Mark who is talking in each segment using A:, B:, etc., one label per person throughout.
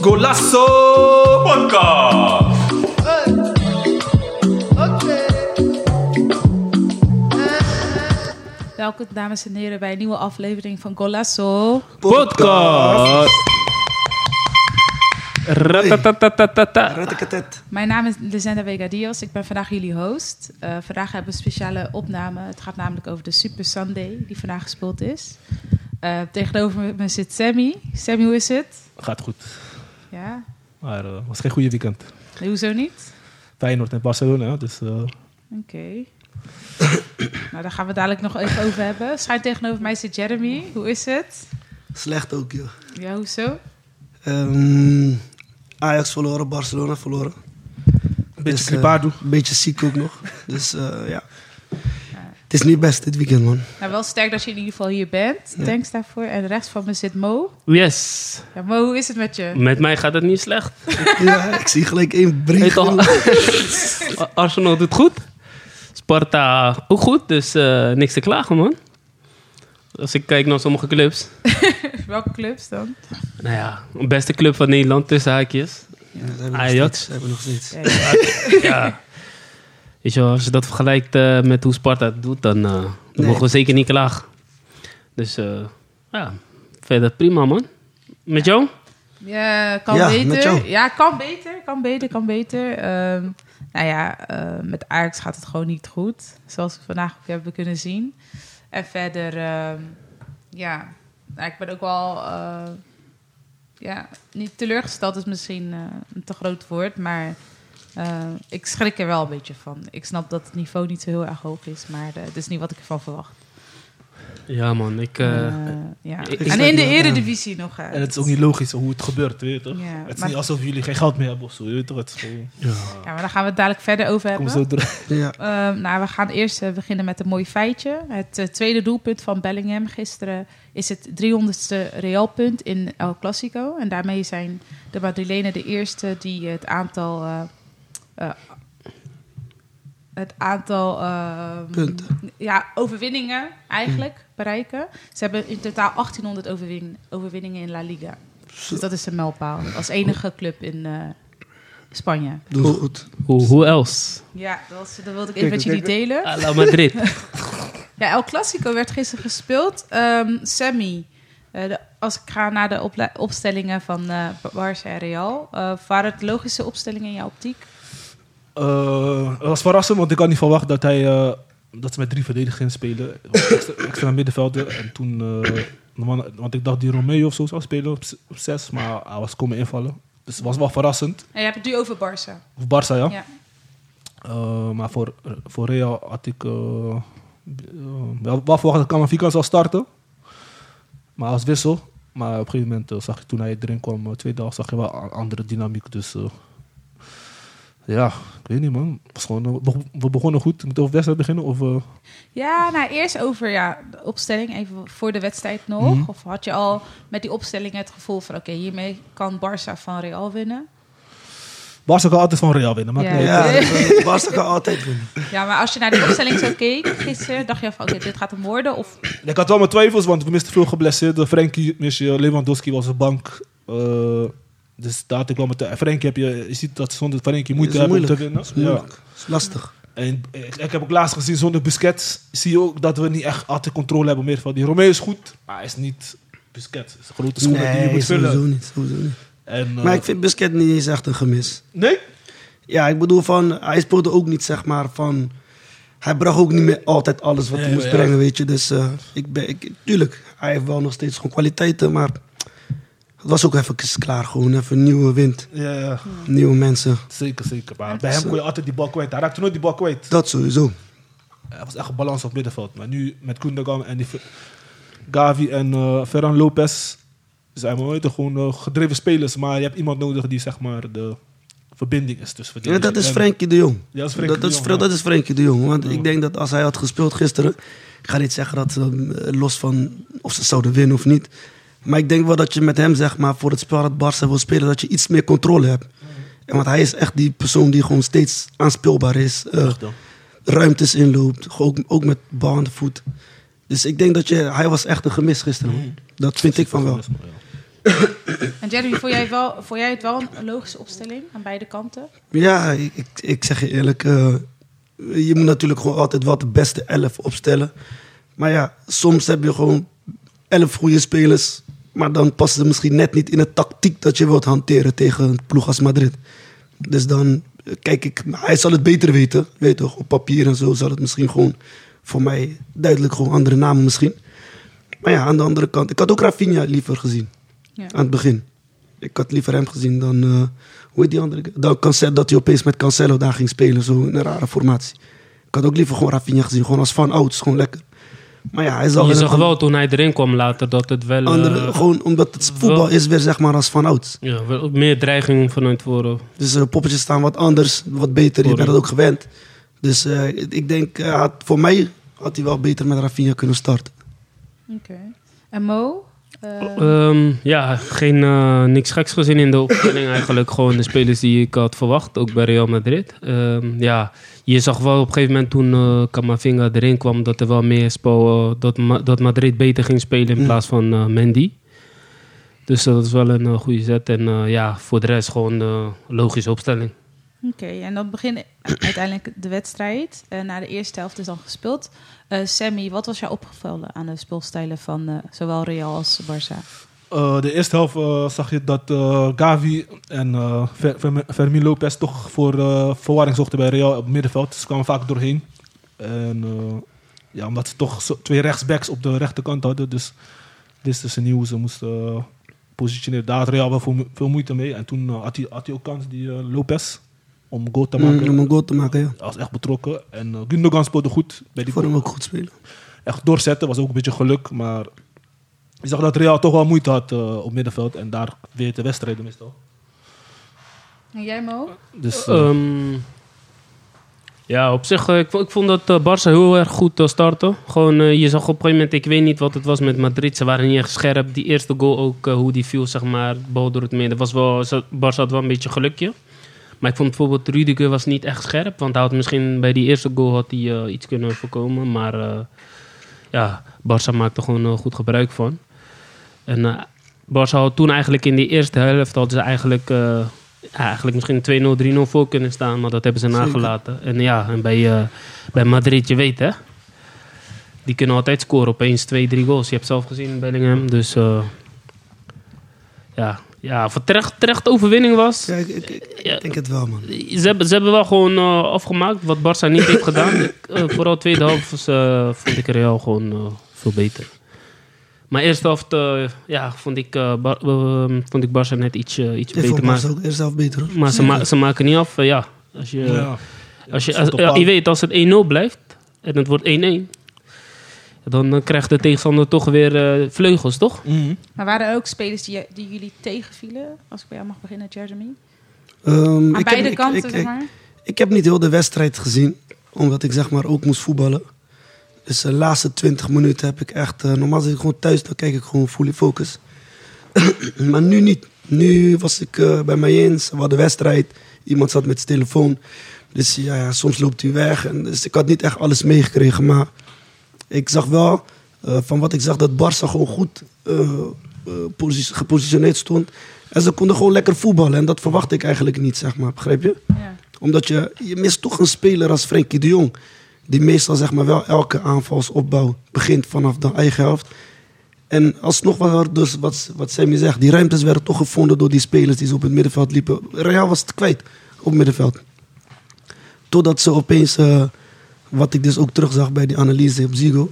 A: Golasso Podcast.
B: Welkom dames en heren bij een nieuwe aflevering van Golasso.
A: Podcast.
C: Ratatatatata.
D: Ratakatet.
B: Mijn naam is Lizenda Vegadios, ik ben vandaag jullie host. Eh, vandaag hebben we een speciale opname. Het gaat namelijk over de Super Sunday die vandaag gespeeld is. Eh, tegenover me zit Sammy. Sammy, hoe is het?
C: Gaat goed.
B: Ja,
C: Maar eh, was geen goede weekend.
B: Nee, hoezo niet?
C: Feyenoord en Barcelona, dus eh,
B: Oké. nou, daar gaan we het dadelijk nog even over hebben. Schijn tegenover mij zit Jeremy. Hoe is het?
D: Slecht ook, joh.
B: Ja, hoezo?
D: Ehm, Ajax verloren, Barcelona verloren.
C: een beetje
D: Dus, eh,
C: Cripado.
D: Een beetje ziek ook nog. Dus eh, ja. Het is niet best dit weekend, man.
B: Nou, wel sterk dat je in ieder geval hier bent.
D: Ja.
B: Thanks daarvoor. En rechts van me zit Mo.
C: Yes.
B: Ja, Mo, hoe is het met je?
E: Met mij gaat het niet slecht.
D: ja, ik zie gelijk één
E: Weet
D: brief.
E: toch, Arsenal doet goed. Sparta ook goed, dus eh, niks te klagen, man. Als ik kijk naar sommige clubs.
B: Welke clubs dan?
E: Nou ja, de beste club van Nederland, tussen haakjes. Ajax.
D: Ze hebben nog steeds.
B: Ja,
E: Ja. Weet je wel, als je dat vergelijkt eh, met hoe Sparta het doet, dan, eh, dan
D: Nee.
E: mogen we zeker niet klagen. Dus eh, ja, verder prima, man. Met jou?
B: Ja, kan
D: Ja,
B: beter.
D: met jou.
B: Ja, kan beter, kan beter, kan beter. Ehm, nou ja, eh, met Ajax gaat het gewoon niet goed. Zoals we vandaag ook hebben kunnen zien. En verder, ehm, ja, nou, ik ben ook wel, eh, ja, niet teleurgesteld is misschien eh, een te groot woord, maar eh, ik schrik er wel een beetje van. Ik snap dat het niveau niet zo heel erg hoog is, maar eh, het is niet wat ik ervan verwacht.
E: Ja, man. Ik,
B: Eh, ja.
E: ik-
B: en in de eredivisie nog. eh,
C: En het is ook niet logisch hoe het gebeurt, weet je toch?
B: Ja,
C: het is
B: maar-
C: niet alsof jullie geen geld meer hebben of zo, weet je toch? Het is gewoon...
B: Ja, maar daar gaan we het dadelijk verder over
C: Kom
B: hebben.
C: zo door.
D: Ja.
B: Ehm, nou, we gaan eerst eh, beginnen met een mooi feitje. Het eh, tweede doelpunt van Bellingham gisteren is het 300ste Realpunt in El Clasico. En daarmee zijn de Madrilenen de eerste die het aantal... eh, eh, het aantal... ehm,
D: Punten. Hmm.
B: Ja, overwinningen eigenlijk bereiken. Ze hebben in totaal 1800 overwin- overwinningen in La Liga. Dus dat is een mijlpaal. Als enige club in eh, Spanje.
D: Doe het goed.
E: hoe, hoe else?
B: Ja, dat, was- dat wilde ik
D: Kijk,
B: even met jullie
D: kijk, kijk.
B: delen.
E: A la Madrid.
B: Ja, El Clasico werd gisteren gespeeld. Ehm, Sammy, eh, de- als ik ga naar de opla- opstellingen van eh Barça en Real, eh, waren het logische opstellingen in jouw optiek?
C: Eh, het was verrassend, want ik had niet verwacht dat, hij, eh, dat ze met drie verdedigingen spelen. Extra, extra middenvelder. En toen, eh, normaal- want ik dacht die Romeo of zo zou spelen op, z- op zes, maar hij was komen invallen. Dus het was wel verrassend.
B: En je hebt het nu over Barça.
C: Of Barça, ja.
B: Ja.
C: Eh, maar voor, voor Real had ik eh, eh, wel, wel verwacht dat Camavinga zou starten. Maar als wissel. Maar op een gegeven moment eh, zag je toen hij erin kwam, eh, tweede helft, zag je wel een andere dynamiek. Dus eh, ja, ik weet niet man. Het was gewoon, eh, we begon- we begonnen goed. Moeten we over wedstrijd beginnen? Of, eh,
B: Ja, nou eerst over ja, de opstelling, even voor de wedstrijd nog. Of had je al met die opstellingen het gevoel van oké, hiermee kan Barça van Real winnen?
C: Barca kan altijd van Real winnen. Maar
B: Ja.
C: nee,
D: Ja,
B: Ja.
D: dat- eh, Barca kan altijd winnen.
B: Ja, maar als je naar die opstelling zo keek gisteren, dacht je van oké, dit gaat hem worden? Of
C: Ik had wel mijn twijfels, want we misten veel geblesseerden. Frenkie mis je, Lewandowski was op bank. Eh, dus daar had ik wel mijn twijfels. Frenkie heb je, je ziet dat ze zonder Frenkie moeite
D: Is
C: hebben om te
D: moeilijk. Is
C: winnen. Ja.
D: moeilijk. Is lastig.
C: En ik, ik heb ook laatst gezien, zonder Busquets zie je ook dat we niet echt altijd controle hebben meer van die. Romeo is goed, maar hij is niet Busquets. Het is een grote schoenen die je
D: Nee,
C: moet
D: sowieso
C: vullen.
D: niet. Sowieso niet.
C: En, eh,
D: Maar ik vind Busquets niet eens echt een gemis.
C: Nee?
D: Ja, ik bedoel van, hij speelde ook niet zeg maar van. Hij bracht ook niet meer altijd alles wat hij
C: Nee,
D: moest
C: ja.
D: brengen, weet je. Dus eh, ik ben, ik, tuurlijk, hij heeft wel nog steeds gewoon kwaliteiten, maar het was ook even klaar, gewoon even nieuwe wind,
C: Ja, ja.
D: nieuwe mensen.
C: zeker, zeker. Maar bij
D: dus,
C: hem kon
D: eh,
C: je altijd die bal kwijt. Hij raakte nooit die bal kwijt.
D: Dat sowieso.
C: Hij was echt een balans op middenveld. Maar nu met Koendogan en die Fer- Gavi en eh, Ferran Lopez zijn we nooit gewoon eh, gedreven spelers. Maar je hebt iemand nodig die zeg maar de verbinding is tussen
D: Ja, dat
C: verdediging
D: is
C: en-
D: Frenkie de Jong.
C: Ja, dat is Frenkie
D: dat,
C: de
D: is,
C: Jong,
D: Fre-
C: ja.
D: dat is Frenkie de Jong. Want ik denk dat als hij had gespeeld gisteren, ik ga niet zeggen dat ze eh, los van of ze zouden winnen of niet. Maar ik denk wel dat je met hem, zeg maar, voor het spel dat Barca wil spelen, dat je iets meer controle hebt. En want hij is echt die persoon die gewoon steeds aanspeelbaar is. eh,
C: Echt, ja.
D: eh, ruimtes inloopt. Ook, ook met bal aan de voet. Dus ik denk dat je, hij was echt een gemis gisteren.
C: Mm.
D: man. Dat vind ik van wel.
B: En Jeremy, vond jij, wel, vond jij het wel een logische opstelling aan beide kanten?
D: Ja, ik, ik- ik zeg je eerlijk. eh, je moet natuurlijk gewoon altijd wat de beste elf opstellen. Maar ja, soms heb je gewoon elf goede spelers. Maar dan passen ze misschien net niet in de tactiek dat je wilt hanteren tegen een ploeg als Madrid. Dus dan eh, kijk ik, hij zal het beter weten. Weet toch, op papier en zo zal het misschien gewoon voor mij duidelijk gewoon andere namen misschien. Maar ja, aan de andere kant, ik had ook Rafinha liever gezien
B: Ja.
D: aan het begin. Ik had liever hem gezien dan, eh, hoe heet die andere? ge- Dan Cancel, dat hij opeens met Cancelo daar ging spelen, zo in een rare formatie. Ik had ook liever gewoon Rafinha gezien, gewoon als van ouds, gewoon lekker. Maar ja, hij zal
E: Je
D: in
E: zag
D: een
E: wel toen hij erin kwam later dat het wel... eh,
D: andere, gewoon omdat het voetbal is weer zeg maar als van ouds.
E: ja, wel meer dreiging vanuit voren.
D: Dus eh, poppetjes staan wat anders, wat beter. Je
E: Correct.
D: bent dat ook gewend. Dus eh, ik denk, eh, had, voor mij had hij wel beter met Rafinha kunnen starten.
B: Oké. En Mo?
D: Oh.
B: Eh,
E: Ehm, ja, geen, eh, niks geks gezien in de opstelling eigenlijk. Gewoon de spelers die ik had verwacht, ook bij Real Madrid. Ehm, ja, je zag wel op een gegeven moment toen eh Camavinga erin kwam... dat er wel meer spel, eh, dat, Ma- dat Madrid beter ging spelen in
D: Ja.
E: plaats van eh, Mendy. Dus dat is wel een eh, goede zet. En eh, ja, voor de rest gewoon eh logische opstelling.
B: Oké, en dan begint uiteindelijk de wedstrijd. Eh, na de eerste helft is dan gespeeld. Eh, Sammy, wat was jou opgevallen aan de speelstijlen van eh, zowel Real als Barça?
C: Eh, de eerste helft eh, zag je dat eh, Gavi en eh, Fer- Fer- Fermin Lopez toch voor eh, verwarring zochten bij Real op het middenveld. Ze kwamen vaak doorheen. En eh, ja, omdat ze toch zo- twee rechtsbacks op de rechterkant hadden. Dus dit is nieuw. Ze moesten eh, positioneren. Daar had Real wel veel, mo- veel moeite mee. En toen eh, had, hij, had hij ook kans, die eh, Lopez, om goal te maken.
D: Mm, om een goal te maken, ja.
C: Hij was echt betrokken. En eh, Gundogan speelde goed. Bij
D: Ik
C: die
D: vond hem ook goed spelen.
C: echt doorzetten. Was ook een beetje geluk, maar ik zag dat Real toch wel moeite had eh, op middenveld. En daar weer de wedstrijden meestal.
B: En jij, Mo?
C: Dus eh,
E: Ehm, ja, op zich, eh, ik, vo- ik vond dat eh, Barça heel erg goed eh, startte. Gewoon, eh, je zag op een gegeven moment, ik weet niet wat het was met Madrid. Ze waren niet echt scherp. Die eerste goal ook, eh, hoe die viel, zeg maar, bal door het midden. Was wel, ze- Barça had wel een beetje gelukje. Maar ik vond bijvoorbeeld Rudiger was niet echt scherp. Want hij had misschien bij die eerste goal had hij, eh, iets kunnen voorkomen. Maar eh, ja, Barça maakte gewoon eh, goed gebruik van. En eh, Barça had toen eigenlijk in die eerste helft hadden ze eigenlijk, eh, ja, eigenlijk misschien 2-0, 3-0 voor kunnen staan. Maar dat hebben ze nagelaten. En ja, en bij, eh, bij Madrid, je weet hè. Die kunnen altijd scoren. Opeens 2, 3 goals. Je hebt zelf gezien in Bellingham. Dus eh, ja, ja, of het terecht, terecht overwinning was.
D: Ja, ik, ik- ik
E: Ja.
D: denk het wel, man.
E: Ze hebben, ze hebben wel gewoon eh, afgemaakt wat Barça niet heeft gedaan. Ik, eh, vooral tweede helft was, eh, vond ik Real gewoon eh, veel beter. Maar eerste helft eh, ja, vond, ik, eh, Bar- eh, vond ik Barça net iets, eh, iets
D: Ik vond
E: beter. Maar,
D: Barca ook eerst zelf beter, hoor.
E: maar ze, ma- ze maken niet af. eh, ja. Als je,
C: ja.
E: als je,
C: Ja, stond
E: als-
C: op
E: ja,
C: paal.
E: je weet, als het 1-0 blijft en het wordt 1-1... Dan eh, krijgt de tegenstander toch weer eh, vleugels, toch?
C: Mhm.
B: Maar waren er ook spelers die, die jullie tegenvielen? Als ik bij jou mag beginnen, Jeremy.
D: Ehm,
B: Aan
D: ik heb-
B: beide
D: ik-
B: kanten,
D: ik- ik-
B: zeg maar.
D: Ik heb niet heel de wedstrijd gezien, omdat ik zeg maar ook moest voetballen. Dus de laatste 20 minuten heb ik echt. eh, normaal zit ik gewoon thuis, dan kijk ik gewoon fully focus. maar nu niet. Nu was ik eh, bij mij eens, we hadden wedstrijd. Iemand zat met zijn telefoon. Dus ja, ja, soms loopt hij weg. En, dus ik had niet echt alles meegekregen. Maar ik zag wel, eh, van wat ik zag, dat Barça gewoon goed eh, eh, posi- gepositioneerd stond. En ze konden gewoon lekker voetballen. En dat verwacht ik eigenlijk niet, zeg maar. Begrijp je?
B: Ja.
D: Omdat je, je mist toch een speler als Frenkie de Jong. Die meestal zeg maar wel elke aanvalsopbouw begint vanaf de eigen helft. En alsnog was er dus wat, wat Sammy zegt. Die ruimtes werden toch gevonden door die spelers die ze op het middenveld liepen. Real was het kwijt op het middenveld. Totdat ze opeens, eh, wat ik dus ook terugzag bij die analyse op Zigo.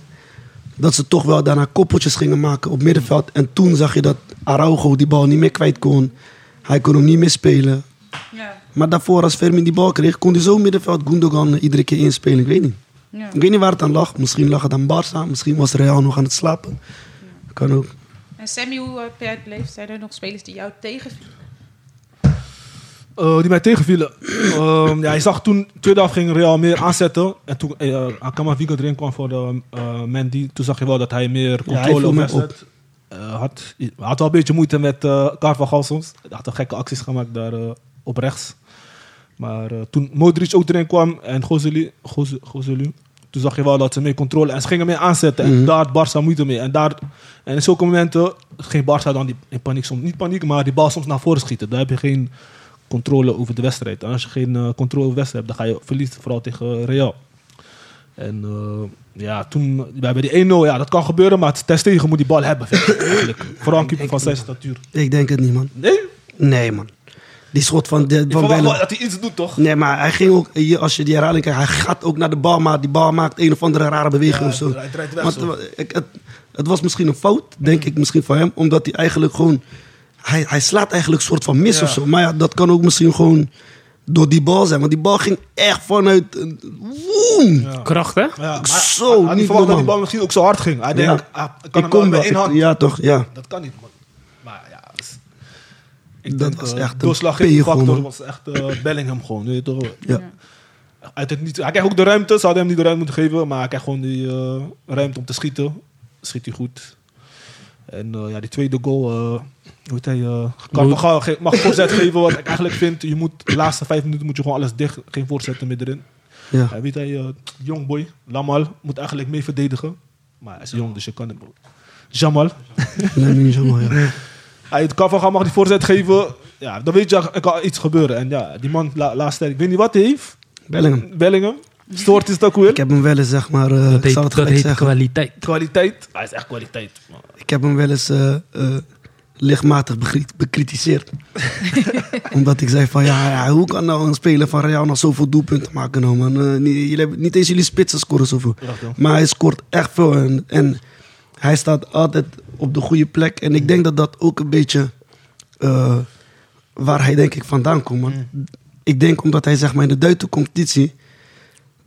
D: Dat ze toch wel daarna koppeltjes gingen maken op middenveld. En toen zag je dat Araujo die bal niet meer kwijt kon. Hij kon hem niet meer spelen.
B: Ja.
D: Maar daarvoor, als Fermin die bal kreeg, kon hij zo middenveld Gundogan eh, iedere keer inspelen. Ik weet niet.
B: Ja.
D: Ik weet niet waar het aan lag. Misschien lag het aan Barça. Misschien was Real nog aan het slapen. Kan ook.
B: En Sammy, hoe heb jij het beleefd? Zijn er nog spelers die jou tegenvielen?
C: Eh, die mij tegenvielen. Ehm, ja, je zag toen, tweede half ging Real meer aanzetten. En toen eh, Akamavigo erin kwam voor de, eh, Mendy, toen zag je wel dat hij meer
D: hij viel
C: controle
D: meer
C: over wedstrijd eh, had. Hij had wel een beetje moeite met eh Carvajal soms. Hij had wel gekke acties gemaakt daar eh, op rechts. Maar eh, toen Modric ook erin kwam en Gozeli, Goze- Gozelu, toen zag je wel dat ze meer controle en ze gingen meer aanzetten. En
D: Mhm.
C: daar had Barca moeite mee. En, daar, en in zulke momenten ging Barca dan die, in paniek soms. Niet paniek, maar die bal soms naar voren schieten. Daar heb je geen controle over de wedstrijd. En als je geen eh, controle over de wedstrijd hebt, dan ga je verliezen, vooral tegen Real. En eh, ja, toen bij bij die 1-0, ja, dat kan gebeuren, maar Ter Stegen moet die bal hebben. Vind ik, eigenlijk. Vooral een keeper van zijn statuur.
D: Ik denk het niet, man.
C: Nee,
D: Nee, man. Die schot van, de,
C: ik
D: van
C: verwacht wel
D: Bellen.
C: dat hij iets doet, toch?
D: Nee, maar hij ging ook, hier, als je die herhaling kijkt, hij gaat ook naar de bal, maar die bal maakt een of andere rare beweging
C: Ja,
D: of zo.
C: hij draait weg
D: Want,
C: zo. Mhm.
D: eh, ik- het, het was misschien een fout, denk ik, misschien van hem, omdat hij eigenlijk gewoon, hij, hij slaat eigenlijk een soort van mis
C: Ja.
D: of zo. Maar ja, dat kan ook misschien gewoon door die bal zijn, want die bal ging echt vanuit, een- woem!
C: Ja.
E: Kracht, hè?
C: Ja, maar
D: Zo,
C: hij- hij had
D: niet
C: niet verwacht dat die
D: normaal.
C: bal misschien ook zo hard ging. Hij denkt,
D: Ja.
C: ah, ik kan
D: Ik
C: hem wel
D: kom
C: met
D: wel.
C: één hand.
D: Ik- Ja, toch, ja.
C: Dat kan niet, man. Maar ja, dat is-
D: Dat
C: ik denk,
D: was
C: eh,
D: echt een
C: doorslaggevende
D: pegel,
C: factor
D: man.
C: was echt eh, Bellingham gewoon. Weet je toch?
D: ja.
C: Uit het niet, hij krijgt ook de ruimte, ze hadden hem niet de ruimte moeten geven, maar hij krijgt gewoon die eh, ruimte om te schieten. Schiet hij goed. En eh, ja, die tweede goal, eh, hoe heet hij? eh, Carvajal ge- mag voorzet geven, wat ik eigenlijk vind, je moet, de laatste vijf minuten moet je gewoon alles dicht, geen voorzetten meer erin.
D: ja.
C: Hij weet hij, eh, jong boy, Lamal, moet eigenlijk mee verdedigen. Maar hij is jong, dus je kan hem. Jamal.
D: Nee, niet zo mooi, ja.
C: Hij het Carvajal mag die voorzet geven. Ja, dan weet je, er kan iets gebeuren. En ja, die man, la, laatste tijd, ik weet niet wat hij heeft.
D: Bellingham.
C: Bellingham. Stoort is het ook weer.
D: Ik heb hem wel eens, zeg maar, eh, ik zal het
E: dat
D: gelijk
E: heet
D: zeggen.
E: kwaliteit.
C: Kwaliteit. Ah, Hij is echt kwaliteit. man.
D: Ik heb hem wel eens eh, eh, lichtmatig begri- bekritiseerd. Omdat ik zei van, ja, ja, hoe kan nou een speler van Real nog zoveel doelpunten maken? Nou, man? Eh, niet, jullie hebben, niet eens jullie spitsen scoren zoveel. Maar hij scoort echt veel. En, en hij staat altijd op de goede plek. En ik denk dat dat ook een beetje eh, waar hij denk ik vandaan komt. Man. Ik denk omdat hij zeg maar in de Duitse competitie...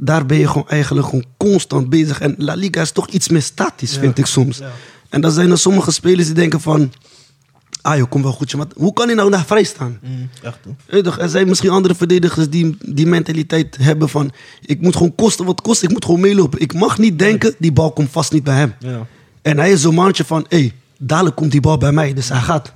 D: Daar ben je gewoon eigenlijk gewoon constant bezig. En La Liga is toch iets meer statisch, vind ik soms. En dan zijn er sommige spelers die denken van... Ah joh, kom wel goed. joh, Maar hoe kan hij nou daar vrij staan?
C: Echt hoor.
D: Weet je toch, Er zijn misschien andere verdedigers die die mentaliteit hebben van... Ik moet gewoon kosten wat kost. Ik moet gewoon meelopen. Ik mag niet denken, die bal komt vast niet bij hem.
C: Ja.
D: En hij is zo'n mannetje van, hé, dadelijk komt die bal bij mij, dus hij gaat.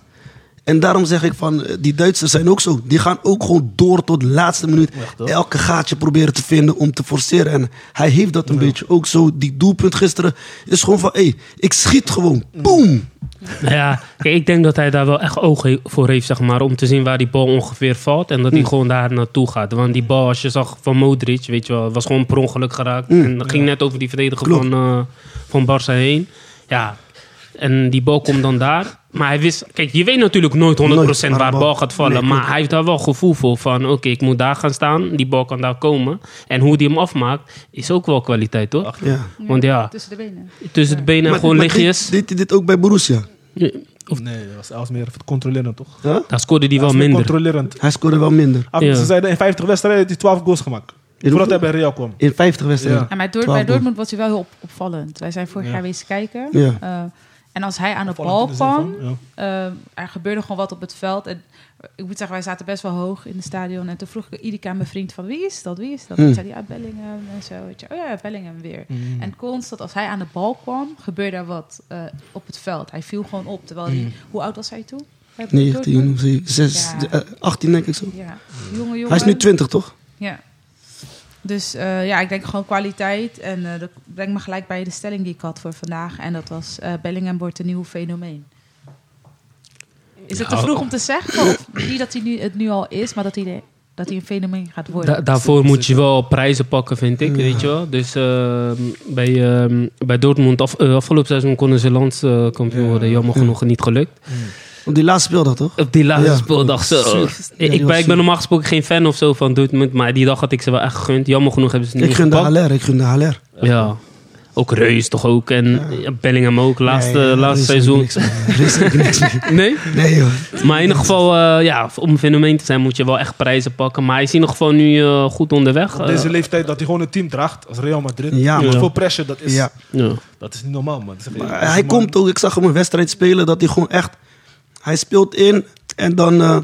D: En daarom zeg ik van, eh, die Duitsers zijn ook zo. Die gaan ook gewoon door tot de laatste minuut.
C: Echt, hoor.
D: Elke gaatje proberen te vinden om te forceren. En hij heeft dat een beetje ook zo. Die doelpunt gisteren is gewoon van, hé, ik schiet gewoon. Boom!
E: Nou Ja, kijk, ik denk dat hij daar wel echt oog he- voor heeft, zeg maar. Om te zien waar die bal ongeveer valt. En dat
D: Mm.
E: hij gewoon daar naartoe gaat. Want die bal, als je zag van Modric, weet je wel, was gewoon per ongeluk geraakt. En dat ging net over die verdediger
D: Mm. Klopt.
E: van, eh, van Barça heen. Ja, en die bal komt dan daar. Maar hij wist, kijk, je weet natuurlijk nooit 100%
D: Nooit, maar
E: waar
D: de
E: de
D: bal-
E: bal gaat vallen.
D: Nee, klopt.
E: maar hij heeft daar wel gevoel voor. Van oké, ik moet daar gaan staan. Die bal kan daar komen. En hoe die hem afmaakt, is ook wel kwaliteit hoor.
D: Ja.
E: Want ja,
B: Tussen de benen.
E: tussen het benen en gewoon
D: maar deed,
E: lichtjes.
D: deed hij dit ook bij Borussia?
C: Nee, dat was zelfs meer controlerend toch?
D: Huh?
E: Daar scoorde hij wel
C: Hij is meer
E: minder.
C: Controlerend.
D: Hij scoorde wel minder.
C: Af-
E: Ja.
C: Ze zeiden in 50 wedstrijden heeft hij 12 goals gemaakt. Voordat hij bij Real kwam.
D: In 50 wedstrijden.
B: Ja, maar Dort- bij
D: Twaalf
B: Dortmund was hij wel heel op- opvallend. Wij zijn vorig
C: Ja.
B: jaar wezen kijken.
D: Ja.
B: Eh, en als hij aan de bal
C: Opvallend in de zin
B: kwam,
C: van, ja.
B: eh, er gebeurde gewoon wat op het veld. En ik moet zeggen, wij zaten best wel hoog in het stadion. En toen vroeg ik iedere keer aan mijn vriend van wie is dat, wie is dat?
D: Hmm.
B: Ik zei die uit Bellingham en zo. weet je. Oh ja, Bellingham weer. En constant als hij aan de bal kwam, gebeurde er wat eh, op het veld. Hij viel gewoon op. Terwijl
D: Hmm.
B: hij, hoe oud was hij toen? Bij
D: 19,
B: Dortmund?
D: of zo, zes-
B: Ja.
D: eh, 18 denk ik zo.
B: Ja, jonge jongen.
D: Hij is nu 20 toch?
B: Ja. Dus eh, ja, ik denk gewoon kwaliteit. En eh, dat brengt me gelijk bij de stelling die ik had voor vandaag. En dat was eh, Bellingham wordt een nieuw fenomeen. Is het te
E: Nou.
B: vroeg om te zeggen? Of niet dat hij nu, het nu al is, maar dat hij, de- dat hij een fenomeen gaat worden.
E: Da- daarvoor moet je wel prijzen pakken, vind ik. Weet je wel? Dus ehm, bij, ehm, bij Dortmund, af, eh, afgelopen seizoen konden ze landskampioen
C: Ja.
E: worden. Jammer genoeg niet gelukt.
D: Op die laatste speeldag toch?
E: Op die laatste
D: Ja.
E: speeldag zo.
D: Zuur. Ja,
E: ik,
D: die
E: ik,
D: was
E: ben, ik ben
D: zuur.
E: normaal gesproken geen fan of zo van Dortmund. Maar die dag had ik ze wel echt gegund. Jammer genoeg hebben ze het
D: Ik
E: niet
D: gun de
E: gepakt.
D: Haller, ik gun de Haller.
E: Ja. Ook Reus toch ook. En ja, Bellingham ook. Laatste,
D: Nee,
E: laatste
D: er is ook
E: seizoen.
D: niks meer. Er is ook niks meer.
E: Nee?
D: Nee joh.
E: Maar in ieder geval, eh, ja, om een fenomeen te zijn moet je wel echt prijzen pakken. Maar hij is in ieder geval nu eh, goed onderweg.
C: Op deze
E: Eh,
C: leeftijd dat hij gewoon een team draagt als Real Madrid.
D: Ja,
C: Wat
E: man.
C: voor pressure dat is.
D: Ja.
E: ja.
C: Dat is niet normaal, man. Dat is echt-
D: Maar
C: dat is
D: hij
C: man-
D: komt ook, ik zag hem een wedstrijd spelen, dat hij gewoon echt... Hij speelt in en dan eh,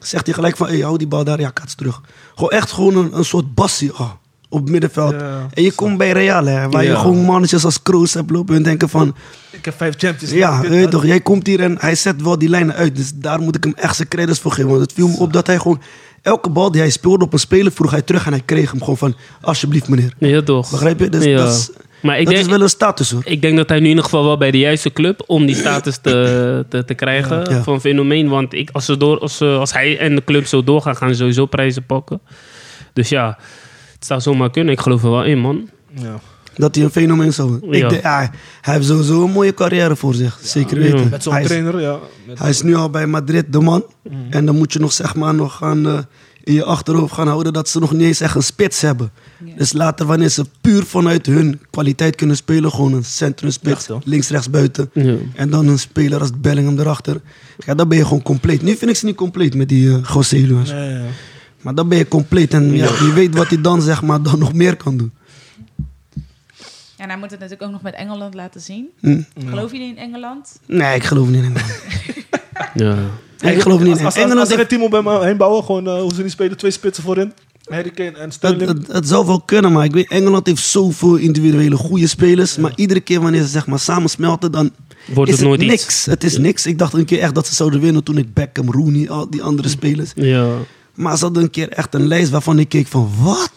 D: zegt hij gelijk van, hey, hou die bal daar, ja, kaats terug. Gewoon echt gewoon een, een soort bassie ah, op het middenveld.
C: Ja.
D: en je komt bij Real, hè, waar je
E: Ja.
D: gewoon mannetjes als Kroos hebt lopen en denken van...
C: Ik heb vijf champions.
D: Ja,
C: Dit,
D: weet je
C: dat.
D: toch, jij komt hier en hij zet wel die lijnen uit. Dus daar moet ik hem echt zijn credits voor geven. Want het viel me op dat hij gewoon elke bal die hij speelde op een speler vroeg hij terug en hij kreeg hem gewoon van alsjeblieft meneer.
E: Ja, toch.
D: Begrijp je? Dus
E: Ja.
D: dat, is,
E: maar ik
D: dat
E: denk,
D: is wel een status hoor.
E: Ik denk dat hij nu in ieder geval wel bij de juiste club om die status te, te, te krijgen
D: Ja.
E: van fenomeen. Want ik, als, ze door, als, ze- als hij en de club zo doorgaan, gaan ze sowieso prijzen pakken. Dus ja, het zou zomaar kunnen. Ik geloof er wel in, man.
C: Ja.
D: Dat hij een fenomeen zou worden.
E: Ja.
D: Ik denk, ja, hij heeft sowieso een mooie carrière voor zich. Zeker weten.
C: Met zo'n
D: hij, is,
C: trainer, Mhm. ja. Met-
D: hij is nu al bij Madrid de man. En dan moet je nog zeg maar nog gaan eh, in je achterhoofd gaan houden dat ze nog niet eens echt een spits hebben. Dus later wanneer ze puur vanuit hun kwaliteit kunnen spelen, gewoon een centrumspits,
C: Echt, hoor.
D: links rechts buiten.
E: Ja.
D: En dan een speler als Bellingham erachter. Ja, dan ben je gewoon compleet. Nu vind ik ze niet compleet met die eh José Luis.
C: Ja, ja, ja.
D: Maar dan ben je compleet. En ja, je weet wat hij dan zeg maar dan nog meer kan doen.
B: En hij moet het natuurlijk ook nog met Engeland laten zien.
D: Hm?
B: Geloof jullie in Engeland?
D: Nee, ik geloof niet in hem.
E: Ja.
D: Nee, ik geloof niet in hem.
C: Als, als, als,
D: Engeland
C: als ze
D: heeft-
C: een team om hem heen bouwen, gewoon eh, hoe ze die spelen, twee spitsen voorin. Harry Kane en
D: dat,
C: Sterling.
D: dat, dat zou wel kunnen, maar ik weet, Engeland heeft zoveel individuele goede spelers. Maar iedere keer wanneer ze zeg maar samen smelten, dan
E: Wordt
D: is
E: het nooit
D: niks.
E: iets.
D: Het is niks. Ik dacht een keer echt dat ze zouden winnen toen ik Beckham, Rooney, al die andere spelers.
E: Ja.
D: Maar ze hadden een keer echt een lijst waarvan ik keek van wat?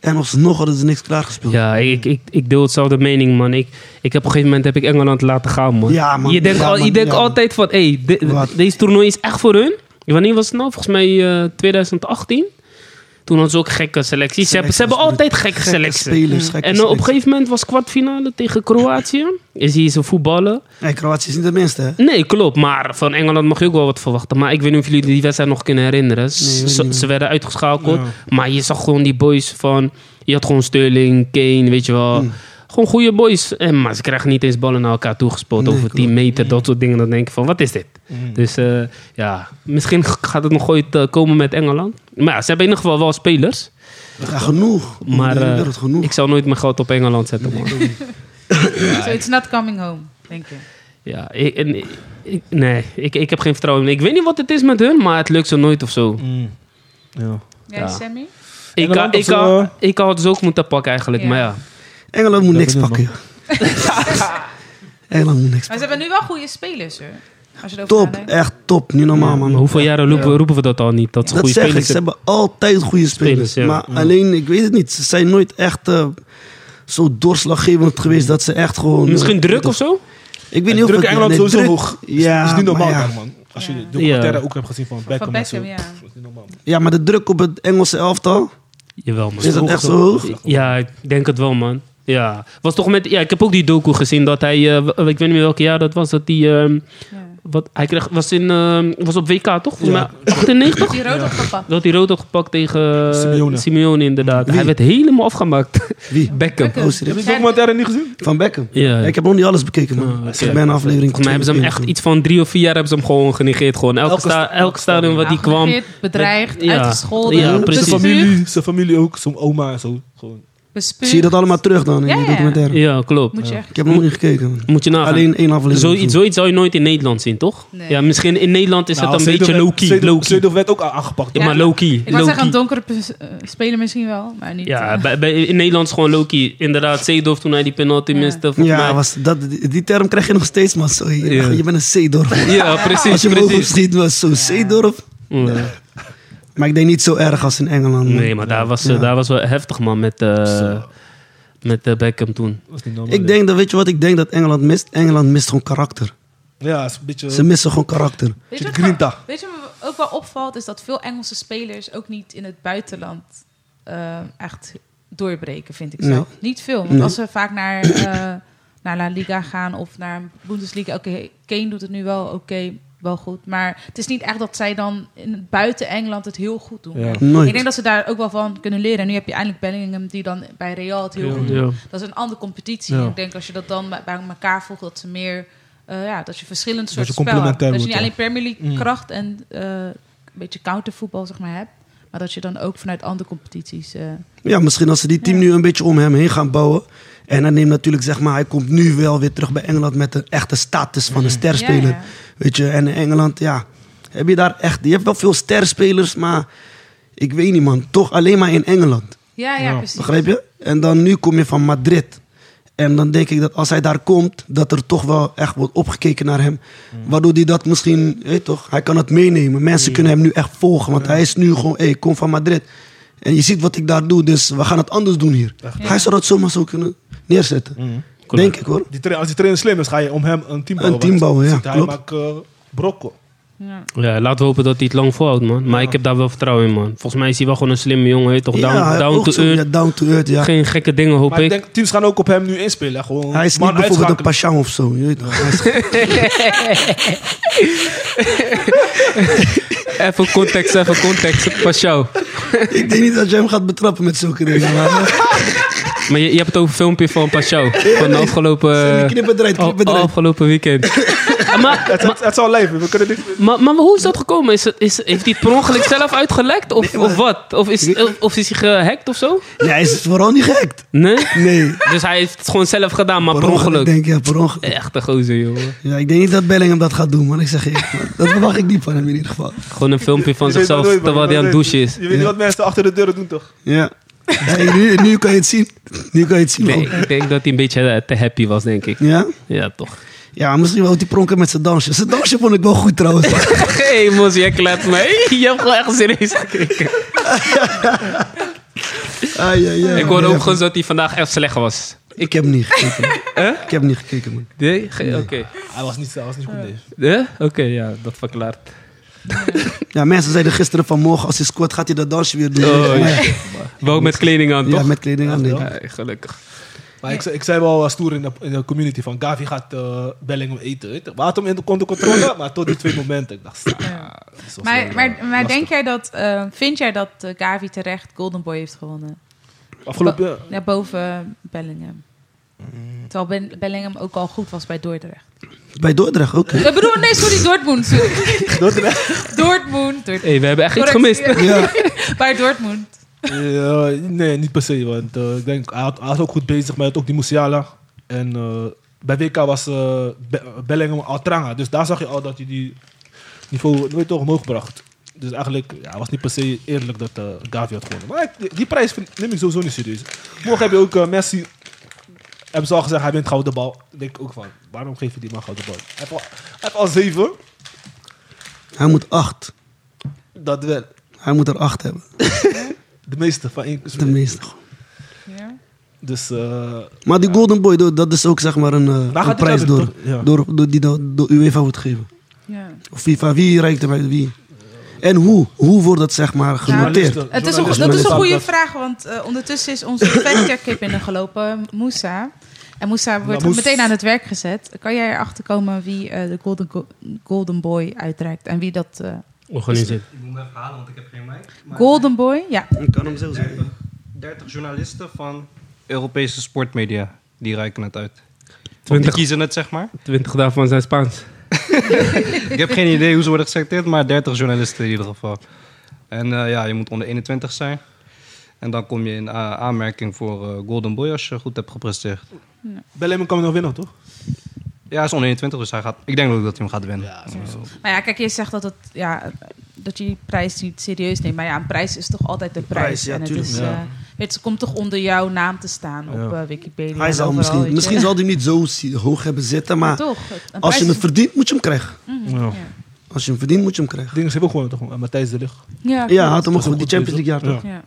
D: En alsnog hadden ze niks klaargespeeld.
E: Ja, ik, ik, ik deel hetzelfde mening, man. Ik, ik heb op een gegeven moment heb ik Engeland laten gaan, man.
D: Ja, man.
E: Je denkt,
D: Ja,
E: al, je
D: man.
E: denkt
D: Ja, man.
E: altijd van, hé, hey, de-
D: Wat?
E: deze toernooi is echt voor hun. Wanneer was het nou? Volgens mij eh, 2018. Toen hadden ze ook gekke selecties. Ze hebben, ze hebben
D: Selecties,
E: altijd gekke,
D: gekke
E: selecties.
D: spelers, gekke
E: en eh, op een
D: selecties.
E: gegeven moment was kwartfinale tegen Kroatië. Is hier ze voetballen.
D: Nee, Kroatië is niet de minste, hè?
E: Nee, klopt. Maar van Engeland mag je ook wel wat verwachten. Maar ik weet niet of jullie die wedstrijd nog kunnen herinneren. Z-
D: weet
E: ze,
D: niet.
E: ze werden uitgeschakeld. Maar je zag gewoon die boys van... Je had gewoon Sterling, Kane, weet je wel.
D: Hmm.
E: Gewoon goede boys. En, maar ze krijgen niet eens ballen naar elkaar toegespeeld.
D: Nee, Hmm.
E: over 10 meter, dat soort dingen. Dan denk je van, wat is dit? Dus eh, ja, misschien g- gaat het nog ooit eh, komen met Engeland. Maar ja, ze hebben in ieder geval wel spelers.
D: Ja, genoeg.
E: Maar
D: de hele
E: eh,
D: wereld genoeg.
E: ik zal nooit mijn geld op Engeland zetten, man.
B: So it's not coming home, denk ik.
E: Ja, ik, en- ik- nee, ik, ik heb geen vertrouwen in. Ik weet niet wat het is met hun, maar het lukt ze nooit of zo.
C: Mm. Ja.
B: Jij,
E: Ja.
B: Sammy?
E: Ik,
C: Engeland
E: ik,
C: of zo, eh?
E: ik had ze ook moeten pakken eigenlijk,
B: Ja.
E: maar ja.
D: Engeland moet
C: Dat
D: niks
C: ben ik,
D: pakken, joh. Engeland moet niks pakken.
B: Maar ze hebben nu wel goede spelers, hoor. Als je erover
D: Top,
B: nadenkt.
D: echt top. Niet normaal, Ah, man.
E: Maar hoeveel jaren roepen, roepen we dat al niet? Dat ze
D: Dat
E: goede
D: zeg ik,
E: spelers
D: ze
E: hebben.
D: hebben altijd goede spelers.
E: Spelers, ja.
D: Maar alleen, ik weet het niet, ze zijn nooit echt eh, zo doorslaggevend geweest dat ze echt gewoon... eh,
E: Misschien druk of zo?
D: Ik weet niet
C: En
D: of
C: druk
D: het-
C: Engeland
D: nee,
C: sowieso
D: druk-
C: hoog. Is-
D: Ja,
C: is niet normaal,
D: maar ja.
C: daar, man. Als je de
E: Ja.
C: documentaire ook hebt gezien van Beckham.
B: Van
C: en zo.
B: Beckham, ja.
C: Dat is niet normaal.
D: Ja, maar de druk op het Engelse elftal,
E: Jawel, man.
D: is dat echt zo hoog?
E: Ja, ik denk het wel, man. Ja. Was toch met, ja, ik heb ook die docu gezien dat hij, eh, w- ik weet niet meer welk jaar dat was, dat die, ehm,
B: Ja.
E: wat, hij kreeg, was, in, ehm, was op WK toch? Volgens
C: Ja.
E: mij 98?
B: Die rood opgepakt.
E: Dat hij rood had gepakt tegen eh,
C: Simeone.
E: Simeone, inderdaad.
D: Wie?
E: Hij werd helemaal afgemaakt.
D: Wie?
E: Beckham.
D: Oh, serieus?
C: Heb je de documentaire niet gezien?
D: Van Beckham?
E: Ja.
D: Ik heb nog niet alles bekeken, man.
E: Oh, oké.
D: Ik heb bijna aflevering
E: Volgens mij hebben ze hem echt iets van drie of vier jaar hebben ze hem gewoon genegeerd. Gewoon. Elke,
C: Elke
E: sta,
C: sta-
E: elk stadion wat die kwam.
B: Aangegeerd, bedreigd,
E: Ja.
B: uitgescholden,
E: Ja, precies.
C: Zijn
B: bestuurd,
C: familie, zijn familie ook, zijn oma en zo. Gewoon.
B: bespuugd.
D: Zie je dat allemaal terug dan in
B: Ja,
D: de
B: ja.
D: documentaire?
E: Ja, klopt.
B: Moet je echt...
D: Ik heb nog niet gekeken, man.
E: Moet je nagaan.
D: Alleen één aflevering.
E: zoiets, zoiets zou je nooit in Nederland zien, toch?
B: Nee.
E: Ja, misschien in Nederland is
C: Nou,
E: het een
C: Seedorf
E: beetje
C: werd-
E: low-key.
C: Seedorf-
E: low-key.
C: Seedorf werd ook a- aangepakt.
E: Ja, maar low-key.
B: Ik wou zeggen,
E: low-key.
B: een donkere pers- eh, speler misschien wel, maar niet...
E: Ja,
B: eh,
E: bij, bij, in Nederland is gewoon low-key. Inderdaad, Zeedorf toen hij die penalty
B: Ja.
E: miste. volgens
D: Ja,
E: mij.
D: was dat, die, die term krijg je nog steeds, man. Zo, je,
E: Ja.
D: je bent een C-dorp.
E: ja,
D: Als
E: precies.
D: je boven
E: precies.
D: schiet, was zo C-dorp.
E: Ja.
D: Maar ik denk niet zo erg als in Engeland. man.
E: Nee, maar daar was, eh,
D: Ja.
E: daar was wel heftig, man, met, eh, met eh, Beckham toen.
C: Dat is niet normaal.
D: Ik denk dat, weet je wat ik denk dat Engeland mist? Engeland mist gewoon karakter.
C: Ja, is een beetje...
D: Ze missen gewoon karakter.
B: Weet
C: Zit
B: je,
C: Grinta.
B: wat, weet je wat me ook wel opvalt? Is dat veel Engelse spelers ook niet in het buitenland eh, echt doorbreken, vind ik zelf. Niet veel, want
D: Nee.
B: als ze vaak naar, eh, naar La Liga gaan of naar Bundesliga... Oké, Kane doet het nu wel oké, wel goed. Maar het is niet echt dat zij dan in, buiten Engeland het heel goed doen.
C: Ja.
D: Nooit.
B: Ik denk dat ze daar ook wel van kunnen leren. En nu heb je eindelijk Bellingham die dan bij Real het heel goed doet.
E: Ja.
B: Dat is een andere competitie.
C: Ja.
B: Ik denk als je dat dan bij bij elkaar voegt, dat ze meer... eh, ja, dat je verschillend soort
C: je
B: spel hebt.
C: complementair
B: Dat je niet
C: wordt,
B: alleen Premier League kracht en eh, een beetje countervoetbal zeg maar, hebt. Maar dat je dan ook vanuit andere competities... eh,
D: Ja, misschien als ze die team nu een beetje om hem heen gaan bouwen. En dan neemt natuurlijk, zeg maar, hij komt nu wel weer terug bij Engeland met de echte status van een sterspeler.
B: Ja, ja.
D: Weet je, en in Engeland, ja, heb je daar echt, je hebt wel veel sterspelers, maar ik weet niet man, toch alleen maar in Engeland.
B: ja, ja, precies.
D: Begrijp je? En dan nu kom je van Madrid. En dan denk ik dat als hij daar komt, dat er toch wel echt wordt opgekeken naar hem. Waardoor hij dat misschien, weet je toch, hij kan het meenemen. Mensen kunnen hem nu echt volgen, want hij is nu gewoon, hé, hey, kom van Madrid. En je ziet wat ik daar doe, dus we gaan het anders doen hier. Hij zou dat zomaar zo kunnen neerzetten. Denk ik hoor.
C: Die tra- als die trainer slim is, ga je om hem een team bouwen.
D: team
C: want
D: bouwen, ja,
C: ziet Hij
D: klopt.
C: maakt eh, brokken.
B: Ja.
E: Ja, laten we hopen dat hij het lang volhoudt, man. Maar ik heb daar wel vertrouwen in, man. Volgens mij is hij wel gewoon een slimme jongen, weet je toch? Down,
D: hij-
E: down
D: ook
E: to
D: zo,
E: earth.
D: ja, down to earth, ja.
E: Geen gekke dingen, hoop
C: Maar ik
E: ik.
C: denk, teams gaan ook op hem nu inspelen. Gewoon
D: Hij is
C: man
D: niet bijvoorbeeld een
C: uitschakelen.
D: Pashao of zo. Je weet toch. Hij is-
E: Even context, even context. Pas jou.
D: ik denk niet dat jij hem gaat betrappen met zulke dingen. Maar,
E: Maar je, je hebt het over een filmpje van Pashao. Van de afgelopen,
D: knip het eruit,
E: al-
D: knip het eruit.
E: afgelopen weekend. Ah, maar,
C: Het, het, het zal leven. We kunnen dit...
E: maar, maar hoe is dat gekomen? Is, het- is, heeft hij het per ongeluk zelf uitgelekt? Of, of wat? Of is, of, of is hij gehackt of zo?
D: Ja, hij is vooral niet gehackt.
E: Nee?
D: Nee.
E: Dus hij heeft het gewoon zelf gedaan, maar per
D: Per ongeluk,
E: ongeluk. Eh.
D: denk ik, ja, per ongeluk.
E: Echt een gozer, jongen.
D: Ja, ik denk niet dat Bellingham dat gaat doen, maar ik zeg je, echt, man. dat verwacht ik niet van hem in ieder geval.
E: Gewoon een filmpje van
C: je weet
E: zichzelf
C: maar nooit, man.
E: terwijl hij aan het douchen is.
C: Je weet niet wat mensen achter de deuren doen, toch?
D: Ja. Hey, nu, nu kan je het zien. Nu kan je het zien.
E: Nee,
D: gewoon.
E: ik denk dat hij een beetje eh, te happy was, denk ik.
D: Ja?
E: Ja, toch.
D: ja, misschien wou hij pronken met zijn dansje. Zijn dansje vond ik wel goed trouwens.
E: Hé, Mos, jij klept me. Je hebt gewoon echt serieus gekeken.
D: Ai, ai, ai.
E: Ik hoorde
D: Ja,
E: ook gewoon dat hij vandaag echt slecht was.
D: Ik heb niet gekeken. Ik heb niet gekeken, man.
E: Nee? Ge- Oké.
C: Hij was niet, hij was niet goed, nee.
E: Eh? Oké, ja, dat verklaart.
D: Ja, mensen zeiden gisteren vanmorgen, als hij squat gaat hij dat dansje weer doen.
E: Oh,
D: ja.
E: Wel met kleding aan,
D: Ja,
E: toch?
D: met kleding aan. denk ik.
E: Ja, gelukkig.
C: Maar ik, zei- ik zei wel eh, stoer in de, in de community van Gavi gaat eh Bellingham eten. Weet je. We hadden hem in de onder controle, maar tot die twee momenten. Ik dacht, ah, dat is wel
B: Maar,
C: zo, eh,
B: maar, maar
C: lastig.
B: denk jij dat, eh, vind jij dat eh, Gavi terecht Golden Boy heeft gewonnen?
C: Afgelopen jaar-
B: Ja, boven eh, Bellingham.
C: Mm.
B: Terwijl Ben- Bellingham ook al goed was bij Dordrecht.
D: Bij Dordrecht ook. hè?
B: Ik bedoel, nee, sorry, Dortmund. Sorry. Dortmund. Dortmund.
E: Hé, we hebben echt iets
B: Correctie.
E: gemist. Ja,
D: Ja.
B: Bij Dortmund.
C: Eh, nee, niet per se. Want eh, ik denk, hij had, hij was ook goed bezig met ook die Musiala. En eh, bij WK was eh Be- Bellingham Altranga. Dus daar zag je al dat hij die niveau nooit toch omhoog bracht. Dus eigenlijk ja, het was niet per se eerlijk dat eh, Gavi had gewonnen. Maar ik- die prijs vind- neem ik sowieso niet serieus. Morgen heb je ook eh, Messi. Hebben ze al gezegd, hij wint gouden bal. Dan denk ik ook van, waarom geef je die man gouden bal? Hij heeft al, hij heeft al zeven.
D: Hij moet acht.
C: Dat wel.
D: Hij moet er acht hebben.
C: De meeste van één.
D: Tenminste.
B: Ja.
C: Dus eh,
D: Maar die Golden Boy, do- dat is ook zeg maar een, eh,
C: gaat
D: een
C: het
D: prijs
C: uit,
D: door,
C: toch? Ja.
D: door, door, die dan door UEFA wordt gegeven.
B: Ja.
D: Of FIFA, wie reikt er bij wie? En hoe? Hoe wordt dat zeg maar genoteerd?
C: journalisten-
B: Het is een,
C: journalisten
B: dat is een
C: zouden
B: goede
C: dat-
B: vraag, want eh, ondertussen is onze factcheck binnengelopen, Moussa. En Moussa wordt
C: Nou, Moes-
B: meteen aan het werk gezet. Kan jij erachter komen wie eh, de golden, Go- golden Boy uitreikt en wie dat... eh,
E: Organiseer.
F: Ik moet hem even halen, want ik heb geen mic. Maar
B: golden Boy? Ja.
D: Ik kan hem zo
F: 30, 30 journalisten van Europese sportmedia, die reiken het uit. Of die
E: 20.
F: kiezen het, zeg maar.
E: Twintig daarvan zijn Spaans.
F: Ik heb geen idee hoe ze worden geselecteerd, maar 30 journalisten in ieder geval. En eh, ja, je moet onder 21 zijn. En dan kom je in eh, aanmerking voor eh, Golden Boy als je goed hebt gepresteerd.
C: Bellingham kan nog winnen, toch?
F: Ja, hij is onder 21, dus hij gaat, ik denk ook dat hij hem gaat winnen.
B: Maar ja, kijk, je zegt dat, het, ja, dat je die prijs niet serieus neemt. Maar ja, een prijs is toch altijd een prijs.
D: prijs, ja,
B: en het,
D: tuurlijk,
B: is,
D: ja.
B: eh, weet, je, het komt toch onder jouw naam te staan op
C: Ja.
B: eh, Wikipedia.
D: Hij
B: en
D: zal
B: overal, weet
D: misschien,
B: je.
D: misschien zal hij hem niet zo si- hoog hebben zitten, maar
B: Toch, het-
D: als je
B: een prijs
D: hem
B: is-
D: verdient, moet je hem krijgen.
C: Ja.
B: Ja.
D: Als je hem verdient, moet je hem krijgen.
C: Dingen hebben ook gewoon toch? eh, Matthijs de Ligt.
B: Ja,
D: Ja, hij had hem ook
C: Dat is
D: goed, die
C: goed
D: Champions League jaar
C: bezig.
D: toch?
B: Ja.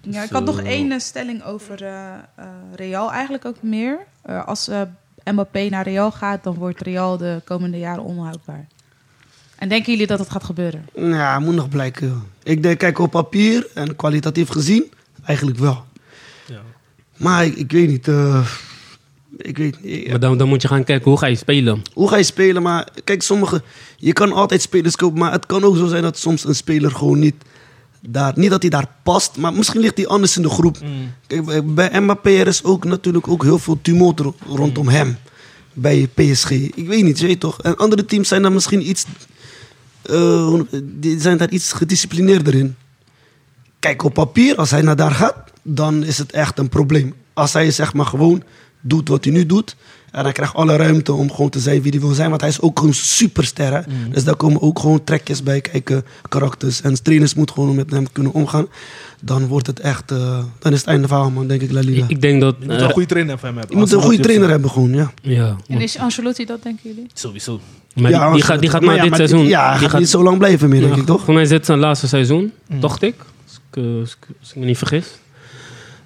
B: Ja, ik had nog één eh, stelling over eh, eh, Real eigenlijk ook meer. Eh, als eh, Mbappé naar Real gaat, dan wordt Real de komende jaren onhoudbaar. En denken jullie dat het gaat gebeuren?
D: Ja, moet nog blijken. joh. Ik denk, kijk, op papier en kwalitatief gezien, eigenlijk wel.
C: Ja.
D: Maar ik, ik weet niet. eh, ik weet niet.
E: Maar dan, dan moet je gaan kijken, hoe ga je spelen?
D: Hoe ga je spelen? Maar kijk, sommige. Je kan altijd spelers kopen, maar het kan ook zo zijn dat soms een speler gewoon niet. Daar, niet dat hij daar past, maar misschien ligt hij anders in de groep. Kijk, bij Mbappé er is ook natuurlijk ook heel veel tumult ro- rondom hem. Bij PSG. Ik weet niet, je weet toch? En andere teams zijn daar misschien iets. eh, hoe- die zijn daar iets gedisciplineerder in. Kijk, op papier, als hij naar daar gaat, dan is het echt een probleem. Als hij zeg maar gewoon doet wat hij nu doet. En hij krijgt alle ruimte om gewoon te zijn wie hij wil zijn. Want hij is ook gewoon superster. Hè?
E: Mm.
D: Dus daar komen ook gewoon trekjes bij kijken, karakters. En trainers moeten gewoon met hem kunnen omgaan. Dan wordt het echt, eh, dan is het einde verhaal, man, denk ik, La Liga.
E: Ik, ik denk dat... eh,
C: Je moet wel een goede trainer van hem hebben.
D: je moet een goede trainer hebben gewoon, ja.
E: ja,
B: En is Ancelotti dat, denken jullie?
C: Sowieso.
E: maar
D: Ja, nou
E: die, die, gaat, die gaat maar,
D: ja,
E: dit
D: die-
E: seizoen...
D: Ja, hij
E: die
D: gaat, niet zo lang blijven meer, denk ik, toch? Mm.
E: Volgens mij is dit zijn laatste seizoen, dacht ik. Als ik, eh, als ik- als ik me niet vergis.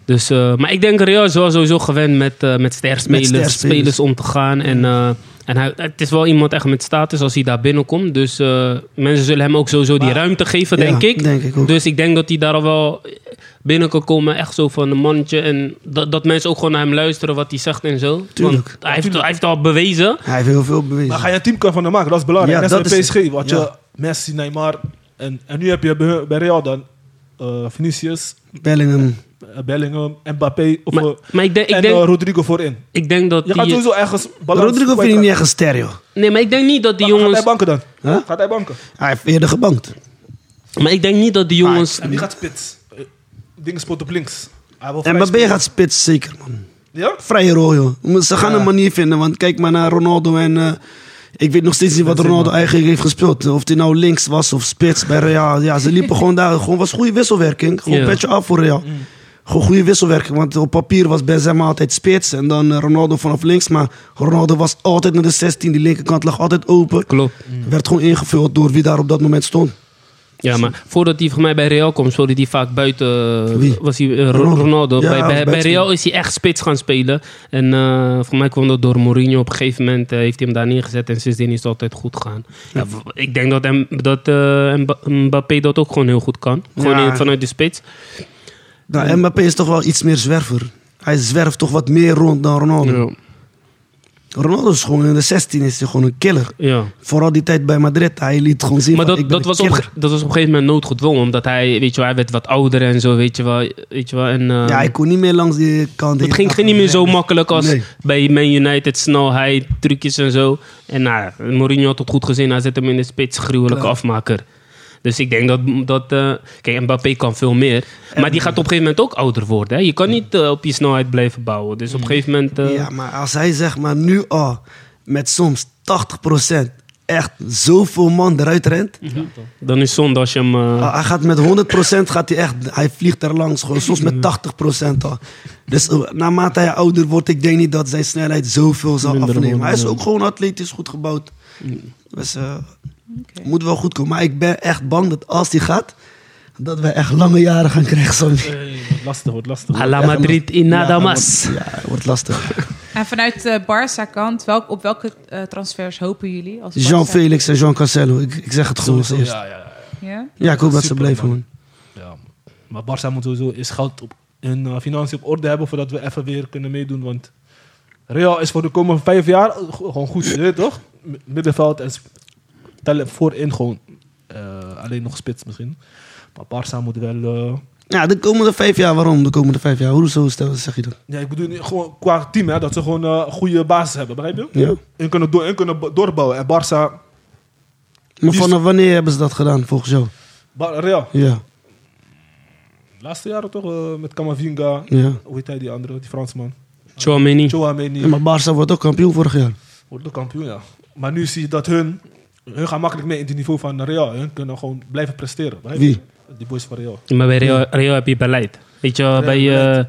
E: Dus, eh, maar ik denk Real is wel sowieso gewend met, eh met sterspelers
D: sterspelers.
E: spelers om te gaan. En, eh, en hij, het is wel iemand echt met status als hij daar binnenkomt. Dus eh, mensen zullen hem ook sowieso die ruimte geven,
D: Ja,
E: denk ik.
D: denk ik ook.
E: Dus ik denk dat hij daar al wel binnen kan komen. Echt zo van een mannetje. En dat, dat mensen ook gewoon naar hem luisteren wat hij zegt en zo.
D: Tuurlijk.
E: Want hij heeft, hij heeft al bewezen.
D: Hij heeft heel veel bewezen.
C: Maar ga je een team kunnen van hem maken, dat is belangrijk.
D: Ja,
C: Net
D: dat
C: als
D: is
C: bij
D: het.
C: PSG, wat
D: Ja.
C: je Messi, Neymar... En, en nu heb je bij, bij Real dan eh Vinicius,
D: Bellingham.
C: eh, Bellingham, Mbappé of,
E: Maar,
C: eh,
E: maar ik denk,
C: en
E: ik denk,
C: eh, Rodrigo voorin.
E: ik denk dat
C: Je gaat
E: die-
C: sowieso ergens balans
D: Rodrigo
C: kwijt
D: vind ik niet
C: raken.
D: echt een ster, joh.
E: Nee, maar ik denk niet dat die
C: Maar Gaat
E: jongens...
C: hij banken dan?
D: Huh?
C: Gaat hij banken?
D: Hij heeft eerder gebankt.
E: Maar ik denk niet dat die jongens.
C: En die gaat spits. Eh, Dingen spot op links. Hij wil
D: En
C: vrij
D: Mbappé
C: spelen.
D: gaat spits, zeker, man.
C: Ja?
D: Vrije rol, joh. Maar Ze gaan een manier vinden, want kijk maar naar Ronaldo en... eh, ik weet nog steeds niet wat Ronaldo eigenlijk heeft gespeeld. Of hij nou links was of spits bij Real. Ja, ze liepen gewoon daar. Gewoon was goede wisselwerking. Gewoon
E: Ja.
D: petje af voor Real.
C: Mm.
D: Gewoon goede wisselwerking. Want op papier was Benzema altijd spits. En dan eh, Ronaldo vanaf links. Maar Ronaldo was altijd naar de 16. Die linkerkant lag altijd open.
E: Klopt.
D: Werd gewoon ingevuld door wie daar op dat moment stond.
E: Ja, maar voordat hij voor mij bij Real komt, speelde hij vaak buiten.
D: Wie?
E: Was hij eh, Ro-
D: Ronaldo.
E: Ronaldo?
D: Ja,
E: bij, bij, bij
D: buiten.
E: Real is hij echt spits gaan spelen. En eh voor mij kwam dat door Mourinho. Op een gegeven moment eh, heeft hij hem daar neergezet en sindsdien is het altijd goed gegaan. Ja, w- ik denk dat, hem, dat eh, Mba- Mbappé dat ook gewoon heel goed kan. Gewoon
D: Ja.
E: in- vanuit de spits.
D: Nou, Mbappé is toch wel iets meer zwerver. Hij zwerft toch wat meer rond dan Ronaldo.
E: Ja.
D: Ronaldo is gewoon in de 16 is hij gewoon een killer.
E: ja.
D: Vooral die tijd bij Madrid, hij liet gewoon zien.
E: Maar
D: van,
E: dat,
D: ik ben een
E: dat, was op,
D: killer.
E: ge- dat was op een gegeven moment noodgedwongen. Omdat hij, weet je wel, hij werd wat ouder en zo, weet je wel. Weet je wel en, eh,
D: Ja, hij kon niet meer langs die kant.
E: Het ging, ging niet meer zo makkelijk als
D: Nee.
E: bij Man United. Snelheid, trucjes en zo. En nou, Mourinho had het goed gezien. Hij zet hem in de spits. Gruwelijke afmaker. Dus ik denk dat... dat eh, kijk, Mbappé kan veel meer. Maar die gaat op een gegeven moment ook ouder worden. Hè? Je kan niet eh, op je snelheid blijven bouwen. Dus op een gegeven moment... eh,
D: Mm. Ja, maar als hij zeg maar nu al met soms 80% echt zoveel man eruit rent.
E: Mm. Dan is het zonde als je hem... eh,
D: Ah, hij gaat met 100% gaat hij echt, hij vliegt er langs, gewoon, soms met 80% al. Dus eh, naarmate hij ouder wordt, ik denk niet dat zijn snelheid zoveel zal
E: Minder
D: afnemen.
E: worden,
D: Hij is
E: ja. Mm.
D: ook gewoon atletisch goed gebouwd. Dus eh,
B: Oké.
D: moet wel goed komen. Maar ik ben echt bang dat als hij gaat, dat we echt lange jaren gaan krijgen. Sammy.
C: Wordt Lastig, wordt lastig.
E: à la Madrid in nada más.
D: ah, Ja, het wordt lastig.
B: En vanuit de Barça-kant, welk, op welke eh, transfers hopen jullie? Als Barça?
D: Jean Felix en Jean Cancelo, ik, ik zeg het gewoon als eerst.
C: Ja, ja, ja.
B: Ja?
D: Ja, ik hoop dat ze
C: Super,
D: blijven.
C: man.
D: man.
C: ja. Maar Barça moet sowieso is geld op, en eh, financiën op orde hebben voordat we even weer kunnen meedoen. Want Real is voor de komende vijf jaar eh, go- gewoon goed, je weet toch? M- Middenveld en sp- tellen voorin gewoon. eh, alleen nog spits misschien. Maar Barça moet wel... eh,
D: Ja, de komende vijf jaar, waarom? De komende vijf jaar, hoezo stel- zeg je dat?
C: ja, ik bedoel niet- gewoon qua team, hè, dat ze gewoon eh, een goede basis hebben, begrijp je?
D: Ja.
C: En kunnen, door, en kunnen b- doorbouwen. En Barça...
D: Maar
C: Die-
D: vanaf wanneer hebben ze dat gedaan, volgens jou?
C: Ba- Real,
D: Ja,
C: laatste jaren toch eh, met Camavinga.
D: ja.
C: Hoe heet hij die andere, die Fransman?
E: Chouameni.
C: Chouameni.
D: Ja, maar Barça wordt ook kampioen vorig jaar.
C: Wordt de kampioen, ja. Maar nu zie je dat hun... Hun gaan makkelijk mee in het niveau van Real. Hun kunnen gewoon blijven presteren. Begrijp je?
D: Wie?
C: Die boys van Real.
E: Maar bij Real, Real heb je beleid. Weet je, wel, bij, eh,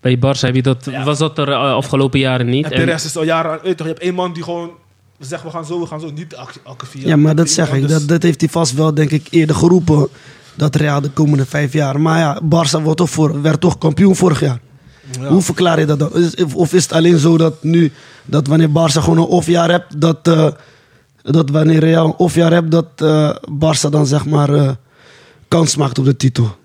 E: bij Barça heb je dat, was dat er eh, afgelopen jaren niet.
C: En
E: En-
C: Perez is al jaren... aan- Weet je, toch, je hebt één man die gewoon zegt, we gaan zo, we gaan zo. Niet elke elke vier Dus
D: Ja, dus- maar dat
C: Iemand
D: zeg ik.
C: anders-
D: Dat, dat heeft hij vast wel, denk ik, eerder geroepen. Dat Real de komende vijf jaar. Maar ja, Barça wordt toch voor, werd toch kampioen vorig jaar. Hoe verklaar je dat dan? Is- of is het alleen zo dat nu, dat wanneer Barça gewoon een off-jaar hebt, dat, eh, dat wanneer Real een off-jaar hebt, dat eh Barça dan zeg maar eh, kans maakt op de titel?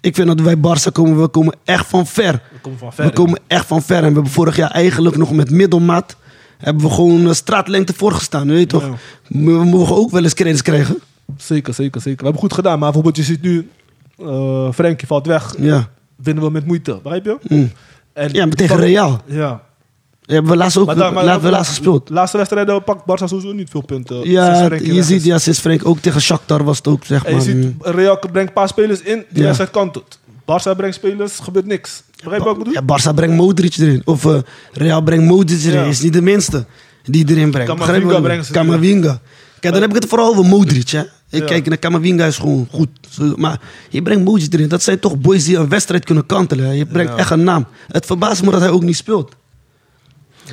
D: Ik vind dat wij Barça komen, we komen echt van ver.
C: We komen van ver.
D: We komen echt van ver. En we hebben vorig jaar eigenlijk nog met middelmaat... hebben we gewoon eh, straatlengte voorgestaan, weet je toch?
C: Ja.
D: We mogen ook wel eens credits krijgen.
C: Zeker, zeker, zeker. We hebben goed gedaan. Maar bijvoorbeeld, je ziet nu... eh Frenkie valt weg.
D: Ja,
C: Winnen we met moeite. Begrijp je?
D: mm.
C: En
D: ja maar tegen Real.
C: Ja.
D: Ja, hebben we laatst ook
C: Maar dan- maar-
D: laten we laatst gespeeld.
C: Laatste wedstrijden pakt Barca sowieso niet veel punten. sinds
D: Ja,
C: Frenkie weg
D: je
C: is.
D: ziet, ja, sinds Frank ook tegen Shakhtar was het ook, zeg
C: En je
D: maar.
C: ziet,
D: mm.
C: Real brengt een paar spelers in, die
D: Ja.
C: wedstrijd kan het. Barça brengt spelers, gebeurt niks. Begrijp je wat ik
D: Ja,
C: bedoel?
D: Barça brengt Modric erin. Of eh, Real brengt Modric erin.
C: Ja.
D: Is niet de minste die erin brengt.
C: Camavinga
D: Begrijp je wat ik bedoel?
C: brengen ze erin.
D: Camavinga. Kijk, dan heb ik het vooral over Modric. Hè. Ik
C: Ja.
D: kijk naar Camavinga is gewoon goed. Zo, Maar je brengt Modric erin. Dat zijn toch boys die een wedstrijd kunnen kantelen. hè. Je brengt echt een naam. Het verbaast me dat hij ook niet speelt.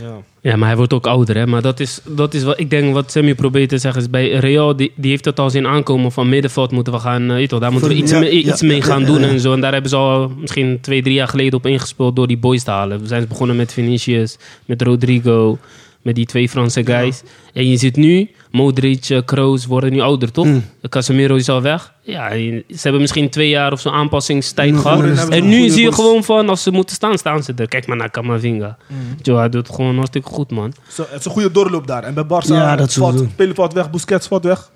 C: Ja.
E: Ja, maar hij wordt ook ouder, hè. Maar dat is, dat is wat ik denk wat Sammy probeert te zeggen. Is bij Real, die, die heeft het al zien aankomen van middenveld moeten we gaan... eh, weet je wel, daar moeten we
D: Voor-
E: iets,
D: ja,
E: mee,
D: ja,
E: iets mee
D: ja,
E: gaan
D: ja,
E: doen
D: ja.
E: en zo. En daar hebben ze al misschien twee, drie jaar geleden op ingespeeld door die boys te halen. We zijn ze begonnen met Vinicius, met Rodrigo, met die twee Franse guys. En je ziet nu, Modric, eh, Kroos worden nu ouder, toch? Eh, Casemiro is al weg. Ja, en ze hebben misschien twee jaar of zo'n aanpassingstijd
C: voorin
E: gehad.
C: hebben ze
E: En nu
C: goede
E: zie je
C: boys.
E: gewoon van, als ze moeten staan, staan ze er. Kijk maar naar Camavinga. Joe, hij doet het gewoon hartstikke goed, man.
C: Zo, het is een goede doorloop daar. En bij Barça
D: Ja, dat
C: valt,
D: sowieso.
C: Pele valt weg, Busquets valt weg.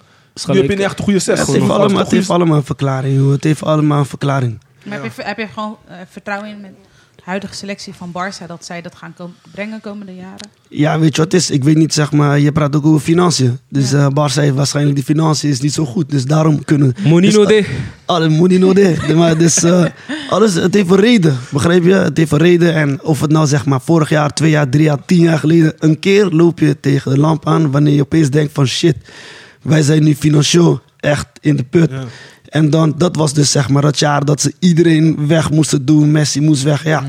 C: Nu heb je
D: eh,
C: een echt goede zes.
D: Het
C: Gewoon
D: heeft,
C: een
D: allemaal, het
C: goede
D: heeft allemaal een verklaring, joh. Het heeft allemaal een verklaring.
B: Maar heb, je, heb je gewoon eh, vertrouwen in met de huidige selectie van Barça dat zij dat gaan kom- brengen komende jaren?
D: Ja, weet je wat het is? Ik weet niet, zeg maar, je praat ook over financiën. Dus eh Barça heeft waarschijnlijk die financiën is niet zo goed. Dus daarom kunnen...
E: Monino
D: dus, Alle money no de. Nee, Maar dus, eh, alles, het heeft een reden, begrijp je? Het heeft een reden. En of het nou zeg maar vorig jaar, twee jaar, drie jaar, tien jaar geleden... een keer loop je tegen de lamp aan wanneer je opeens denkt van... shit, wij zijn nu financieel echt in de put. En dan, dat was dus zeg maar het jaar dat ze iedereen weg moesten doen. Messi moest weg, ja.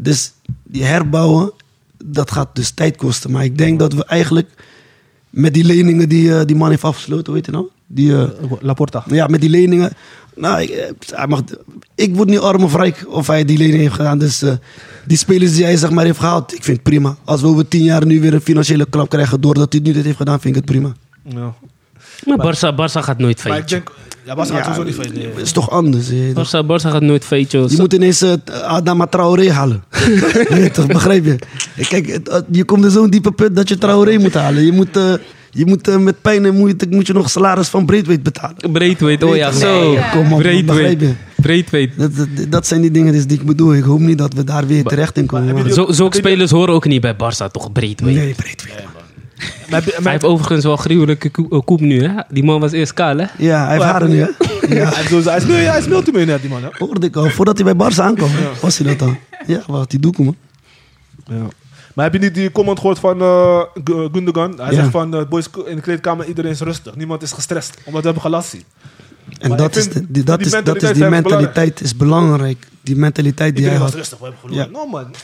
D: Dus die herbouwen, dat gaat dus tijd kosten. Maar ik denk dat we eigenlijk met die leningen die eh, die man heeft afgesloten, weet je nou? Die... eh,
C: Laporta.
D: ja, met die leningen. Nou, ik, eh, hij mag, ik word niet arm of rijk of hij die lening heeft gedaan. Dus eh, die spelers die hij zeg maar heeft gehaald, ik vind het prima. Als we over tien jaar nu weer een financiële klap krijgen doordat hij nu dit heeft gedaan, vind ik het prima.
C: Ja.
E: Maar Barça, Barça gaat nooit
C: Maar ik
E: feitje.
C: denk... Ja, Barça gaat sowieso niet van
D: Het is toch anders. Je, weet toch?
E: Barça, Barça gaat nooit feitje.
D: je moet ineens eh, Adama Traoré halen. Je weet toch, begrijp je? Kijk, het- het- je komt in zo'n diepe put dat je Traoré moet halen. Je moet, eh, je moet eh, met pijn en moeite moet je nog salaris van Breedweight betalen.
E: Breedweight, oh ja,
D: Nee,
E: zo.
D: ja, kom op, begrijp
E: Breedweight.
D: je?
E: Breedweight.
D: Dat, dat, dat zijn die dingen dus die ik bedoel. Ik hoop niet dat we daar weer terecht in komen.
C: heb je
D: man.
C: die-
E: Zo, zulke spelers horen ook niet bij Barça, toch? Breedweight.
D: Nee, breedweg.
E: Hij heeft overigens wel gruwelijke ko- eh, koep nu, hè? Die man was eerst kaal, hè?
D: Ja, hij heeft haren nu, hè? Ja,
C: Hij is- hij is mil- hij is multimiljonair, die man. Hè?
D: hoorde ik al. Voordat hij bij Barça aankwam, was hij dat al. Ja, wat die doekoe, man.
C: Maar heb je niet die comment gehoord van eh, Gu- Gundogan? Hij
D: Ja.
C: zegt van, eh, boys in de kleedkamer, iedereen is rustig. Niemand is gestrest, omdat we hebben gelassie.
D: En
C: Maar
D: dat
C: ik
D: is,
C: vind
D: de- die, dat
C: die
D: is, dat is
C: mentaliteit
D: die
C: erg
D: mentaliteit is belangrijk. Die mentaliteit die hij
C: Iedereen was
D: had.
C: rustig, we hebben gelopen.
D: Ja.
C: Nou man,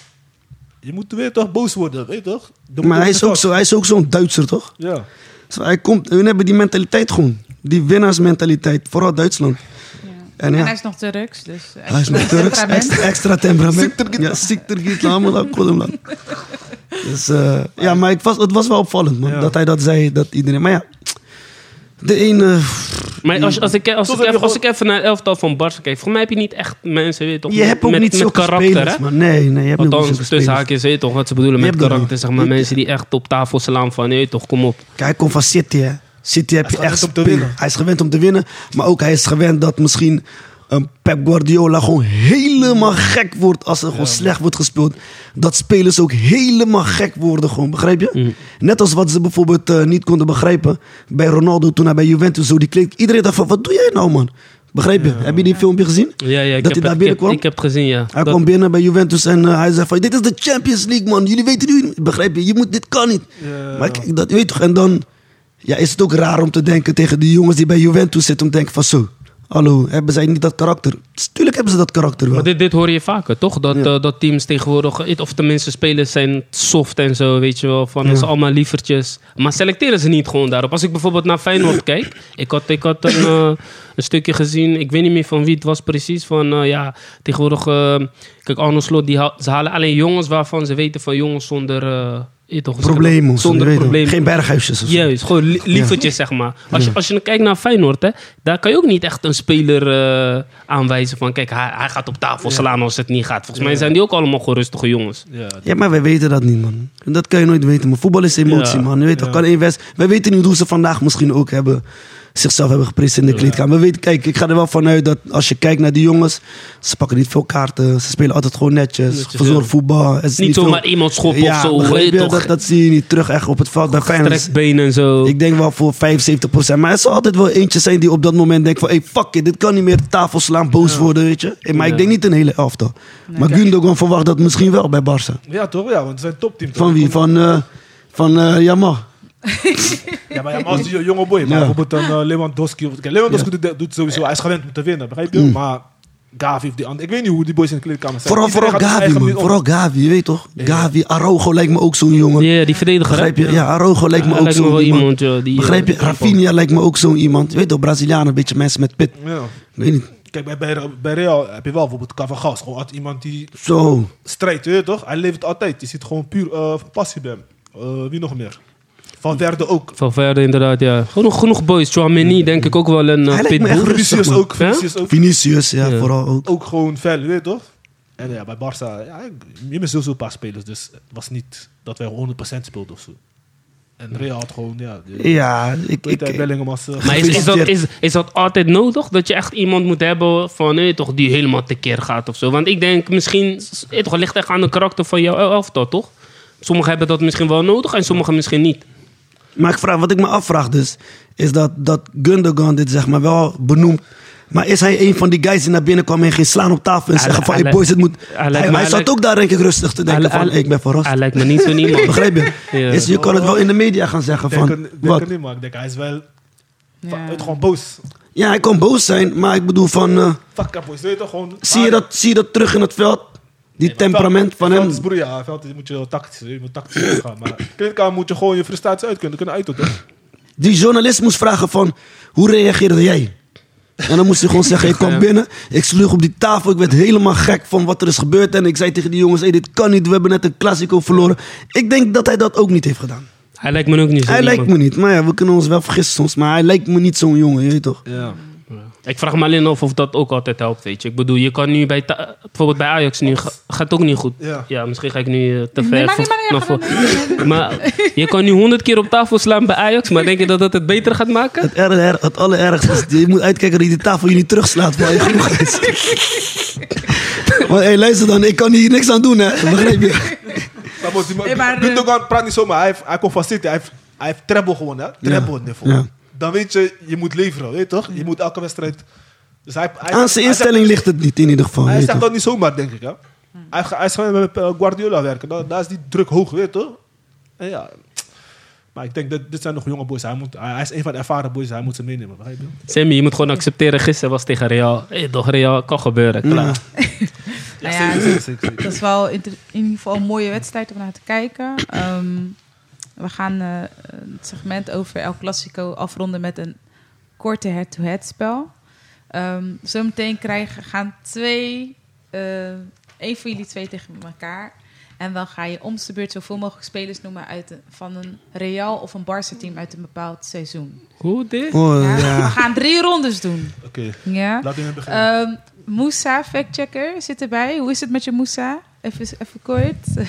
C: je moet weer toch boos worden, weet je toch? De
D: Maar hij
C: moeder
D: is ook,
C: kast.
D: zo, hij is ook zo'n Duitser, toch?
C: Ja.
D: Dus hij komt, hun hebben die mentaliteit gewoon. Die winnaarsmentaliteit, vooral Duitsland.
B: Ja.
D: En ja.
B: hij is nog Turks, dus eh,
D: Hij is nog Turks,
B: temperament.
D: extra, extra temperament. Ja, ziekter giet, allemaal dat kolomla. Dus eh, ja, maar ik was, het was wel opvallend, man.
C: Ja.
D: Dat hij dat zei, dat iedereen... Maar ja, de ene...
E: Maar als, als, ik, als,
C: Toch
E: ik,
C: heb je
E: even, als ik
C: gewoon-
E: even naar het elftal van Barça kijk, voor mij heb je niet echt mensen, weet je toch?
D: Je hebt ook
E: met,
D: niet
E: met
D: zulke
E: karakter,
D: spelers,
E: hè?
D: man. Nee, nee, je hebt ook niet
E: Althans,
D: zulke
E: tussen
D: spelers.
E: haakjes, weet je toch? Wat ze bedoelen
D: Je
E: met
D: hebt dat
E: karakter,
D: niet.
E: zeg maar. Mensen die echt op tafel slaan van, hé, toch, kom op.
D: Kijk, hij komt van City, hè. City heb je
C: gewend
D: echt
C: om te
D: spelen.
C: winnen.
D: Hij is gewend om te winnen. Maar ook hij is gewend dat misschien een Pep Guardiola gewoon helemaal gek wordt als er gewoon slecht wordt gespeeld. Dat spelers ook helemaal gek worden, gewoon, begrijp je?
E: Mm.
D: Net als wat ze bijvoorbeeld eh, niet konden begrijpen bij Ronaldo toen hij bij Juventus zo die kleed. Iedereen dacht van, wat doe jij nou, man? Begrijp je? Heb je die filmpje gezien?
E: Ja, ja, ik,
D: dat hij daar
E: heb, het, ik, heb,
D: binnenkwam?
E: ik heb het gezien, ja.
D: Hij
E: Dat-
D: kwam binnen bij Juventus en eh, hij zei van... Dit is de Champions League, man. Jullie weten nu... niet." Begrijp je? je moet, dit kan niet. Maar kijk, dat, je weet toch? En dan ja, is het ook raar om te denken tegen die jongens die bij Juventus zitten... om te denken van zo... Hallo, hebben zij niet dat karakter? Tuurlijk hebben ze dat karakter wel.
E: Maar dit, dit hoor je vaker, toch? Dat,
D: Ja.
E: eh, dat teams tegenwoordig, eh, of tenminste spelers zijn soft en zo, weet je wel. Van ze allemaal lievertjes. Maar selecteren ze niet gewoon daarop. Als ik bijvoorbeeld naar Feyenoord kijk. Ik had, ik had een, eh, een stukje gezien, ik weet niet meer van wie het was precies. Van eh, ja, tegenwoordig, eh, kijk Arno Slot, die haal- ze halen alleen jongens waarvan ze weten van jongens zonder... eh, je toch,
D: Problemen. of zo,
E: Zonder
D: je weet
E: problemen.
D: wel. Geen berghuisjes of zo.
E: Juist, gewoon li- lievertjes, zeg maar. Als je, als je dan kijkt naar Feyenoord, hè, daar kan je ook niet echt een speler eh, aanwijzen van... kijk, hij, hij gaat op tafel slaan als het niet gaat. Volgens mij zijn die ook allemaal gewoon rustige jongens.
D: Ja, maar wij weten dat niet, man. Dat kan je nooit weten, man. Voetbal is emotie,
E: Ja.
D: man. Je weet toch, kan één wedst... Wij weten niet hoe ze vandaag misschien ook hebben. zichzelf hebben geprezen in de kleedkamer. We weten, kijk, ik ga er wel vanuit dat als je kijkt naar die jongens, ze pakken niet veel kaarten. Ze spelen altijd gewoon netjes,
E: Netjes,
D: verzorgd
E: ja.
D: voetbal. Het is
E: Niet
D: veel-
E: zomaar iemand schoppen
D: ja,
E: of zo.
D: begrijp
E: weet
D: je?
E: toch?
D: dat, dat zie je niet terug echt op het veld. Bij Feyenoord,
E: Trekbenen en zo.
D: ik denk wel voor 75%. Maar er zal altijd wel eentje zijn die op dat moment denkt van... Hey, fuck it, dit kan niet meer de tafel slaan, boos worden, weet je. Eh, Maar
E: Ja.
D: ik denk niet een hele elftal. Maar Gundogan verwacht dat misschien wel bij Barça.
C: Ja, toch? Ja, want het zijn topteam. toch?
D: Van wie? Van, eh van eh, Jamal.
C: Ja, maar ja, maar als die jonge boy. Maar
D: Ja.
C: bijvoorbeeld dan eh, Lewandowski. of- Kijk, Lewandowski doet, doet sowieso. Hij is gewend om te winnen, begrijp je? Maar Gavi heeft die andere. Ik weet niet hoe die boys in de kleedkamer zijn.
D: Mm. Vooral,
C: Iedereen
D: vooral
C: gaat op zijn
D: Gavi,
C: eigen
D: man.
C: manier om.
D: Vooral Gavi, je weet toch? Gavi, Araujo lijkt me ook zo'n jongen.
E: Ja, die verdediger. hè?
D: Begrijp je? Ja, Araujo lijkt me
E: Hij
D: ook
E: lijkt me
D: zo'n
E: wel
D: iemand.
E: iemand, ja, die,
D: Begrijp je?
E: eh,
D: Rafinha lijkt me ook zo'n iemand. Je weet toch, Brazilianen, een beetje mensen met pit.
C: Ja.
D: Weet niet.
C: Kijk, bij, bij, bij Real heb je wel bijvoorbeeld Cavagas. Gewoon altijd iemand die
D: Zo.
C: strijdt, weet je toch? Hij levert altijd. Je ziet gewoon puur eh, passie bij hem. Eh, wie nog meer? Van Werde ook.
E: Valverde inderdaad, ja. Genoeg, genoeg boys. Chouameni denk ik ook wel een
D: Hij
E: eh,
D: lijkt me
E: pitbull.
D: echt rustig,
C: Vinicius
D: man.
C: ook.
E: Ja?
C: Vinicius ook.
D: Vinicius, ja,
E: Ja.
D: vooral ook.
C: ook gewoon fel, weet je toch? En eh, ja, bij Barça, ja, je mist sowieso een paar spelers. Dus het was niet dat wij 100% speelden of zo. En Real had gewoon, ja... de-
D: Ja, ik...
C: Weet hij,
D: ik
C: Bellingham was... eh,
E: Maar is, is, dat,
D: Gefeliciteerd.
E: is, is dat altijd nodig? Dat je echt iemand moet hebben van, eh, toch, die helemaal tekeer gaat of zo? Want ik denk misschien, eh, toch, het ligt echt aan de karakter van jouw elftal, toch? Sommigen hebben dat misschien wel nodig en sommigen misschien niet.
D: Maar ik vraag, wat ik me afvraag dus, is dat, dat Gundogan dit zeg maar wel benoemt. Maar is hij een van die guys die naar binnen kwam en ging slaan op tafel en
E: Hij-
D: zeggen van,
E: hij
D: hey boys, het moet...
E: lijkt-
D: Hij,
E: maar
D: hij,
E: hij
D: zat
E: lijkt-
D: ook daar denk ik rustig te denken
E: Hij-
D: van,
E: hij-
D: ik ben verrast.
E: Hij lijkt me niet zo iemand.
D: Begrijp je?
E: Ja.
D: Dus je kan het wel in de media gaan zeggen
C: ik denk,
D: van,
C: het- ik denk
D: wat?
C: het niet, maar ik denk hij is wel...
B: Ja.
C: Fuck, Het gewoon boos.
D: Ja, hij kan boos zijn, maar ik bedoel van, eh,
C: Fuck up, boys. Weet je toch, gewoon...
D: zie, je dat, zie je dat terug in het veld? Die
C: Maar
D: temperament
C: veld-
D: van hem.
C: Veld is broer, ja. Veld is- moet je wel tactisch, je moet tactisch gaan. Maar kleedkamer moet je gewoon je frustratie uit kunnen, kunnen uiten, toch?
D: Die journalist moest vragen van, hoe reageerde jij? En dan moest hij gewoon zeggen, ik kwam binnen, ik sloeg op die tafel, ik werd helemaal gek van wat er is gebeurd. En ik zei tegen die jongens, hey, dit kan niet, we hebben net een Classico verloren. Ik denk dat hij dat ook niet heeft gedaan.
E: Hij lijkt me ook niet zo
D: Hij lijkt
E: iemand.
D: me niet, maar ja, we kunnen ons wel vergissen soms, maar hij lijkt me niet zo'n jongen, je weet toch?
F: Ja.
E: Ik vraag me alleen af of dat ook altijd helpt, weet je. Ik bedoel, je kan nu bij... ta- Bijvoorbeeld bij Ajax nu ga- gaat ook niet goed.
C: Ja.
E: misschien ga ik nu eh, te ver
B: Nee, maar
E: voor-
B: niet, maar
E: naar
B: niet, maar
E: voor- Maar je kan nu honderd keer op tafel slaan bij Ajax, maar denk je dat dat het beter gaat maken?
D: Het, RR, het allerergste is, je moet uitkijken dat je die tafel je niet terugslaat waar je genoeg is. Maar hey, luister dan, ik kan hier niks aan doen, hè? Begrijp je?
C: Maar moet die man-
B: Nee, maar, eh,
C: Gundogan praat niet zomaar. Hij, heeft- hij komt van City. Hij heeft, hij heeft treble gewonnen. hè? Treble niveau.
D: Ja.
C: Dan weet je, je moet leveren. Weet je toch? Je moet elke wedstrijd... Dus hij,
D: Aan
C: hij,
D: zijn
C: hij zegt-
D: instelling ligt het niet in ieder geval.
C: Hij
D: weet
C: zegt
D: toch?
C: dat niet zomaar, denk ik. Hè?
B: Hmm.
C: Hij, ga- hij is gaan met eh, Guardiola werken. Dan, daar is die druk hoog, weet je toch? En ja... Maar ik denk, dit, dit zijn nog jonge boys. Hij, moet, hij hij is een van de ervaren boys. Hij moet ze meenemen. begrijp je?
E: Sammy, je moet gewoon accepteren, gisteren was tegen Real. Hey, toch, Real, kan gebeuren, klaar.
D: Ja.
B: Nou ja, dat is wel inter- in ieder geval een mooie wedstrijd om naar te kijken. Ehm, we gaan eh, het segment over El Clasico afronden met een korte head-to-head spel. Ehm, zometeen krijgen, gaan twee, eh één van jullie twee tegen elkaar. En dan ga je om de beurt zoveel mogelijk spelers noemen uit een- van een Real of een Barca team uit een bepaald seizoen.
E: Hoe dit?
D: Oh,
B: Ja?
D: ja.
B: We gaan drie rondes doen.
C: Oké,
B: Ja?
C: laten we hem beginnen.
B: Ehm Moussa, factchecker, zit erbij. Hoe is het met je Moussa? Even, even kort.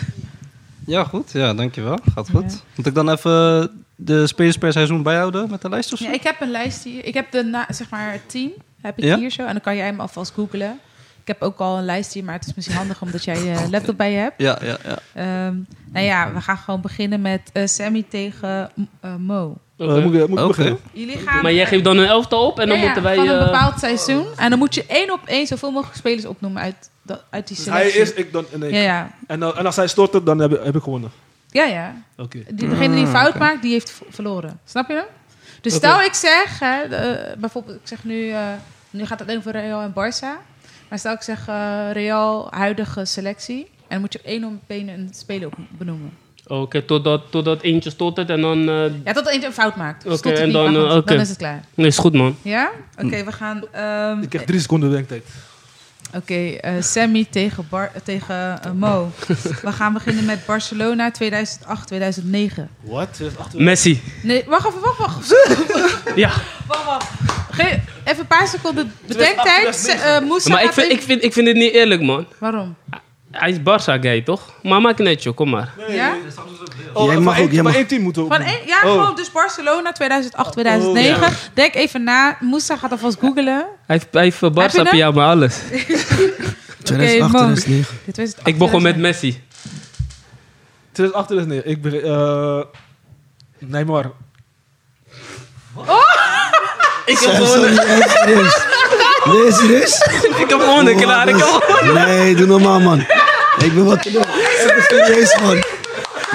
F: ja, goed. Ja, dankjewel. Gaat goed. Moet ik dan even de spelers per seizoen bijhouden met de lijst of zo?
B: Ja, ik heb een lijst hier. Ik heb de na- zeg maar het team heb ik
F: Ja?
B: hier zo en dan kan jij hem alvast googlen. Ik heb ook al een lijst hier, maar het is misschien handig omdat jij je laptop bij je hebt.
F: Ja, ja, ja.
B: Ehm, nou ja, we gaan gewoon beginnen met eh, Sammy tegen eh, Mo.
C: Eh, moet ik, moet ik
F: Oké.
C: beginnen?
B: Jullie gaan
E: Maar jij geeft dan een elftal op en dan
B: Ja, ja,
E: moeten wij...
B: van een
E: eh,
B: bepaald seizoen en dan moet je één op één zoveel mogelijk spelers opnoemen uit, dat- uit die
C: Dus hij
B: selectie.
C: eerst, ik dan. en ik.
B: Eh, Ja, ja.
C: En, dan- en als hij stort, het, dan heb, ik- heb ik gewonnen.
B: Ja, ja.
C: Oké.
B: Die, degene die een fout maakt, die heeft v- verloren. Snap je? Dus
C: Oké.
B: stel ik zeg, hè, de, eh, bijvoorbeeld, ik zeg nu, eh, nu gaat het alleen over Real en Barça. Maar stel ik zeg eh, Real, huidige selectie. En dan moet je op één om één een speler op benoemen.
E: Oké, totdat, totdat eentje stottert en dan... eh,
B: Ja, tot eentje een fout maakt.
E: Oké,
B: Oké, en
E: en
B: niet,
E: dan,
B: maar goed,
E: eh, oké.
B: dan is het klaar.
E: Nee, is goed, man.
B: Ja? Oké, we gaan. ehm,
C: Ik heb drie seconden denktijd.
B: Oké, eh, Sammy tegen, Bar- eh, tegen eh, Mo. we gaan beginnen met Barcelona 2008-2009.
C: Wat?
E: Messi.
B: Nee, wacht even, wacht, wacht.
E: Ja.
B: Wacht, wacht. Ge- even een paar seconden bedenktijd. Se- eh, Moussa
E: Maar ik
B: gaat
E: vind,
B: even-
E: ik, vind, ik vind dit niet eerlijk, man.
B: Waarom?
E: Eh, hij is Barça-gay, toch? Maar maak net, joh. Kom maar.
B: ja?
D: Jij
C: van
D: mag
C: één-
D: ook, jij
C: van
D: mag-
C: één team moeten we
B: Van
C: opdoen.
B: één- ja, gewoon dus Barcelona 2008, 2009. Denk even na. Moussa gaat alvast googelen.
E: Hij heeft, hij heeft eh,
B: Heb je nou- hem?
E: Barça-pyjama, alles.
D: 2008,
B: man.
D: 2009.
B: Dit was het
E: Ik begon met Messi.
C: 2008, 2009. Ik ben... eh Neymar.
E: Ik heb gewonnen.
D: Nee, serieus. Nee, serieus?
E: Ik heb gewonnen, klaar. Ik heb gewonnen.
D: Oh, dus- Nee, doe normaal, man. Ik ben wat te doen. Ik ben serieus, man.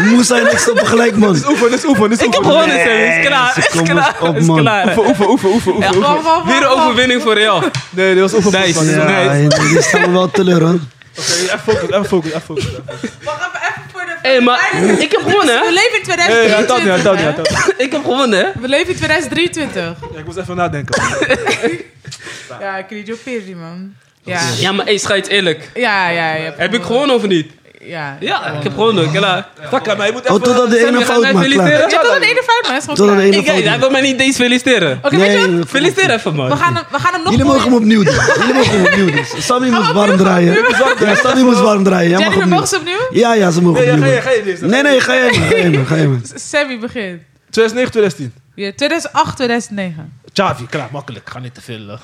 D: Moesa en ik stoppen gelijk, man.
C: Oefen, dit is oefen, dit is
E: Ik heb
C: oefen.
E: gewonnen, Sam. Is klaar.
D: ze
E: Is
D: komen op,
E: klaar. Is
D: man.
E: klaar.
C: Oefen, oefen, oefen, oefen, oefen.
B: Wa- wa- wa-
E: Weer een
B: wa-
E: overwinning voor Real.
C: Nee, dit was oefen.
E: Nice.
C: voetbal.
D: Ja,
C: Oké,
E: Nee.
D: nee, die staan me wel teleur, hoor.
C: even focus, even focus, even focus. even focus.
B: Wacht even, even voor de...
E: Hé, hey, maar ik heb gewonnen,
B: We
E: hè?
B: leven in
C: Nee, ja,
B: 2023.
C: dat niet, ja, dat niet,
B: hè?
C: ja, dat niet.
E: Ik heb gewonnen, hè?
B: We leven in 2023.
C: Ja, Ik moest even nadenken.
B: Ja, ik weet je die man. Ja,
E: Ja, maar hey, schijt eerlijk.
B: ja, ja. je hebt-
E: Heb ik gewonnen of niet?
B: Ja.
E: Ja, ik heb gewonnen, klaar.
C: Takka, maar je moet
D: Oh,
C: even...
D: totdat de
E: Sam,
D: ene
E: je gaat
D: fout
E: mij
D: maakt, klaar.
E: feliciteren?
B: Ja, tot een ene fout, man. Is gewoon
D: Tot een
B: klaar.
D: ene
E: Ik,
D: fout
E: hij
D: maakt.
E: wil mij niet eens feliciteren.
B: Oké, weet je wat?
D: Nee,
E: Feliciteer even,
B: We
E: man.
B: gaan hem, we gaan hem nog
D: jullie mogen
B: gooien.
D: hem opnieuw doen. Jullie mogen hem opnieuw doen. Sammy moest warm draaien. Ja, Sammy moest warm draaien. Jij mag
B: Jennifer, mogen
D: opnieuw.
B: ze opnieuw?
D: Ja, ja, ze mogen
C: Nee, ja,
D: opnieuw.
C: ga je,
D: man.
C: ga je eerst.
D: Nee, nee, ga jij maar. Ga jij maar, ga jij maar.
B: Sammy begint.
C: 2009, 2010.
B: Ja, 2008, 2009.
C: Xavi, klaar, makkelijk. Ga niet te veel. eh.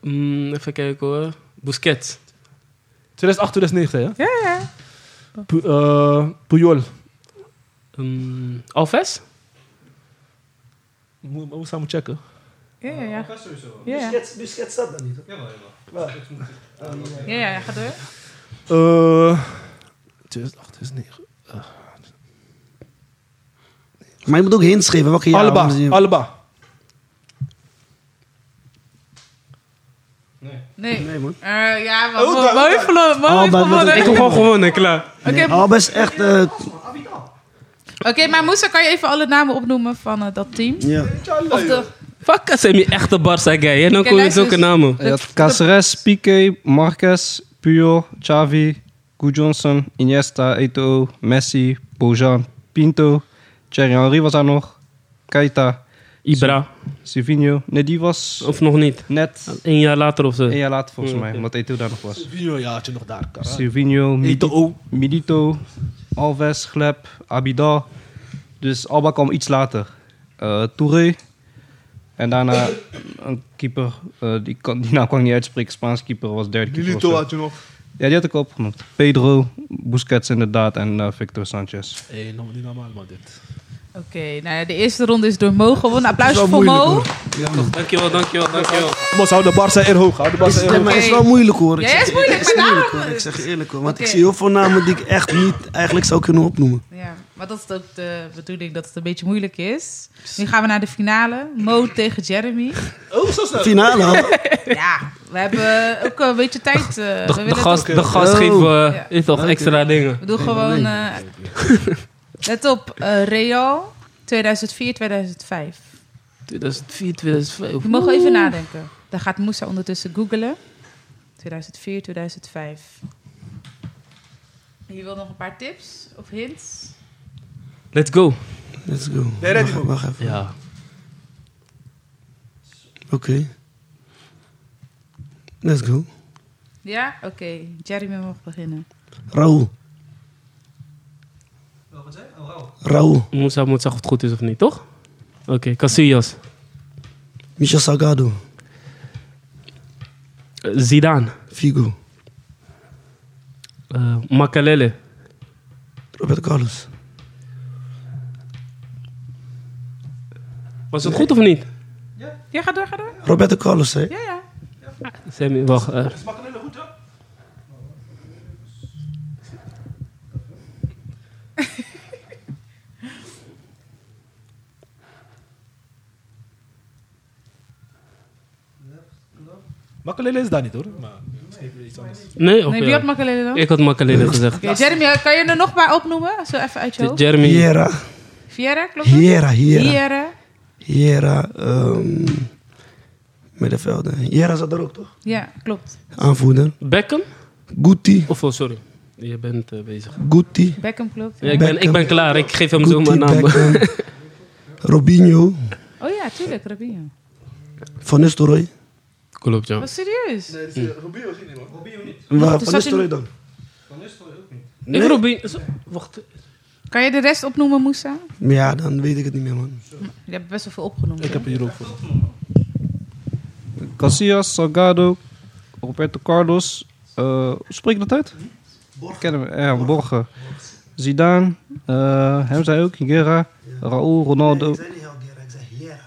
E: Mm, even kijken hoor. Busquets.
C: 2008, 2009, hè?
B: Ja, ja.
C: Pu- eh, Puyol.
E: Mm, Alves?
C: Mo- Mo- Moussa moet checken.
B: Ja, ja,
D: Oh,
B: ja. Ja, ja.
D: Busquets staat daar niet. Oh,
B: Oh, Ja, ja, ja, ga door.
C: Eh oh, 2008, 2009.
D: Maar je moet ook hints geven. Welke jaar?
C: Alba,
D: Ja,
C: Alba.
B: Nee.
D: Nee, man. Oh,
B: Eh, ja, maar mooi mooi verloren. Mooi
D: Alba,
B: verloren.
E: Ik heb gewoon gewonnen, klaar.
B: Oké,
D: Nee, Alba is echt... eh,
B: Oké, maar Moussa, kan je even alle namen opnoemen van eh, dat team?
D: ja.
B: Of de...
E: Fuck, zijn je echte Barça guy. En dan
B: Oké,
E: kom je met
B: luister
E: zulke
B: eens.
E: namen.
F: Je had Caceres, Piqué, Marquez, Puyol, Xavi, Gu Johnson, Iniesta, Eto'o, Messi, Bojan, Pinto, Thierry Henry was daar nog, Keita,
E: Ibra.
F: Silvinho. Nee, die was
E: Of nog niet.
F: net
E: Een jaar later of zo.
F: een jaar later volgens
E: Ja,
F: mij,
E: oké.
F: omdat Eto'o daar nog was.
C: Puyol, ja, had je nog daar. Kara.
F: Silvinho, Midi-
C: Eto'o.
F: Milito, Alves, Gleb, Abidal. Dus Alba kwam iets later. Eh, Touré. En daarna een keeper, eh, die, kan, die naam kan ik niet uitspreken, Spaans keeper was derde keeper. of zo.
C: Milito had je nog.
F: Ja, die had ik al opgenoemd. Pedro, Busquets inderdaad en eh, Victor Sanchez.
C: Hé, hey, nog niet normaal, man, dit.
B: Oké, nou ja, de eerste ronde is door Mo gewonnen. Applaus
D: wel
B: voor
D: moeilijk,
B: Mo.
D: hoor. Ja, man.
E: Dankjewel, dankjewel, dankjewel.
C: Mos, hou de Barça eer hoog. Hou de Barça eer
D: Nee,
C: hoog.
D: maar het is wel moeilijk hoor. Ik
B: Ja, ja,
D: zeg
B: is moeilijk, maar
D: eerlijk, hoor.
B: daarom-
D: Ik zeg je eerlijk hoor. Want
B: Oké.
D: ik zie heel veel namen die ik echt niet eigenlijk zou kunnen opnoemen.
B: Ja, maar dat is ook de bedoeling dat het een beetje moeilijk is. Nu gaan we naar de finale. Mo tegen Jeremy.
C: Oh, zo snel.
D: Finale hoor.
B: Ja, we hebben ook een beetje tijd. eh, we
E: De,
B: willen
E: de gast,
C: ook,
E: de gast
D: Oh.
E: geeft eh,
B: Ja.
E: is toch extra dingen.
B: We doen gewoon. eh, let op, eh, Real 2004, 2005.
E: 2004, 2005.
B: Je mag wel even nadenken. Dan gaat Moussa ondertussen googelen. 2004, 2005. Je wil nog een paar tips of hints?
E: Let's go.
D: Let's go.
C: Nee, ready,
D: Wacht,
C: man.
D: wacht even.
E: Ja.
D: Oké. Let's go.
B: Ja? Oké, Jeremy mag beginnen.
D: Raoul. Oh, Raoul.
E: Moussa moet zeggen of het goed is of niet, toch? Oké, Casillas.
D: Michel Salgado.
E: Eh, Zidane.
D: Figo.
E: eh Makalele.
D: Roberto Carlos.
E: Was het goed of niet?
B: Ja, ga door, ga door.
D: Roberto Carlos hè.
B: Ja, ja.
E: Sammy, wacht. eh.
C: Makelele is daar niet, hoor. Maar iets anders.
E: nee, oké.
B: Nee, wie had Makalele dan?
E: Ik had Makalele gezegd.
B: Oké, Jeremy, kan je er nog maar opnoemen? Zo even uit je hoofd.
E: Jeremy.
D: Hiera.
B: Viera, klopt het?
D: Hiera. Hiera.
B: Hiera.
D: Hiera. ehm, Middenvelder. Hiera zat er ook toch?
B: Ja, klopt.
D: Aanvoerder.
E: Beckham?
D: Guti.
E: Of oh, sorry. Je bent eh, bezig.
D: Guti.
B: Beckham klopt.
E: Ja, ik, ben, ik ben klaar. Ik geef hem zo
D: Guti,
E: mijn naam.
D: Beckham, Robinho,
B: Oh ja, tuurlijk, Rabinho.
D: Van Nistelrooy.
E: Klopt, ja.
B: Wat serieus?
C: Rubio is niet, man.
D: Waar,
B: dus
D: van
B: zat
D: Nistelrooy dan?
E: Ik roep... in- zo- Wacht.
B: Kan je de rest opnoemen, Moussa?
D: Ja, dan weet ik het niet meer, man.
B: Je hebt best wel veel opgenoemd. hè?
C: Ik heb hier ook voor.
F: Casillas, Salgado, Roberto Carlos. eh, hoe spreek je dat uit? Borgen. Ken hem, ja, Borgen. Zidane, eh, hem zei ook, Higuera, Raúl, Ronaldo.
D: ik zeg Hiera.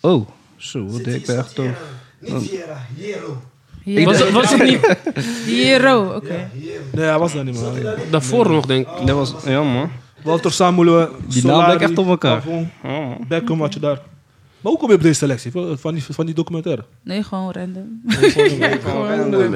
F: Oh, zo, wat deed ik daar echt over?
D: Niet Hiera, Hiero.
E: Was, het- was het niet
B: Hiero, oké.
C: Nee, hij was daar niet meer.
E: daarvoor nog, denk ik?
F: eh, Dat was, ja man.
C: Walter Samuel, eh,
F: Die naam
C: Solari,
F: lijkt echt op elkaar.
C: Pavon,
F: Ja, man.
C: Beckham had je daar. Maar hoe kom je op deze selectie? Van van die, van die documentaire?
B: Nee, gewoon random.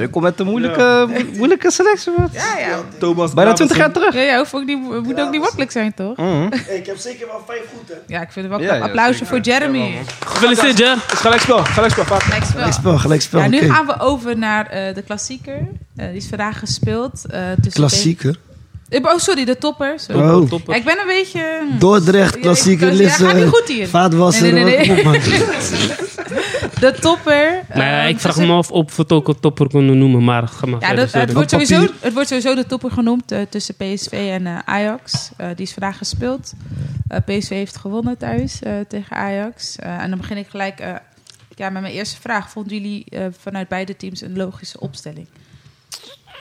F: Ik kom met een moeilijke, moeilijke selectie, man.
B: Ja, ja.
C: Thomas
F: Bijna
C: Davidson.
F: 20 jaar terug.
B: Ja, ja hoeft ook niet, moet ook niet makkelijk zijn, toch?
F: Mhm.
D: ik heb zeker wel vijf goed, hè.
B: Ja, ik vind het wel
F: Ja,
B: knap.
F: ja,
B: Applausje voor Jeremy.
E: Gefeliciteerd, Jer.
C: Is gelijkspel, gelijkspel. Vaak.
B: Lijkt wel.
D: Gelijkspel, gelijkspel.
B: Ja, nu
D: oké.
B: gaan we over naar eh, de klassieker. Eh, die is vandaag gespeeld. eh, tussen
D: Klassieker.
B: tegen- Eh, Oh, sorry, de topper. sorry.
D: Oh.
E: Topper.
B: ik ben een beetje... hm.
D: Dordrecht,
B: Ja,
D: klassieker, eh,
B: ik- ja, gaat
D: Lisse.
B: niet goed hier.
D: Vaatwasser.
B: Nee, nee,
D: wat-
B: nee.
D: kom op, man.
B: De topper.
E: Maar ja,
B: eh,
E: ik vraag
B: tussen-
E: me af of we het ook een topper konden noemen, maar ga maar
B: Ja,
E: verder.
C: dus,
B: dat,
C: eh,
B: het,
E: sorry.
B: wordt
D: Op
B: sowieso,
D: papier.
B: het wordt sowieso de topper genoemd eh, tussen PSV en eh, Ajax. Eh, die is vandaag gespeeld. Eh, PSV heeft gewonnen thuis eh, tegen Ajax. Eh, en dan begin ik gelijk eh, ja, met mijn eerste vraag. Vonden jullie eh, vanuit beide teams een logische opstelling?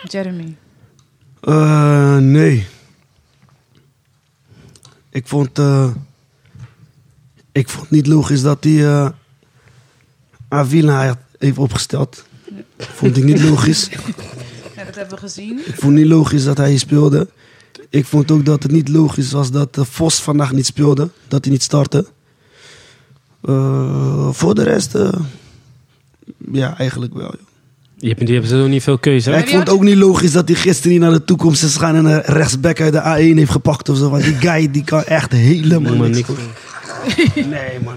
B: Jeremy.
D: Eh, nee. Ik vond, eh, ik vond niet logisch dat hij eh Avila heeft opgesteld. Vond ik niet logisch.
B: Ja, dat hebben we gezien.
D: Ik vond niet logisch dat hij hier speelde. Ik vond ook dat het niet logisch was dat eh, Vos vandaag niet speelde. Dat hij niet startte. Eh, voor de rest, eh, ja, eigenlijk wel. joh.
E: Je hebt, die hebben ze ook niet veel keuze, hè?
D: ik vond het ook niet logisch dat hij gisteren niet naar de toekomst is gegaan en een rechtsback uit de A1 heeft gepakt of zo. Want die guy die kan echt helemaal
E: Noem maar
D: niks.
E: niks.
D: Nee, man.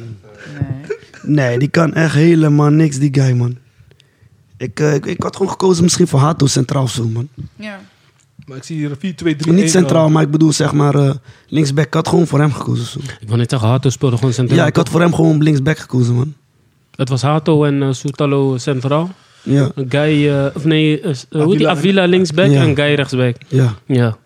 D: Nee, die kan echt helemaal niks, die guy, man. Ik, eh, ik, ik had gewoon gekozen misschien voor Hato centraal of zo, man.
B: Ja.
C: Maar ik zie hier 4, 2, 3,
D: Niet centraal, maar ik bedoel zeg maar eh, linksback. Ik had gewoon voor hem gekozen of zo.
E: Ik wou net zeggen, Hato speelde gewoon centraal.
D: Ja, ik had voor hem gewoon linksback gekozen, man.
E: Het was Hato en eh, Soetalo centraal.
D: Ja,
E: Guy, eh, of nee, eh, s- eh, hoe die
C: Avila-
E: Avila linksback
D: Ja.
E: en Guy rechtsback.
D: ja.
E: Ja.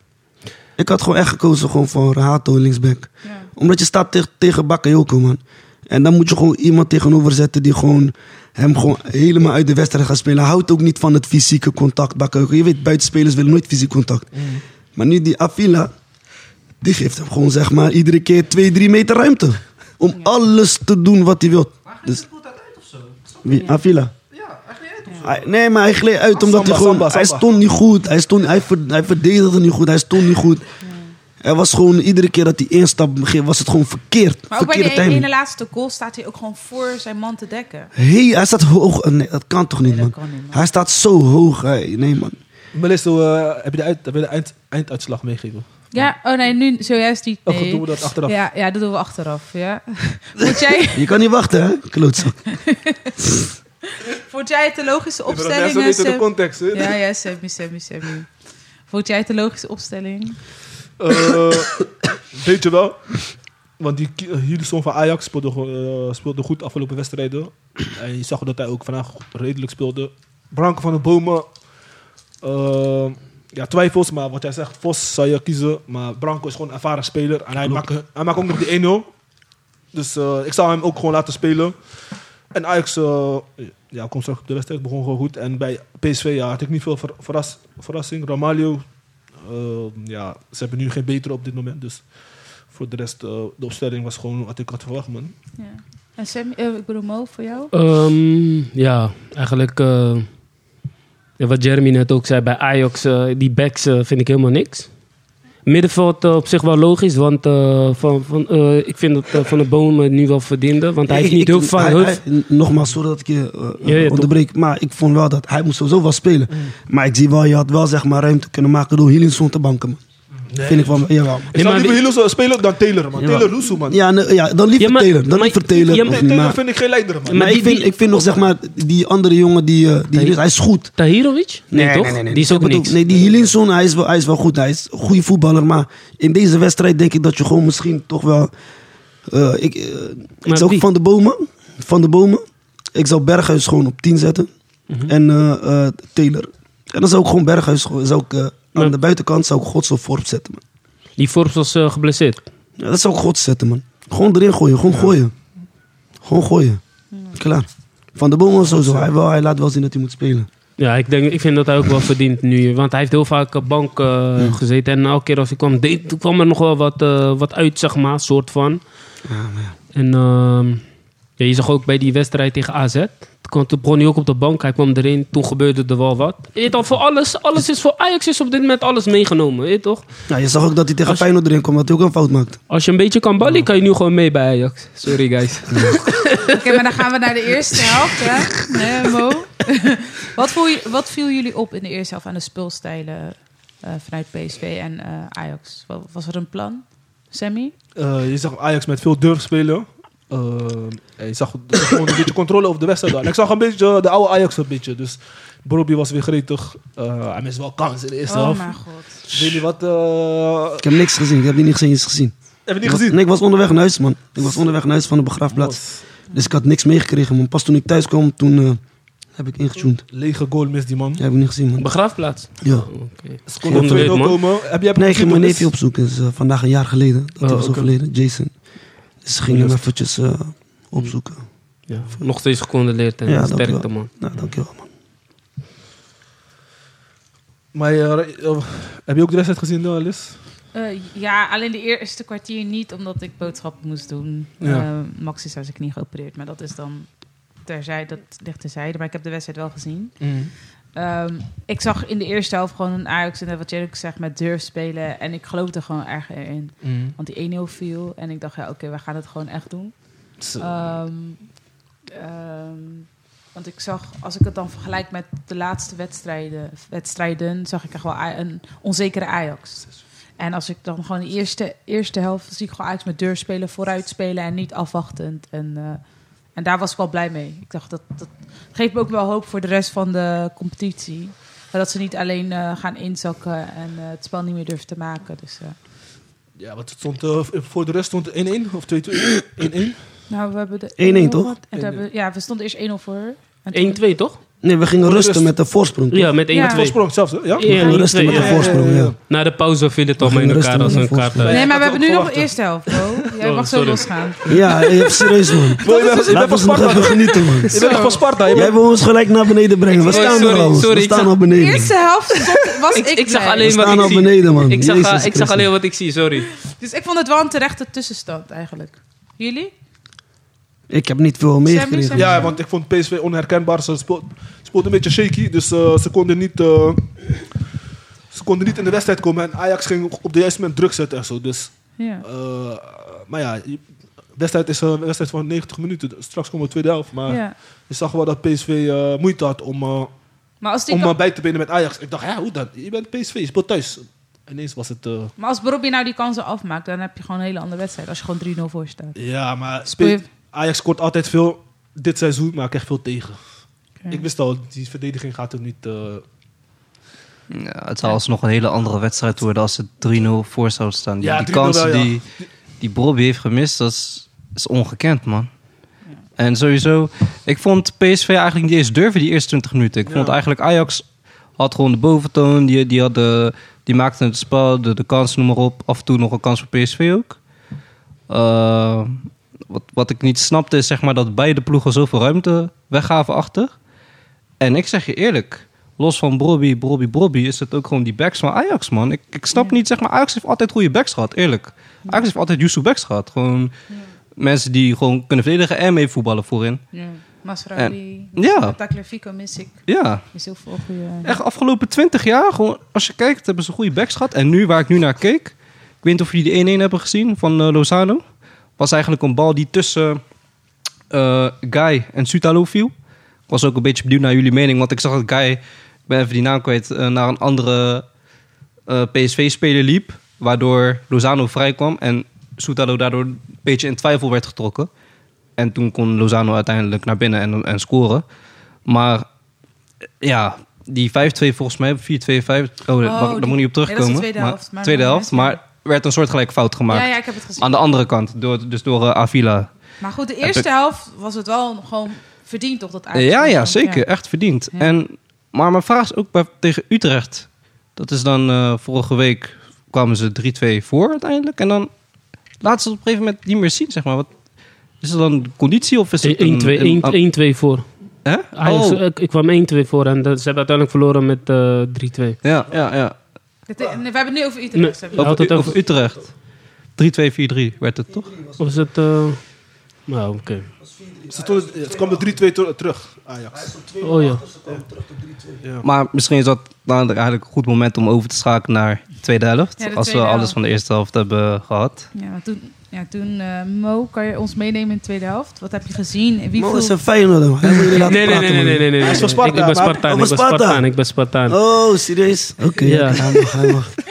D: Ik had gewoon echt gekozen gewoon voor Hato linksback.
B: Ja.
D: Omdat je staat tegen tegen Bakayoko, man. En dan moet je gewoon iemand tegenover zetten die gewoon hem gewoon helemaal uit de wedstrijd gaat spelen. Hij houdt ook niet van het fysieke contact, Bakayoko. Je weet, buitenspelers willen nooit fysiek contact.
C: Mm.
D: Maar nu die Avila, die geeft hem gewoon zeg maar iedere keer twee, drie meter ruimte. Om alles te doen wat hij wil. Dus, wie? Avila? Hij- nee, maar hij gleed uit omdat
C: Samba,
D: hij gewoon...
C: samba, samba.
D: Hij stond niet goed. Hij, stond, hij, ver- hij verdedigde niet goed. Hij stond niet goed. Er was gewoon... Iedere keer dat hij instap begint, was het gewoon verkeerd.
B: Maar ook bij
D: verkeerde
B: de ene
D: timing.
B: laatste goal staat hij ook gewoon voor zijn man te dekken.
D: Hey, hij staat hoog. Eh, Nee, dat kan toch niet,
B: Nee, dat
D: man.
B: kan niet, man.
D: Hij staat zo hoog. Hey, nee, man.
C: Melisto, eh, heb je de, uit, heb je de eind, einduitslag meegegeven?
B: Ja, oh nee, nu zojuist niet.
C: Oh, goed,
B: nee.
C: doen we dat achteraf.
B: Ja, ja, dat doen we achteraf. Ja. Vond jij,
D: Je kan niet wachten, hè? Klootzak.
B: vond jij het de logische opstelling? eh, Seb?
C: context. hè?
B: Ja, ja, Sammy, Sammy, Sammy. Vond jij het een logische opstelling?
C: Eh, weet je wel. Want die ki- Hillsong van Ajax speelde, gewoon, eh, speelde goed de afgelopen wedstrijden. En je zag dat hij ook vandaag redelijk speelde. Branko van de Bomen. eh, ja, twijfels, maar wat jij zegt, Vos zou je kiezen. Maar Branko is gewoon een ervaren speler. En hij maakt, hij maakt ook nog die 1-0. Dus eh, ik zou hem ook gewoon laten spelen. En Ajax, eh, ja, komt straks op de wedstrijd, begon gewoon goed. En bij PSV ja, had ik niet veel ver- verras- verrassing. Ramalho, eh, ja, ze hebben nu geen betere op dit moment. Dus voor de rest, eh, de opstelling was gewoon wat ik had verwacht, man.
B: Ja. En Sammy, eh, ik bedoel Mo, voor jou?
E: Ehm, ja, eigenlijk eh, ja, wat Jeremy net ook zei bij Ajax, eh, die backs eh, vind ik helemaal niks. Middenveld eh, op zich wel logisch, want eh, van, van, eh, ik vind dat eh, Van de Bomen het nu wel verdiende. Want hij heeft
D: Ik-
E: niet
D: ik-
E: heel vaak...
D: hij-
E: heel-
D: hij- Nogmaals, sorry dat ik je eh,
E: Ja, ja, toch.
D: onderbreek. Maar ik vond wel dat hij moest sowieso wel spelen.
B: Mm.
D: Maar ik zie wel, je had wel zeg maar ruimte kunnen maken door Hilinson te banken, man. Vind ik wel, jawel. man.
C: Ik zou
E: maar
C: liever
E: wie-
C: Hilo spelen dan Taylor, man.
D: Jawel.
C: Taylor Rousseau, man.
D: Ja, nee, ja, dan liever
E: Ja, maar-
D: Taylor. Dan
E: maar-
D: liever Taylor.
E: ja,
D: of
E: maar-
C: Nee,
D: niet,
C: Taylor
D: maar-
C: vind ik geen leider, man.
E: Maar
D: Maar,
E: die-
D: ik, vind,
E: die-
D: ik vind nog, zeg maar, die andere jongen, die, eh, die
E: Nee.
D: hij is goed.
E: Tahirovic? Nee, toch? Die is ook
D: Ik bedoel,
E: niks.
D: Nee, die Hilinson, hij is, wel, hij is wel goed. Hij is een goede voetballer. Maar in deze wedstrijd denk ik dat je gewoon misschien toch wel... eh, ik, eh, ik
E: Maar
D: zou
E: wie?
D: Van de Bomen... Van de Bomen. Ik zou
E: Mhm.
D: Berghuis gewoon op 10 zetten. En eh, eh, Taylor. En dan zou ik gewoon Berghuis... gewoon- Zou ik, eh, Aan
E: Maar-
D: de buitenkant zou ik Gods op voorop zetten, man.
E: Die Forbes was eh, geblesseerd.
D: Ja, dat zou ik Gods zetten, man. Gewoon erin gooien, gewoon gooien. Gewoon gooien. Klaar. Van de Boom was sowieso. Hij, wel, hij laat wel zien dat hij moet spelen.
E: Ja, ik, denk, ik vind dat hij ook wel verdient nu. Want hij heeft heel vaak op bank eh, gezeten. En elke keer als hij kwam, deed, toen kwam er nog wel wat, eh, wat uit, zeg maar. Soort van. En ehm, ja, je zag ook bij die wedstrijd tegen AZ. Toen, kwam- toen begon hij ook op de bank. Hij kwam erin. Toen gebeurde er wel wat. Je weet al, voor alles. Alles is voor Ajax is op dit moment alles meegenomen. Je weet toch?
D: Ja, Nou, je zag ook dat hij tegen Feyenoord erin kwam, dat hij ook een fout maakte.
E: Als je een beetje kan ballen, kan je nu gewoon mee bij Ajax. Sorry, guys.
B: Oké, maar dan gaan we naar de eerste helft, hè? Nee, Mo. wat, voel je, wat viel jullie op in de eerste helft aan de speelstijlen eh, vanuit PSV en eh, Ajax? Wa- Was er een plan, Sammy?
C: Eh, je zag Ajax met veel durf spelen. Eh, en je zag gewoon een beetje controle over de wedstrijd. daar. En ik zag een beetje eh, de oude Ajax een beetje. Dus Brobbey was weer gretig. Eh, hij miste wel kans in de eerste
B: Oh
C: helft.
B: mijn god.
C: Weet je wat? eh,
D: Ik heb niks gezien, ik heb die niet eens gezien.
C: heb je niet gezien?
D: Nee, ik was onderweg naar huis, man. Ik was onderweg naar huis van de begraafplaats.
C: Mos.
D: Dus ik had niks meegekregen, man. Pas toen ik thuis kwam, toen eh, heb ik ingetuned.
C: Lege goal mist die man.
D: Ja, heb ik niet gezien, man.
E: Begraafplaats.
D: Ja.
E: Oké.
C: Ze konden
E: Geen weet,
C: 2-0
E: man.
C: komen. Heb je heb je
D: Nee, ik
C: gezien
D: ging mijn
C: hoe
D: neefje
C: het
D: opzoeken. Dat is eh, vandaag een jaar geleden dat hij was
C: oké.
D: overleden, Jason. Dus ze gingen hem eventjes eh, opzoeken.
E: Nog steeds gecondoleerd en
D: Ja, dank je
E: sterkte,
D: wel.
E: man.
D: Nou, dankjewel, man.
C: is? Maar eh, eh, heb je ook de wedstrijd gezien, eh, Liz?
B: Eh, ja, alleen de eerste kwartier niet, omdat ik boodschappen moest doen.
C: Ja.
B: Eh, Max is aan zijn knie geopereerd, maar dat is dan terzijde, dat ligt terzijde. Maar ik heb de wedstrijd wel gezien. Ehm, ik zag in de eerste helft gewoon een Ajax en wat jij ook zegt met durf spelen. En ik geloofde gewoon erg in. Want die 1-0 viel en ik dacht, ja, oké, we gaan het gewoon echt doen. Ehm, ehm, want ik zag, als ik het dan vergelijk met de laatste wedstrijden, wedstrijden zag ik echt wel Aj- een onzekere Ajax. En als ik dan gewoon de eerste, eerste helft zie ik gewoon Ajax met deur spelen, vooruit spelen en niet afwachtend. En, eh, en daar was ik wel blij mee. Ik dacht, dat, dat geeft me ook wel hoop voor de rest van de competitie. Maar Dat ze niet alleen eh, gaan inzakken en eh, het spel niet meer durven te maken. Dus, eh,
C: Ja, want het stond, eh, voor de rest stond het 1-1 of 2-2. 1-1.
B: nou, we hebben de
D: 1-1 toch?
B: gehad. En toen hebben we- ja, we stonden eerst 1-0 voor. En toen-
E: 1-2, toch?
D: Nee, we gingen
C: Voor de
D: rusten
C: rust.
D: met de voorsprong.
E: Ja, met 1-2.
B: Ja.
C: Het voorsprong zelfs, hè? Ja?
E: Ja,
D: We gingen
E: 1-2,
D: rusten met
E: ja.
D: de voorsprong, ja.
E: Na de pauze viel het al mee in
D: gingen
E: elkaar
D: rustig
E: als
D: met
E: een
D: de
E: kaart.
D: voorsprong.
E: uit.
B: Nee, maar
C: ik
B: we
C: had
B: hebben nu
C: ook
B: nog de
C: verwacht,
B: eerste helft, Bo. Jij
E: Oh,
B: mag zo
E: sorry.
B: losgaan.
D: Ja, even serieus, man.
C: Bro, je bent- je bent
D: Laten
C: van
D: we nog
C: Sparta.
D: even
C: toch?
D: genieten, man.
C: Je bent toch van Sparta? Je
D: Jij
C: bent-
D: wil ons gelijk naar beneden brengen. We
E: Sorry,
D: staan er
E: sorry,
D: al.
E: sorry,
D: We
E: ik
D: staan
E: zag-
D: al
B: De
D: beneden.
B: eerste helft stond- was ik,
E: Ik, ik zag
B: blij.
E: alleen
D: We
E: wat
D: staan
E: ik
D: al
E: zie.
D: beneden, man.
E: Ik zag, eh,
D: Jezus
E: ik zag
D: Christus.
E: alleen wat ik zie, sorry.
B: Dus ik vond het wel een terechte tussenstand eigenlijk. Jullie?
D: Ik heb niet veel meegekregen.
B: Sammy?
C: Ja, want ik vond PSV onherkenbaar. Ze speelt, speelt een beetje shaky, dus eh, ze, konden niet, eh, ze konden niet in de wedstrijd komen. En Ajax ging op de juiste moment druk zetten en zo. Dus,
B: Ja.
C: eh, maar ja, je- wedstrijd is een wedstrijd van 90 minuten. Straks komen we tweede helft. Maar
B: ja.
C: je zag wel dat PSV eh, moeite had om, eh,
B: Maar als, die
C: om
B: kan-
C: eh, bij te benen met Ajax. Ik dacht, ja, hoe dan? Je bent PSV, je speelt thuis. Ineens was het... eh,
B: maar als Bobby nou die kansen afmaakt, dan heb je gewoon een hele andere wedstrijd. Als je gewoon 3-0 voor staat.
C: ja, maar
B: Speel je-
C: spe- Ajax scoort altijd veel dit seizoen, maar krijgt veel tegen.
B: Oké.
C: Ik wist al, die verdediging gaat er niet... eh,
F: Ja, het zou alsnog een hele andere wedstrijd worden als het 3-0 voor zou staan. Die,
C: Ja,
F: die
C: 3-0
F: kansen
C: wel, ja.
F: die, die Bobby heeft gemist, dat is, is ongekend, man. En sowieso, ik vond PSV eigenlijk niet eens durven die eerste 20 minuten. Ik
C: Ja.
F: vond eigenlijk Ajax had gewoon de boventoon. Die, die, had de, die maakte het spel, de, de kans, noem maar op. Af en toe nog een kans voor PSV ook. Eh, wat, wat ik niet snapte is zeg maar, dat beide ploegen zoveel ruimte weggaven achter. En ik zeg je eerlijk, los van Brobby, Brobby, Brobby, is het ook gewoon die backs van Ajax, man. Ik, ik snap niet, zeg maar, Ajax heeft altijd goede backs gehad, eerlijk. Ajax heeft altijd Yusuf backs gehad. Gewoon mensen die gewoon kunnen verdedigen en mee voetballen voorin.
B: Ja. Masraoui,
F: Ja.
B: Taclefico mis ik.
F: Ja,
B: Is heel veel goede...
F: echt afgelopen twintig jaar, gewoon, als je kijkt, hebben ze goede backs gehad. En nu, waar ik nu naar keek, ik weet niet of jullie die 1-1 hebben gezien van eh, Lozano. Was eigenlijk een bal die tussen eh, Guy en Sutalo viel. Ik was ook een beetje benieuwd naar jullie mening, want ik zag dat Guy, ik ben even die naam kwijt, eh, naar een andere eh, PSV-speler liep. Waardoor Lozano vrij kwam en Sutalo daardoor een beetje in twijfel werd getrokken. En toen kon Lozano uiteindelijk naar binnen en, en scoren. Maar eh, ja, die 5-2 volgens mij, 4-2-5. Oh, daar mag- daar
B: die-
F: moet ik niet
B: nee,
F: op
B: dat is de
F: terugkomen.
B: tweede
F: maar,
B: helft, maar
F: tweede
B: nog
F: helft,
B: net, ja.
F: maar werd een soortgelijke fout gemaakt.
B: Ja, ja, ik heb het gezien.
F: Aan de andere kant, door, dus door eh, Avila.
B: Maar goed, de
F: ik-
B: eerste helft was het wel gewoon verdiend toch dat Ajax
F: ja, ja,
B: won.
F: zeker. Echt verdiend.
B: Ja.
F: En, maar mijn vraag is ook bij, tegen Utrecht. Dat is dan eh, vorige week kwamen ze 3-2 voor uiteindelijk. En dan laat ze het op een gegeven moment niet meer zien, zeg maar. Wat, is het dan conditie of is
E: E-
F: het... een- een- een-
E: 1-2 voor.
F: Hè?
E: Ajax,
F: Oh.
E: eh, ik, ik kwam 1-2 voor en dat- ze hebben uiteindelijk verloren met eh 3-2.
F: Ja, ja, ja.
B: Dit- nee, we hebben het nu over Utrecht.
E: Nee.
B: hebben we.
E: had
F: Over,
E: het
F: U-
E: over-
F: over Utrecht. 3-2-4-3 werd het toch?
E: Of is het... eh, Nou, oké.
C: Ze stonden- het kwam de 3-2 ter- terug, Ajax.
E: Oh ja.
F: Maar misschien is dat nou eigenlijk een goed moment om over te schakelen naar de tweede helft.
B: Ja, de
F: als we
B: tweede
F: alles
B: helft.
F: van de eerste helft hebben gehad.
B: Ja, want toen, ja, toen eh, Mo, kan je ons meenemen in de tweede helft? Wat heb je gezien? Wie
D: Mo
B: viel...
D: is een Feyenoord, man. Hij moet jullie laten
E: Nee, nee,
D: praten,
E: nee, nee, nee,
D: man.
E: nee, nee.
C: Hij is van
E: Ik-
C: Sparta,
E: Ik ben
C: maar-
E: Spartaan,
D: Oh,
E: ik ben
D: van Sparta.
E: Spartaan, ik ben Spartaan.
D: Oh, serieus? Oké,
E: Ja.
D: oké, hij mag, hij mag.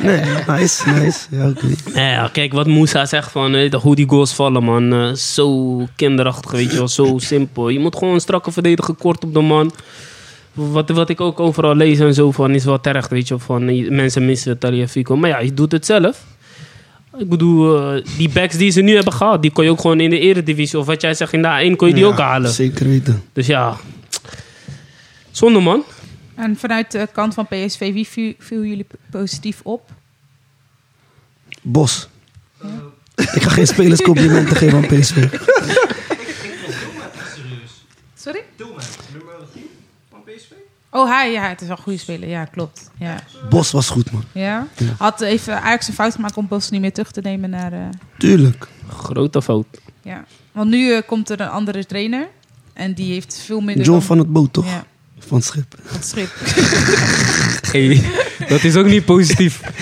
D: Nee, nice, nice. Ja, oké.
E: Nou ja, kijk wat Moussa zegt van weet je toch, hoe die goals vallen, man. Eh, zo kinderachtig, weet je wel. Zo simpel. Je moet gewoon een strakke verdediger kort op de man. Wat, wat ik ook overal lees en zo van is wel terecht, weet je wel, Van eh, mensen missen Taliafico. Maar ja, je doet het zelf. Ik bedoel, eh, die backs die ze nu hebben gehad, die kon je ook gewoon in de eredivisie. Of wat jij zegt, in de A1 kon je die
D: Ja,
E: ook halen.
D: Zeker weten.
E: Dus ja, zonde man.
B: En vanuit de kant van PSV, wie viel, viel jullie p- positief op?
D: Bos. Ik ga geen spelers complimenten geven aan PSV.
B: Sorry? Oh, hij, ja, het is wel een goede speler. Ja, klopt. Ja.
D: Bos was goed, man.
B: Ja. Had even Ajax een fout gemaakt om Bos niet meer terug te nemen naar... eh,
D: Tuurlijk.
E: Grote fout.
B: ja. Want nu eh, komt er een andere trainer. En die heeft veel minder...
D: John
B: dan-
D: van het boot, toch?
B: Ja,
D: Van het schip.
B: van het schip.
E: Hey, dat is ook niet positief.
B: maar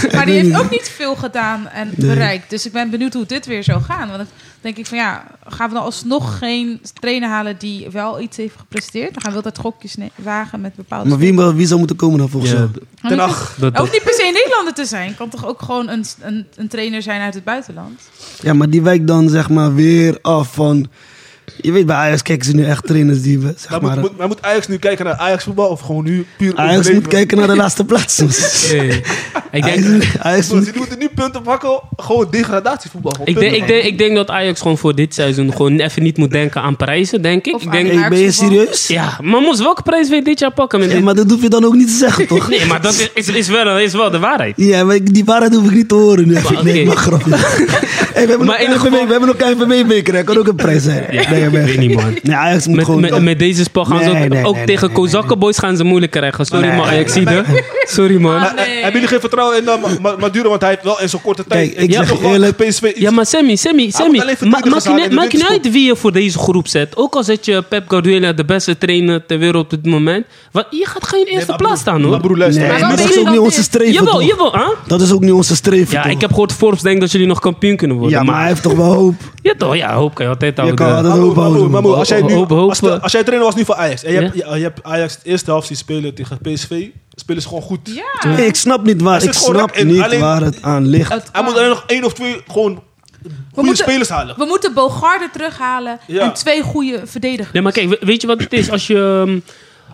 B: die
D: weet
B: heeft
D: niet.
B: ook niet veel gedaan en bereikt. Dus ik ben benieuwd hoe dit weer zou gaan. Want dan denk ik van ja, gaan we dan alsnog geen trainer halen die wel iets heeft gepresteerd? Dan gaan we altijd gokjes ne- wagen met bepaalde...
D: Maar wie, wie zou moeten komen dan volgens
E: Ja,
D: jou?
B: Maar
C: Ten
B: niet-
C: acht.
E: Dat,
B: Ook niet per se een Nederlander te zijn. Kan toch ook gewoon een, een, een trainer zijn uit het buitenland?
D: Ja, maar die wijkt dan zeg maar weer af van... Je weet, bij Ajax kijken ze nu echt trainers die... we- Zeg
C: Maar,
D: maar,
C: moet, moet, maar moet Ajax nu kijken naar Ajax voetbal of gewoon nu puur
D: Ajax moet
C: overleven?
D: kijken naar de laatste plaats.
E: Hey. Ik denk,
D: Ajax, Ajax
C: Broer, Ze
D: moet...
C: moeten nu punten pakken, gewoon degradatievoetbal. gewoon
E: Ik denk,
C: punten
E: ik, denk, ik denk dat Ajax gewoon voor dit seizoen gewoon even niet moet denken aan prijzen, denk ik.
B: Of
E: ik
B: aan-
E: denk,
D: Hey, ben je serieus?
E: ja, maar Mos, welke prijs wil je dit jaar pakken? Met
D: Ja,
E: dit-
D: maar dat hoef je dan ook niet te zeggen, toch?
E: Nee, maar dat is, is, is wel, is wel de waarheid.
D: Ja, maar ik- die waarheid hoef ik niet te horen. nu.
E: Maar,
D: Nee,
E: oké.
D: maar grapje. Hey, we, hebben
E: Maar
D: maar
E: in ieder
D: E, we hebben nog KNVB-beker, dat kan ook een prijs zijn.
E: Ja,
D: nee,
E: ik
D: maar-
E: weet niet, man.
D: Nee, Ajax moet
E: Met,
D: gewoon...
E: met, met deze spel gaan ze ook,
D: Nee, nee,
E: ook
D: nee,
E: tegen
D: nee,
E: Kozakkenboys gaan ze moeilijk krijgen. Sorry, man, Ajaxide. Sorry,
B: Ah,
E: man.
C: Eh, Hebben jullie geen vertrouwen in eh, Ma- Ma- Maduro? Want hij heeft wel in zo'n korte tijd...
D: Kijk, ik
C: zie
D: zeg
C: toch
D: je
C: wel
D: eerlijk-
C: dat PSV iets-
E: Ja, maar Sammy, Sammy, Sammy.
C: moet alleen
E: ma-
C: verdedigers
E: maakt
C: halen
E: niet
C: in de
E: maakt niet
C: winterstop.
E: uit wie je voor deze groep zet. Ook al zet je Pep Guardiola de beste trainer ter wereld op dit moment. Wat, je gaat geen eerste plaats staan, hoor.
C: Maar broer,
D: Nee,
C: luister.
B: Maar
D: maar
B: wat
D: dat
B: ben
D: is
B: je
D: ook
B: dan
D: niet
B: weer?
D: onze streven,
E: Jawel,
D: toch?
E: jawel, hè?
D: Dat is ook niet onze streven,
E: Ja,
D: toch?
E: ik heb gehoord Forbes denkt dat jullie nog kampioen kunnen worden.
D: Ja, maar hij heeft toch wel hoop?
E: Ja, toch? Ja, hoop kan je altijd
D: Je
E: houden.
D: kan altijd
C: Maar
D: hoop
C: broer, maar broer,
D: houden.
C: maar
D: man.
C: broer, als jij nu-
E: Hoop- hoop-
C: als de- als jij trainer was nu voor Ajax en je
E: Ja.
C: hebt- je je hebt Ajax de eerste helft zien spelen tegen PSV, spelen ze gewoon goed.
B: Ja.
D: Nee, ik snap niet waar,
C: zit
D: ik
C: gewoon
D: snap
C: in.
D: niet
C: Alleen-
D: waar het aan ligt.
B: Het
C: Hij
B: kan.
C: moet alleen nog één of twee gewoon goede
B: moeten-
C: spelers halen.
B: We moeten Bogarde terughalen
C: Ja.
B: en twee goede verdedigers.
E: Nee, maar kijk, we- weet je wat het is? Als je... ehm,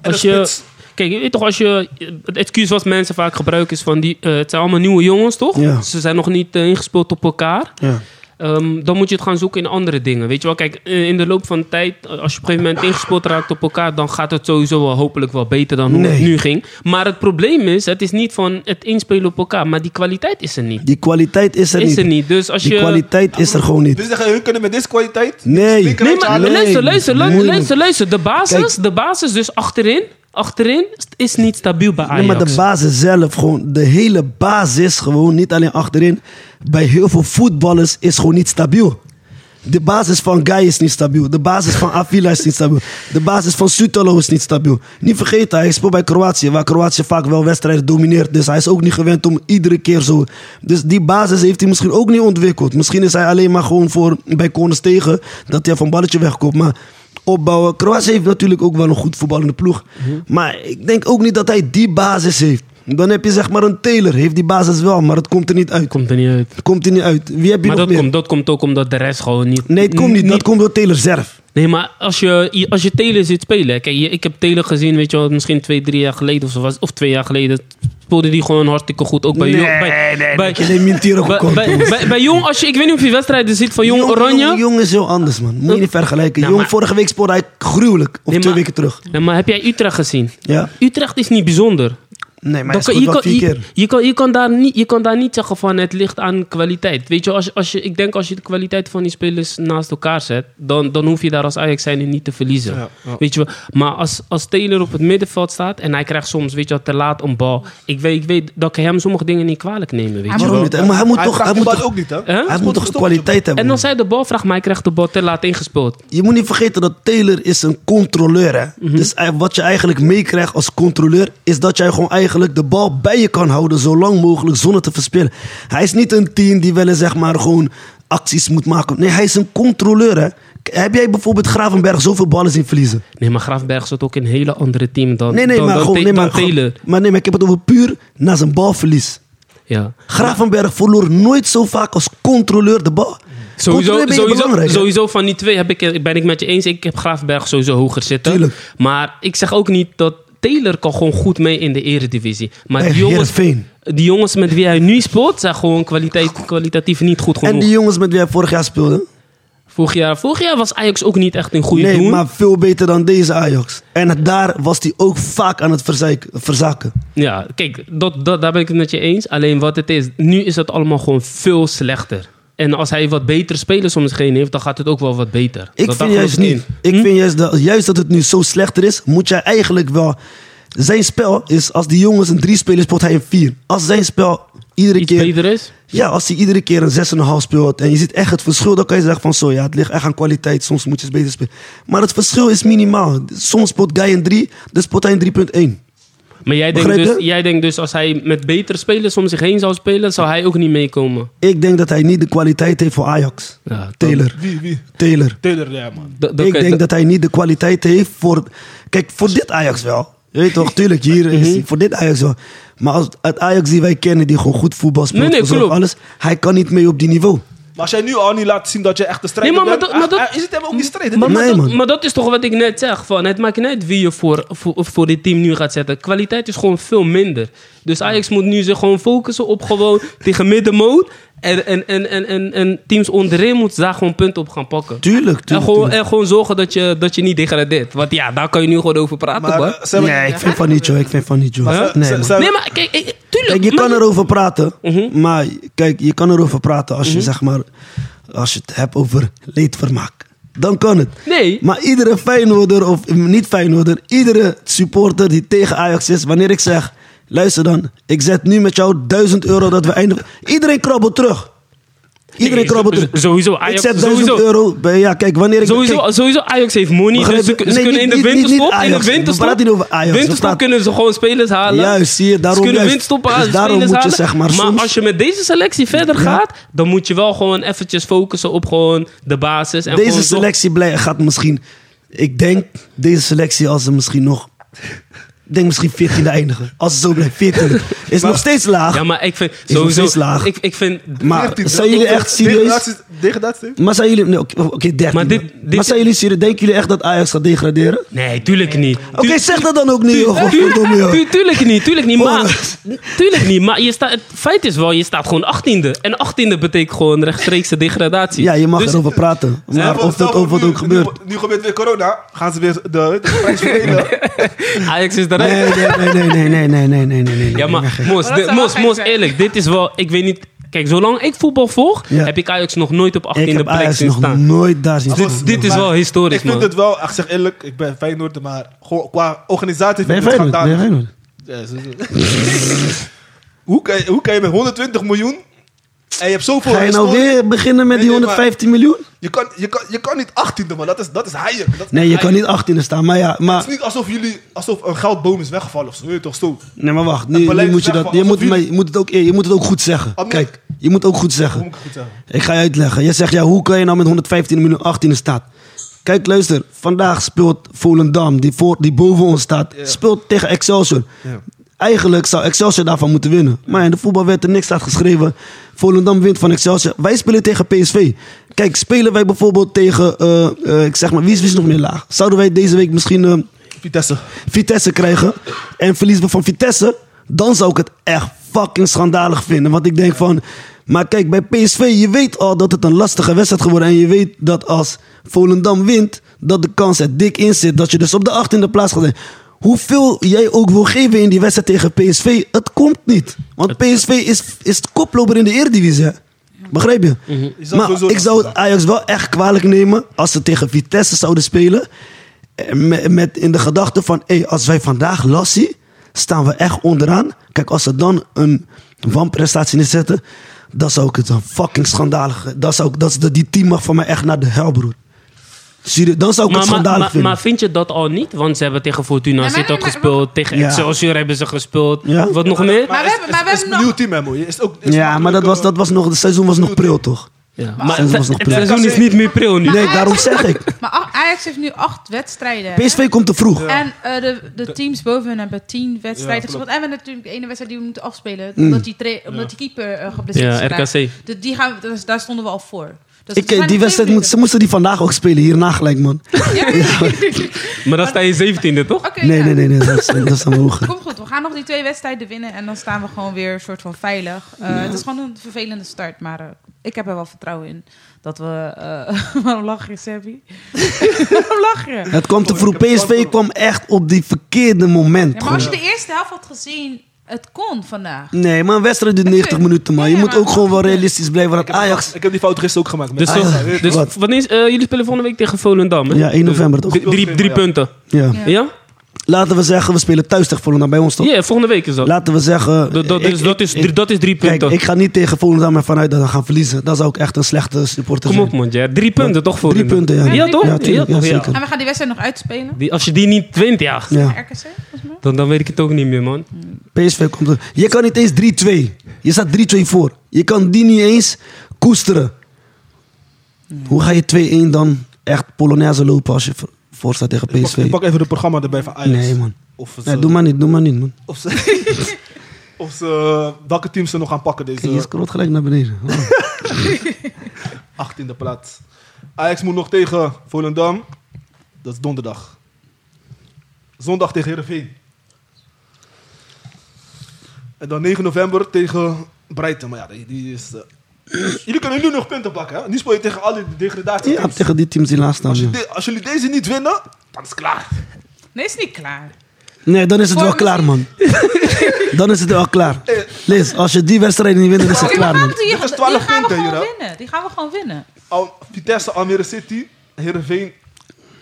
C: En
E: Als
C: de
E: je
C: spits.
E: kijk, je weet toch, als je... Het excuus wat mensen vaak gebruiken is van... Die, eh, het zijn allemaal nieuwe jongens, toch?
D: Ja.
E: Ze zijn nog niet eh, ingespeeld op elkaar.
D: Ja.
E: Ehm, dan moet je het gaan zoeken in andere dingen. Weet je wel, kijk, eh, in de loop van de tijd, eh, als je op een gegeven moment ingespeeld raakt op elkaar, dan gaat het sowieso wel hopelijk wel beter dan hoe het
D: Nee.
E: nu ging. Maar het probleem is, het is niet van het inspelen op elkaar, maar die kwaliteit is er niet.
D: Die kwaliteit is er
E: Is
D: niet.
E: er niet. Dus als
D: Die
E: je.
D: kwaliteit is er gewoon niet.
C: Dus zeggen, hun kunnen met deze kwaliteit...
D: Nee.
E: Nee, maar
D: Nee,
E: luister, luister, luister,
D: moeilijk.
E: luister, luister. De basis, de basis dus achterin, achterin is niet stabiel bij Ajax.
D: Nee, maar de basis zelf, gewoon de hele basis, gewoon niet alleen achterin. Bij heel veel voetballers is gewoon niet stabiel. De basis van Guy is niet stabiel. De basis van Avila is niet stabiel. De basis van Sutalo is niet stabiel. Niet vergeten, hij speelt bij Kroatië, waar Kroatië vaak wel wedstrijden domineert. Dus hij is ook niet gewend om iedere keer zo. Dus die basis heeft hij misschien ook niet ontwikkeld. Misschien is hij alleen maar gewoon voor bij Koners tegen dat hij van balletje wegkomt. Maar opbouwen. Kroatië heeft natuurlijk ook wel een goed voetballende ploeg.
E: Mhm.
D: Maar ik denk ook niet dat hij die basis heeft. Dan heb je zeg maar een Taylor. Heeft die basis wel, maar het komt er niet uit.
E: komt er niet uit.
D: Het komt er niet uit. Wie heb je nog
E: Maar dat
D: meer?
E: komt, dat komt ook omdat de rest gewoon niet.
D: Nee, het komt niet. Dat komt door Taylor zelf.
E: Nee, maar als je, je- als je Telen zit spelen. Kijk, je- ik heb Telen gezien, weet je wel, misschien twee, drie jaar geleden of zo was. Of twee jaar geleden. Speelde die gewoon hartstikke goed. Ook bij
D: Nee,
E: jong. Bij, bij,
D: Ik neem Mintiro
E: bij,
D: gekocht.
E: bij- bij- bij jong, als je, ik weet niet of je wedstrijden ziet van jong
D: Jong,
E: Oranje.
D: jong is heel anders, man. Moet je niet vergelijken.
E: Ja,
D: jong,
E: maar-
D: vorige week spoorde hij gruwelijk. Of
E: Nee,
D: twee
E: maar-
D: weken terug.
E: Ja, maar heb jij Utrecht gezien?
D: Ja.
E: Utrecht is niet bijzonder.
D: Nee, maar
E: Dan
D: hij
E: kan-
D: scoort
E: je,
D: wel vier
E: kan, je,
D: keer.
E: je kan, je, kan daar niet, je kan daar niet zeggen van het ligt aan kwaliteit. Weet je, als, je- als je, ik denk als je de kwaliteit van die spelers naast elkaar zet, dan, dan hoef je daar als Ajax zijnde niet te verliezen.
C: Ja, ja.
E: Weet je, wel. maar als, als Taylor op het middenveld staat en hij krijgt soms weet je, wel, te laat een bal. Ik weet, ik weet dat ik hem sommige dingen niet kwalijk nemen. Weet je.
D: Waarom niet? Maar hij moet toch, hij moet
C: dat
D: toch,
C: ook niet, hè?
E: Hè?
D: hij moet toch kwaliteit hebben.
E: En als hij de bal vraagt, maar hij krijgt de bal te laat ingespeeld.
D: Je moet niet vergeten dat Taylor is een controleur. Hè?
E: Mhm.
D: Dus ei- wat je eigenlijk meekrijgt als controleur... is dat jij gewoon eigenlijk de bal bij je kan houden... zo lang mogelijk zonder te verspillen. Hij is niet een team die wel eens zeg maar gewoon acties moet maken. Nee, hij is een controleur. Hè? K- Heb jij bijvoorbeeld Gravenberg zoveel ballen zien verliezen?
E: Nee, maar Graafberg zat ook in een hele andere team dan,
D: Nee, nee,
E: dan,
D: maar
E: dan
D: gewoon...
E: Ta-
D: Nee,
E: dan
D: maar, gewoon-
E: Taylor.
D: maar nee, maar ik heb het over puur na zijn balverlies.
E: Ja.
D: Gravenberg verloor nooit zo vaak als controleur de bal.
E: Sowieso,
D: Controleur ben je
E: sowieso,
D: belangrijk, hè?
E: sowieso van die twee heb ik, ben ik met je eens. Ik heb Graafberg sowieso hoger zitten.
D: Tuurlijk.
E: Maar ik zeg ook niet dat Taylor kan gewoon goed mee in de eredivisie. Maar
D: Bij
E: die, jongens,
D: Heerenveen.
E: die jongens met wie hij nu speelt zijn gewoon kwaliteit, kwalitatief niet goed genoeg.
D: En die jongens met wie hij vorig jaar speelde...
E: vorig, jaar, vorig jaar was Ajax ook niet echt een goede
D: nee,
E: doen.
D: maar veel beter dan deze Ajax. En daar was hij ook vaak aan het verzaik- verzaken.
E: Ja, kijk, dat, dat, daar ben ik het met je eens. Alleen wat het is, nu is het allemaal gewoon veel slechter. En als hij wat betere spelers om zich heen heeft, dan gaat het ook wel wat beter.
D: Ik
E: Dat- daar
D: vind
E: geloof
D: juist
E: ik Hm?
D: niet.
E: in.
D: Ik vind juist dat, juist dat het nu zo slechter is, moet jij eigenlijk wel... Zijn spel is, als die jongens een drie spelen, speelt hij een vier. Als zijn spel iedere
E: Iets
D: keer...
E: beter is?
D: Ja, als hij iedere keer een 6,5 speelt en je ziet echt het verschil, dan kan je zeggen van zo, ja, het ligt echt aan kwaliteit, soms moet je het beter spelen. Maar het verschil is minimaal. Soms speelt Guy een 3, dan speelt hij een 3,1.
E: Maar jij denkt,
D: Begrijp
E: dus,
D: je?
E: jij denkt dus als hij met betere spelers om zich heen zou spelen, zou hij ook niet meekomen.
D: Ik denk dat hij niet de kwaliteit heeft voor Ajax.
E: Ja, dat-
D: Taylor.
C: Wie, wie?
D: Taylor.
C: Taylor, ja, man.
E: Dat- dat-
D: ik denk
E: dat-
D: dat, hij niet de kwaliteit heeft voor... Kijk, voor dit Ajax wel. Je weet toch, tuurlijk, hier
E: Mhm.
D: is hij voor dit Ajax wel. Maar als, het Ajax die wij kennen, die gewoon goed voetbal speelt,
E: Nee, nee,
D: verzorgt
E: klopt.
D: alles, hij kan niet mee op die niveau.
C: Maar als jij nu al niet laat zien dat je echt de strijder
E: Nee, maar- maar
C: bent...
E: dat- maar
C: hij-
E: dat-
C: hij- is het hem ook niet strijden?
E: Maar, maar
D: Nee,
E: dat,
D: man.
E: maar dat is toch wat ik net zeg. Van, het maakt niet uit wie je voor, voor, voor dit team nu gaat zetten. Kwaliteit is gewoon veel minder. Dus Ajax moet nu zich gewoon focussen op gewoon tegen middenmoot. En, en, en, en, en, en teams onderin moeten daar gewoon punten op gaan pakken.
D: Tuurlijk,
E: En
D: tuurlijk.
E: gewoon, eh,
D: tuurlijk.
E: en gewoon zorgen dat je, dat je niet degradeert. Want ja, daar kan je nu gewoon over praten.
C: Maar,
E: hoor.
C: eh, ze hebben-
D: Nee, ik vind van niet, joh. Ik vind van niet, joh.
C: ze-
D: Nee,
C: ze-
D: man.
C: ze hebben-
E: nee, maar kijk, ik- tuurlijk.
D: Kijk, je
E: maar- Mhm.
D: kan erover praten, maar kijk, je kan erover praten als je zeg maar, als je het hebt over leedvermaak. Dan kan het.
E: Nee.
D: Maar iedere Feyenoorder of niet Feyenoorder, iedere supporter die tegen Ajax is, wanneer ik zeg, luister dan, ik zet nu met jou 1000 euro dat we eindigen. Iedereen krabbelt terug. Iedereen
E: Nee,
D: krabbelt
E: zo-
D: terug.
E: sowieso, Ajax-
D: ik zet 1000
E: sowieso.
D: euro. bij- Ja, kijk, wanneer ik
E: Sowieso,
D: kijk,
E: sowieso Ajax heeft money.
D: Begrijp
E: Dus ze,
D: je?
E: ze
D: Nee,
E: kunnen
D: niet-
E: in de
D: niet- niet
E: winterstop, in
D: Ajax.
E: de
D: We
E: winterstop,
D: praten niet over Ajax, we
E: winterstop
D: praten-
E: kunnen ze gewoon spelers halen.
D: Juist, zie je, daarom
E: ze kunnen
D: juist.
E: winterstop
D: Dus
E: halen,
D: daarom
E: spelers
D: moet je,
E: halen.
D: zeg maar, soms-
E: als je met deze selectie verder gaat, dan moet je wel gewoon eventjes focussen op gewoon de basis. En
D: Deze
E: gewoon zo-
D: selectie blij- gaat misschien. Ik denk deze selectie als ze misschien nog. Ik denk misschien 14e eindigen. Als ze zo blijft. 14e. Is nog steeds laag.
E: Ja, maar ik vind
D: nog
E: sowieso...
D: steeds laag.
E: Ik, ik vind...
D: maar zijn jullie echt serieus?
C: Degradatie- Degradatie?
D: Maar zijn jullie. Nee, Oké, oké, 13e.
E: Maar
D: Maar,
E: dit- dit-
D: zijn jullie serieus? Denken jullie echt dat Ajax gaat degraderen? Oké,
E: Nee, tuurlijk niet. Tuur-
D: zeg dat dan ook niet, joh.
E: tuur-
D: Godverdomme, joh.
E: tuur- tuurlijk niet, tuurlijk niet. Maar,
D: Hoor.
E: tuurlijk niet, maar je staat, het feit is wel, je staat gewoon 18e. En 18e betekent gewoon rechtstreekse degradatie.
D: Ja, je mag
E: Dus-
D: erover praten. Maar
C: Stel
D: of dat
C: voor,
D: of wat
C: nu-
D: ook gebeurt.
C: Nu, nu gebeurt weer corona. Gaan ze weer de, de prijs verdelen.
E: Ajax is eruit.
D: Nee, nee, nee, nee, nee, nee, nee, nee, nee, nee, nee.
E: Ja, maar Mos,
B: Maar dat
E: dit-
B: zou wel
E: Mos,
B: gek
E: Mos,
B: zijn.
E: eerlijk, dit is wel... Ik weet niet... Kijk, zolang ik voetbal volg,
D: Ja.
E: heb ik Ajax nog nooit op 18e
D: Ik heb
E: plek
D: Ajax
E: zien
D: nog
E: staan.
D: nooit daar zien
E: Dit,
D: staan.
E: dit is
C: Maar
E: wel historisch,
C: ik vind
E: man.
C: het wel, ik Ah, zeg eerlijk, ik ben Feyenoord, maar gewoon qua organisatie
D: Ben je
C: vind ik het
D: Feyenoord? Ben je
C: schandalig.
D: Feyenoord?
C: Ja, zo- zo. hoe, kan je, hoe kan je met 120 miljoen en je hebt zoveel...
D: Ga je nou
C: historie-
D: weer beginnen met die
C: Nee, nee, maar-
D: 115 miljoen?
C: Je kan, je, kan, je kan niet 18e, man. Dat is, dat is Hayek. Dat
D: Nee, je kan niet 18e staan, maar ja,
C: Het
D: maar,
C: is niet alsof jullie alsof een geldboom is weggevallen of zo. Weet je toch zo?
D: nee, maar wacht. Nu,
C: beleid
D: nu
C: is
D: moet je,
C: weg
D: dat,
C: van
D: je, moet,
C: alsof
D: maar
C: jullie-
D: je, moet het ook, je moet het ook goed zeggen.
C: Amin.
D: Kijk, je moet het ook goed
C: Hoe
D: zeggen.
C: moet ik het goed zeggen?
D: Ik ga je uitleggen. Je zegt, ja, hoe kan je nou met 115 miljoen 18e staat? Kijk, luister. Vandaag speelt Volendam, die, voor, die boven ons staat, speelt tegen Excelsior. Eigenlijk zou Excelsior daarvan moeten winnen. Maar in de voetbal werd er niks aan geschreven. Volendam wint van Excelsior. Wij spelen tegen PSV. Kijk, spelen wij bijvoorbeeld tegen, eh, eh, ik zeg maar, wie is, wie is nog meer laag? Zouden wij deze week misschien... eh,
C: Vitesse.
D: Vitesse krijgen en verliezen we van Vitesse, dan zou ik het echt fucking schandalig vinden. Want ik denk van, maar kijk, bij PSV, je weet al dat het een lastige wedstrijd geworden en je weet dat als Volendam wint, dat de kans er dik in zit dat je dus op de 18e plaats gaat zijn. hoeveel jij ook wil geven in die wedstrijd tegen PSV, het komt niet. Want PSV is, is de koploper in de Eredivisie. hè. Begrijp je?
A: Is dat
D: Maar
A: sowieso
D: ik
A: dat
D: zou
A: vandaag?
D: Ajax wel echt kwalijk nemen als ze tegen Vitesse zouden spelen. Eh, Met, met in de gedachte van, hey, als wij vandaag los zien, staan we echt onderaan. Kijk, als ze dan een wanprestatie neerzetten, dan zou ik het een fucking schandalig... Dan zou ik, dat, is de- die team mag van mij echt naar de hel, broer. Zie je, Dan zou ik
E: Maar,
D: het
E: maar,
D: schandalig
E: maar,
D: vinden.
E: maar vind je dat al niet? Want ze hebben tegen Fortuna
B: Ja, maar-
E: Sittard
B: maar-
E: gespeeld. tegen
D: Ja.
E: Excelsior hebben ze gespeeld.
D: Ja.
E: Wat nog meer?
B: Maar we hebben, maar we
A: Het is
B: hebben
A: een
B: nog...
A: nieuw team, hè, man. Je Is ook, is
D: ja, maar dat was, dat was nog, het seizoen was nog pril, toch?
E: Ja,
D: Maar het was nog
E: het
D: pril.
E: seizoen is niet meer pril nu.
D: Nee, daarom zeg ik.
B: Maar A- Ajax heeft nu acht wedstrijden. hè?
D: PSV komt te vroeg.
B: En eh, de, de teams boven hen hebben tien wedstrijden
A: Ja, klopt.
B: gespeeld. En we hebben natuurlijk de ene wedstrijd die we moeten afspelen.
D: Mm.
B: Omdat, die, tra- omdat die keeper eh, geblesseerd is.
E: Ja,
B: geraakt.
E: RKC.
B: Dus die gaan, we- dus daar stonden we al voor. Dus
D: Ik,
B: we zijn
D: eh, die
B: nog
D: wedstrijd, moet, ze
B: twee
D: moesten die vandaag ook spelen, hierna gelijk, man.
B: minuten. Ja.
E: Maar dan sta je 17e, toch?
B: Oké,
D: Nee,
B: ja.
D: nee, nee, nee dat, is, dat is dan hoger.
B: Kom goed, we gaan nog die twee wedstrijden winnen. En dan staan we gewoon weer een soort van veilig. Eh, Het is gewoon een vervelende start. Maar eh, ik heb er wel vertrouwen in dat we... eh, waarom lach je, Sebby? waarom lach je?
D: Het kwam te vroeg. PSV kwam echt op die verkeerde moment.
B: Ja, maar als je
D: gewoon.
B: de eerste helft had gezien, het kon vandaag.
D: Nee, maar een wedstrijd duurt
B: Het
D: 90
B: is-
D: minuten, man. Je
B: Ja,
D: moet
B: maar-
D: ook gewoon wel realistisch blijven. Want Ajax...
A: Ik heb die fout gisteren ook gemaakt. man.
E: Dus,
D: Ah,
E: toch-
D: ja.
E: dus
D: Wat?
E: wanneer is- eh, jullie spelen volgende week tegen Volendam, hè? Dus
D: Ja, 1 november toch?
E: Drie, drie, drie punten.
D: Ja.
B: Ja.
E: Ja?
D: Laten we zeggen, we spelen thuis tegen Volendam bij ons
E: Ja,
D: toch?
E: volgende week is dat.
D: Laten we zeggen...
E: dat, dat,
D: ik-
E: is, dat, is,
D: ik-
E: drie- dat is drie
D: Kijk,
E: punten.
D: ik ga niet tegen Volendam ervan uit dat we gaan verliezen. Dan zou ik echt een slechte supporter
E: Kom
D: zijn.
E: op, man. Ja. Drie punten, toch? Voor
D: Drie punten, ja.
E: Ja, toch?
D: Ja, tuurlijk, ja,
E: toch?
D: zeker.
B: En we gaan die wedstrijd nog uitspelen.
E: Die, als je die niet wint, ja,
D: Ja.
B: RKC, volgens mij.
E: dan, dan weet ik het ook niet meer, man.
A: Mm.
D: PSV komt er. Je kan niet eens 3-2. Je staat 3-2 voor. Je kan die niet eens koesteren. Hoe ga je 2-1 dan echt Polonaise lopen als je voor- voor staat tegen
A: Ik pak, ik
D: PSV?
A: pak even het programma erbij van Ajax. eh,
D: Nee, man.
A: Of ze,
D: Nee, doe maar niet, doe maar niet, man.
A: Of ze, of ze- welke teams ze nog gaan pakken
D: Kijk, je
A: deze
D: scrolt gelijk naar beneden. Oh.
A: 18e plaats. Ajax moet nog tegen Volendam. Dat is donderdag. Zondag tegen Heerenveen. En dan 9 november tegen Breiten. Maar ja, die, die is... eh, jullie kunnen nu nog punten pakken, hè? Nu speel je tegen al die degradatie.
D: Ja, tegen die teams die laatst staan.
A: als, je
D: ja.
A: de- als jullie deze niet winnen, dan is het klaar.
B: Nee, is niet klaar.
D: Nee, dan is het
B: Voor
D: wel klaar, man. Dan is het wel klaar. Liz, als je die wedstrijd niet wint, dan is het
B: Oké, maar
D: klaar,
B: waarom
D: man.
B: doe je-
A: Dit is
B: die
A: 12
B: gaan we
A: punten
B: gewoon
A: hier, hè?
B: winnen. Die gaan we gewoon winnen.
A: Al, Vitesse, Almere City, Heerenveen.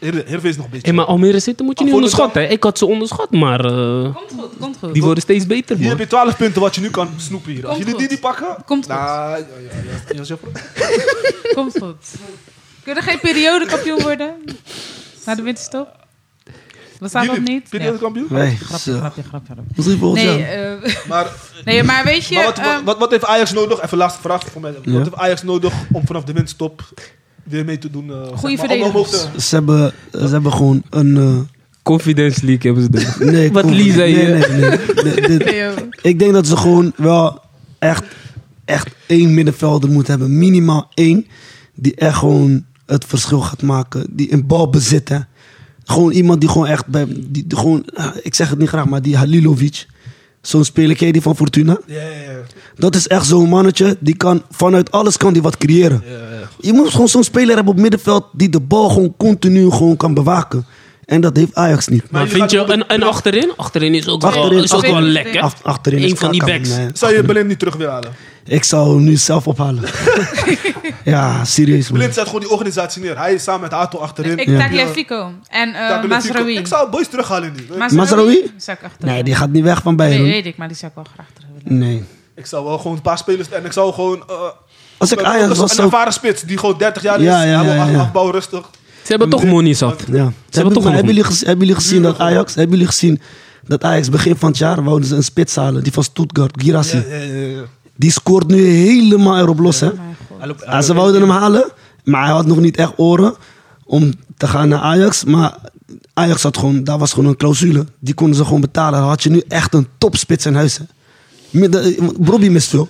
A: Heer- Heerenveen is nog een beetje...
E: Hé, maar Almere zitten moet je niet
A: Maar
E: onderschatten. Hè? Ik had ze onderschat, maar eh,
B: Komt goed, komt goed.
E: die worden steeds beter,
A: Hier
E: man.
A: heb je 12 punten wat je nu kan snoepen hier. Als
B: Komt
A: jullie die
B: goed.
A: niet pakken...
B: Komt goed.
A: Nou, ja, ja, ja, ja, ja, ja.
B: Komt goed. Kunnen geen periodekampioen worden? Na de winterstop? Bestaat dat
A: Jullie,
B: niet?
A: Ben je
B: Nee.
A: dat kampioen?
D: Nee,
B: Grapje,
D: zo.
B: grapje, grapje. grapje.
D: Misschien volgend
B: Nee,
D: jaar.
B: eh,
A: Maar,
B: nee, maar weet je...
A: maar wat,
B: ehm,
A: wat, wat, heeft Ajax nodig? Even laatste vraag voor mij. Wat
D: Ja.
A: heeft Ajax nodig om vanaf de winststop weer mee te doen? eh, zeg maar, om
B: verdedigers.
A: omhoog te-
D: Ze hebben, ze hebben gewoon een... eh,
E: Confidence League hebben ze nodig.
D: nee,
E: Wat eh,
D: kom-
E: Lies zei
D: nee,
E: je?
D: nee, nee. Dit- dit-
B: nee, joh.
D: Ik denk dat ze gewoon wel echt, echt één middenvelder moeten hebben. Minimaal één. Die echt gewoon het verschil gaat maken. Die een bal bezit. Hè. Gewoon iemand die gewoon echt bij. Die, die gewoon, ah, ik zeg het niet graag, maar die Halilovic. Zo'n speler, ken je die van Fortuna?
A: Ja, ja, ja.
D: Dat is echt zo'n mannetje. Die kan vanuit alles kan die wat creëren. Je moet gewoon zo'n speler hebben op middenveld die de bal gewoon continu gewoon kan bewaken. En dat heeft Ajax niet.
E: Maar
A: jullie
E: vind je,
A: gaan
E: en, en achterin? Achterin is ook wel,
D: Achterin,
E: is ook wel
B: achterin.
E: lekker.
D: Af- achterin is
E: Eén van die
D: Kaka,
E: backs.
D: man.
A: Zou je Blind niet terug willen halen?
D: Ik zou hem nu zelf ophalen. ja, serieus man.
A: Blind zet gewoon die organisatie neer. Hij is samen met Hato achterin.
B: Ik
D: Ja.
B: Tagliafico en eh
A: Tackle
B: Masraoui.
A: Ik zou boys terughalen nu.
D: Mazraoui?
B: Zou ik achter
D: Nee, die gaat niet weg van
B: Nee,
D: Bayern.
B: weet ik, maar die zou ik wel graag terug willen.
D: Nee.
A: Ik zou wel gewoon een paar spelers... En ik zou gewoon... eh,
D: Als ik
A: een-
D: Ajax was,
A: Een
D: zou ik-
A: ervaren spits die gewoon 30 jaar is.
D: Ja, ja,
A: hij wil
D: ja,
A: af-
D: ja.
A: afbouwen rustig.
E: Ze hebben toch money zat.
D: Ja. Hebben, maar
E: hebben toch nog-
D: hebben, jullie, gez- hebben jullie gezien dat Ajax... Hebben jullie gezien dat Ajax begin van het jaar... wouden ze een spits halen, die van Stuttgart, Girassi.
A: Ja, ja, ja, ja.
D: Die scoort nu helemaal erop los, hè.
B: Maar goed.
A: Hij loopt-
D: Ah, ze wilden hem halen, maar hij had nog niet echt oren om te gaan naar Ajax. Maar Ajax had gewoon, daar was gewoon een clausule. Die konden ze gewoon betalen. Dan had je nu echt een topspits in huis. hè. Midden- eh, Robbie mist veel.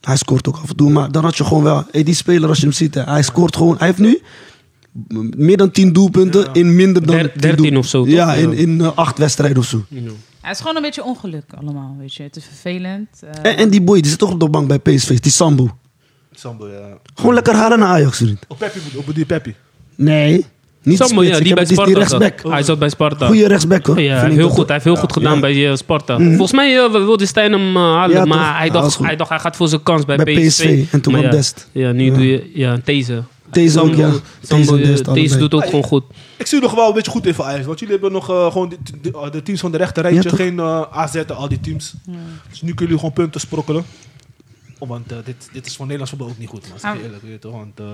D: Hij scoort ook af en toe, maar dan had je gewoon wel... Hey, die speler, als je hem ziet, hè, hij scoort gewoon... Hij heeft nu m- meer dan 10 doelpunten in minder dan...
E: Der-
D: 10
E: 13
D: doel-
E: of zo, toch?
D: Ja, in, in 8 wedstrijden of zo.
B: Ja, het is gewoon een beetje ongeluk allemaal, weet je. Het is vervelend. eh.
D: En, en die boy, die zit toch op de bank bij PSV, die Sambo.
A: Sambo, ja.
D: Gewoon lekker halen naar Ajax, vriend.
A: Op Peppi moet... Op die Peppi.
D: Nee. Niet
E: Sambo,
D: spits,
E: ja,
D: ik
E: die
D: heb- die
E: bij
D: is
E: Sparta.
D: die
E: zat.
D: rechtsback.
E: Hij zat bij Sparta.
D: Goeie rechtsback hoor.
E: Oh Ja,
D: vind ik
E: heel
D: dat.
E: goed. Hij heeft heel goed gedaan
D: Ja. Mhm.
E: bij eh, Sparta. Volgens mij eh, wilde Stijn hem eh, halen,
D: Ja, toch?
E: maar hij
D: Ja, was
E: dacht,
D: goed.
E: hij dacht hij gaat voor zijn kans bij,
D: Bij PSV. En toen
E: Maar
D: kwam
E: ja,
D: Dest.
E: Ja, nu doe je ja, deze.
D: Deze ook, ja.
E: Sambo-
D: Deze
E: Sambo,
D: en
E: eh,
D: Dest.
E: Deze
D: allebei.
E: doet ook gewoon goed.
C: Ik zie nog wel een beetje goed in voor Ajax. Want jullie hebben nog eh, gewoon die- die- eh, de teams van de rechter rijtje.
D: Ja, toch?
C: geen eh, AZ en al die teams. Dus nu kunnen jullie gewoon punten sprokkelen. Oh, want eh, dit, dit is voor Nederlands voetbal ook niet goed. Maar zeg je
B: Ah.
C: eerlijk, weet je, toch, want... eh,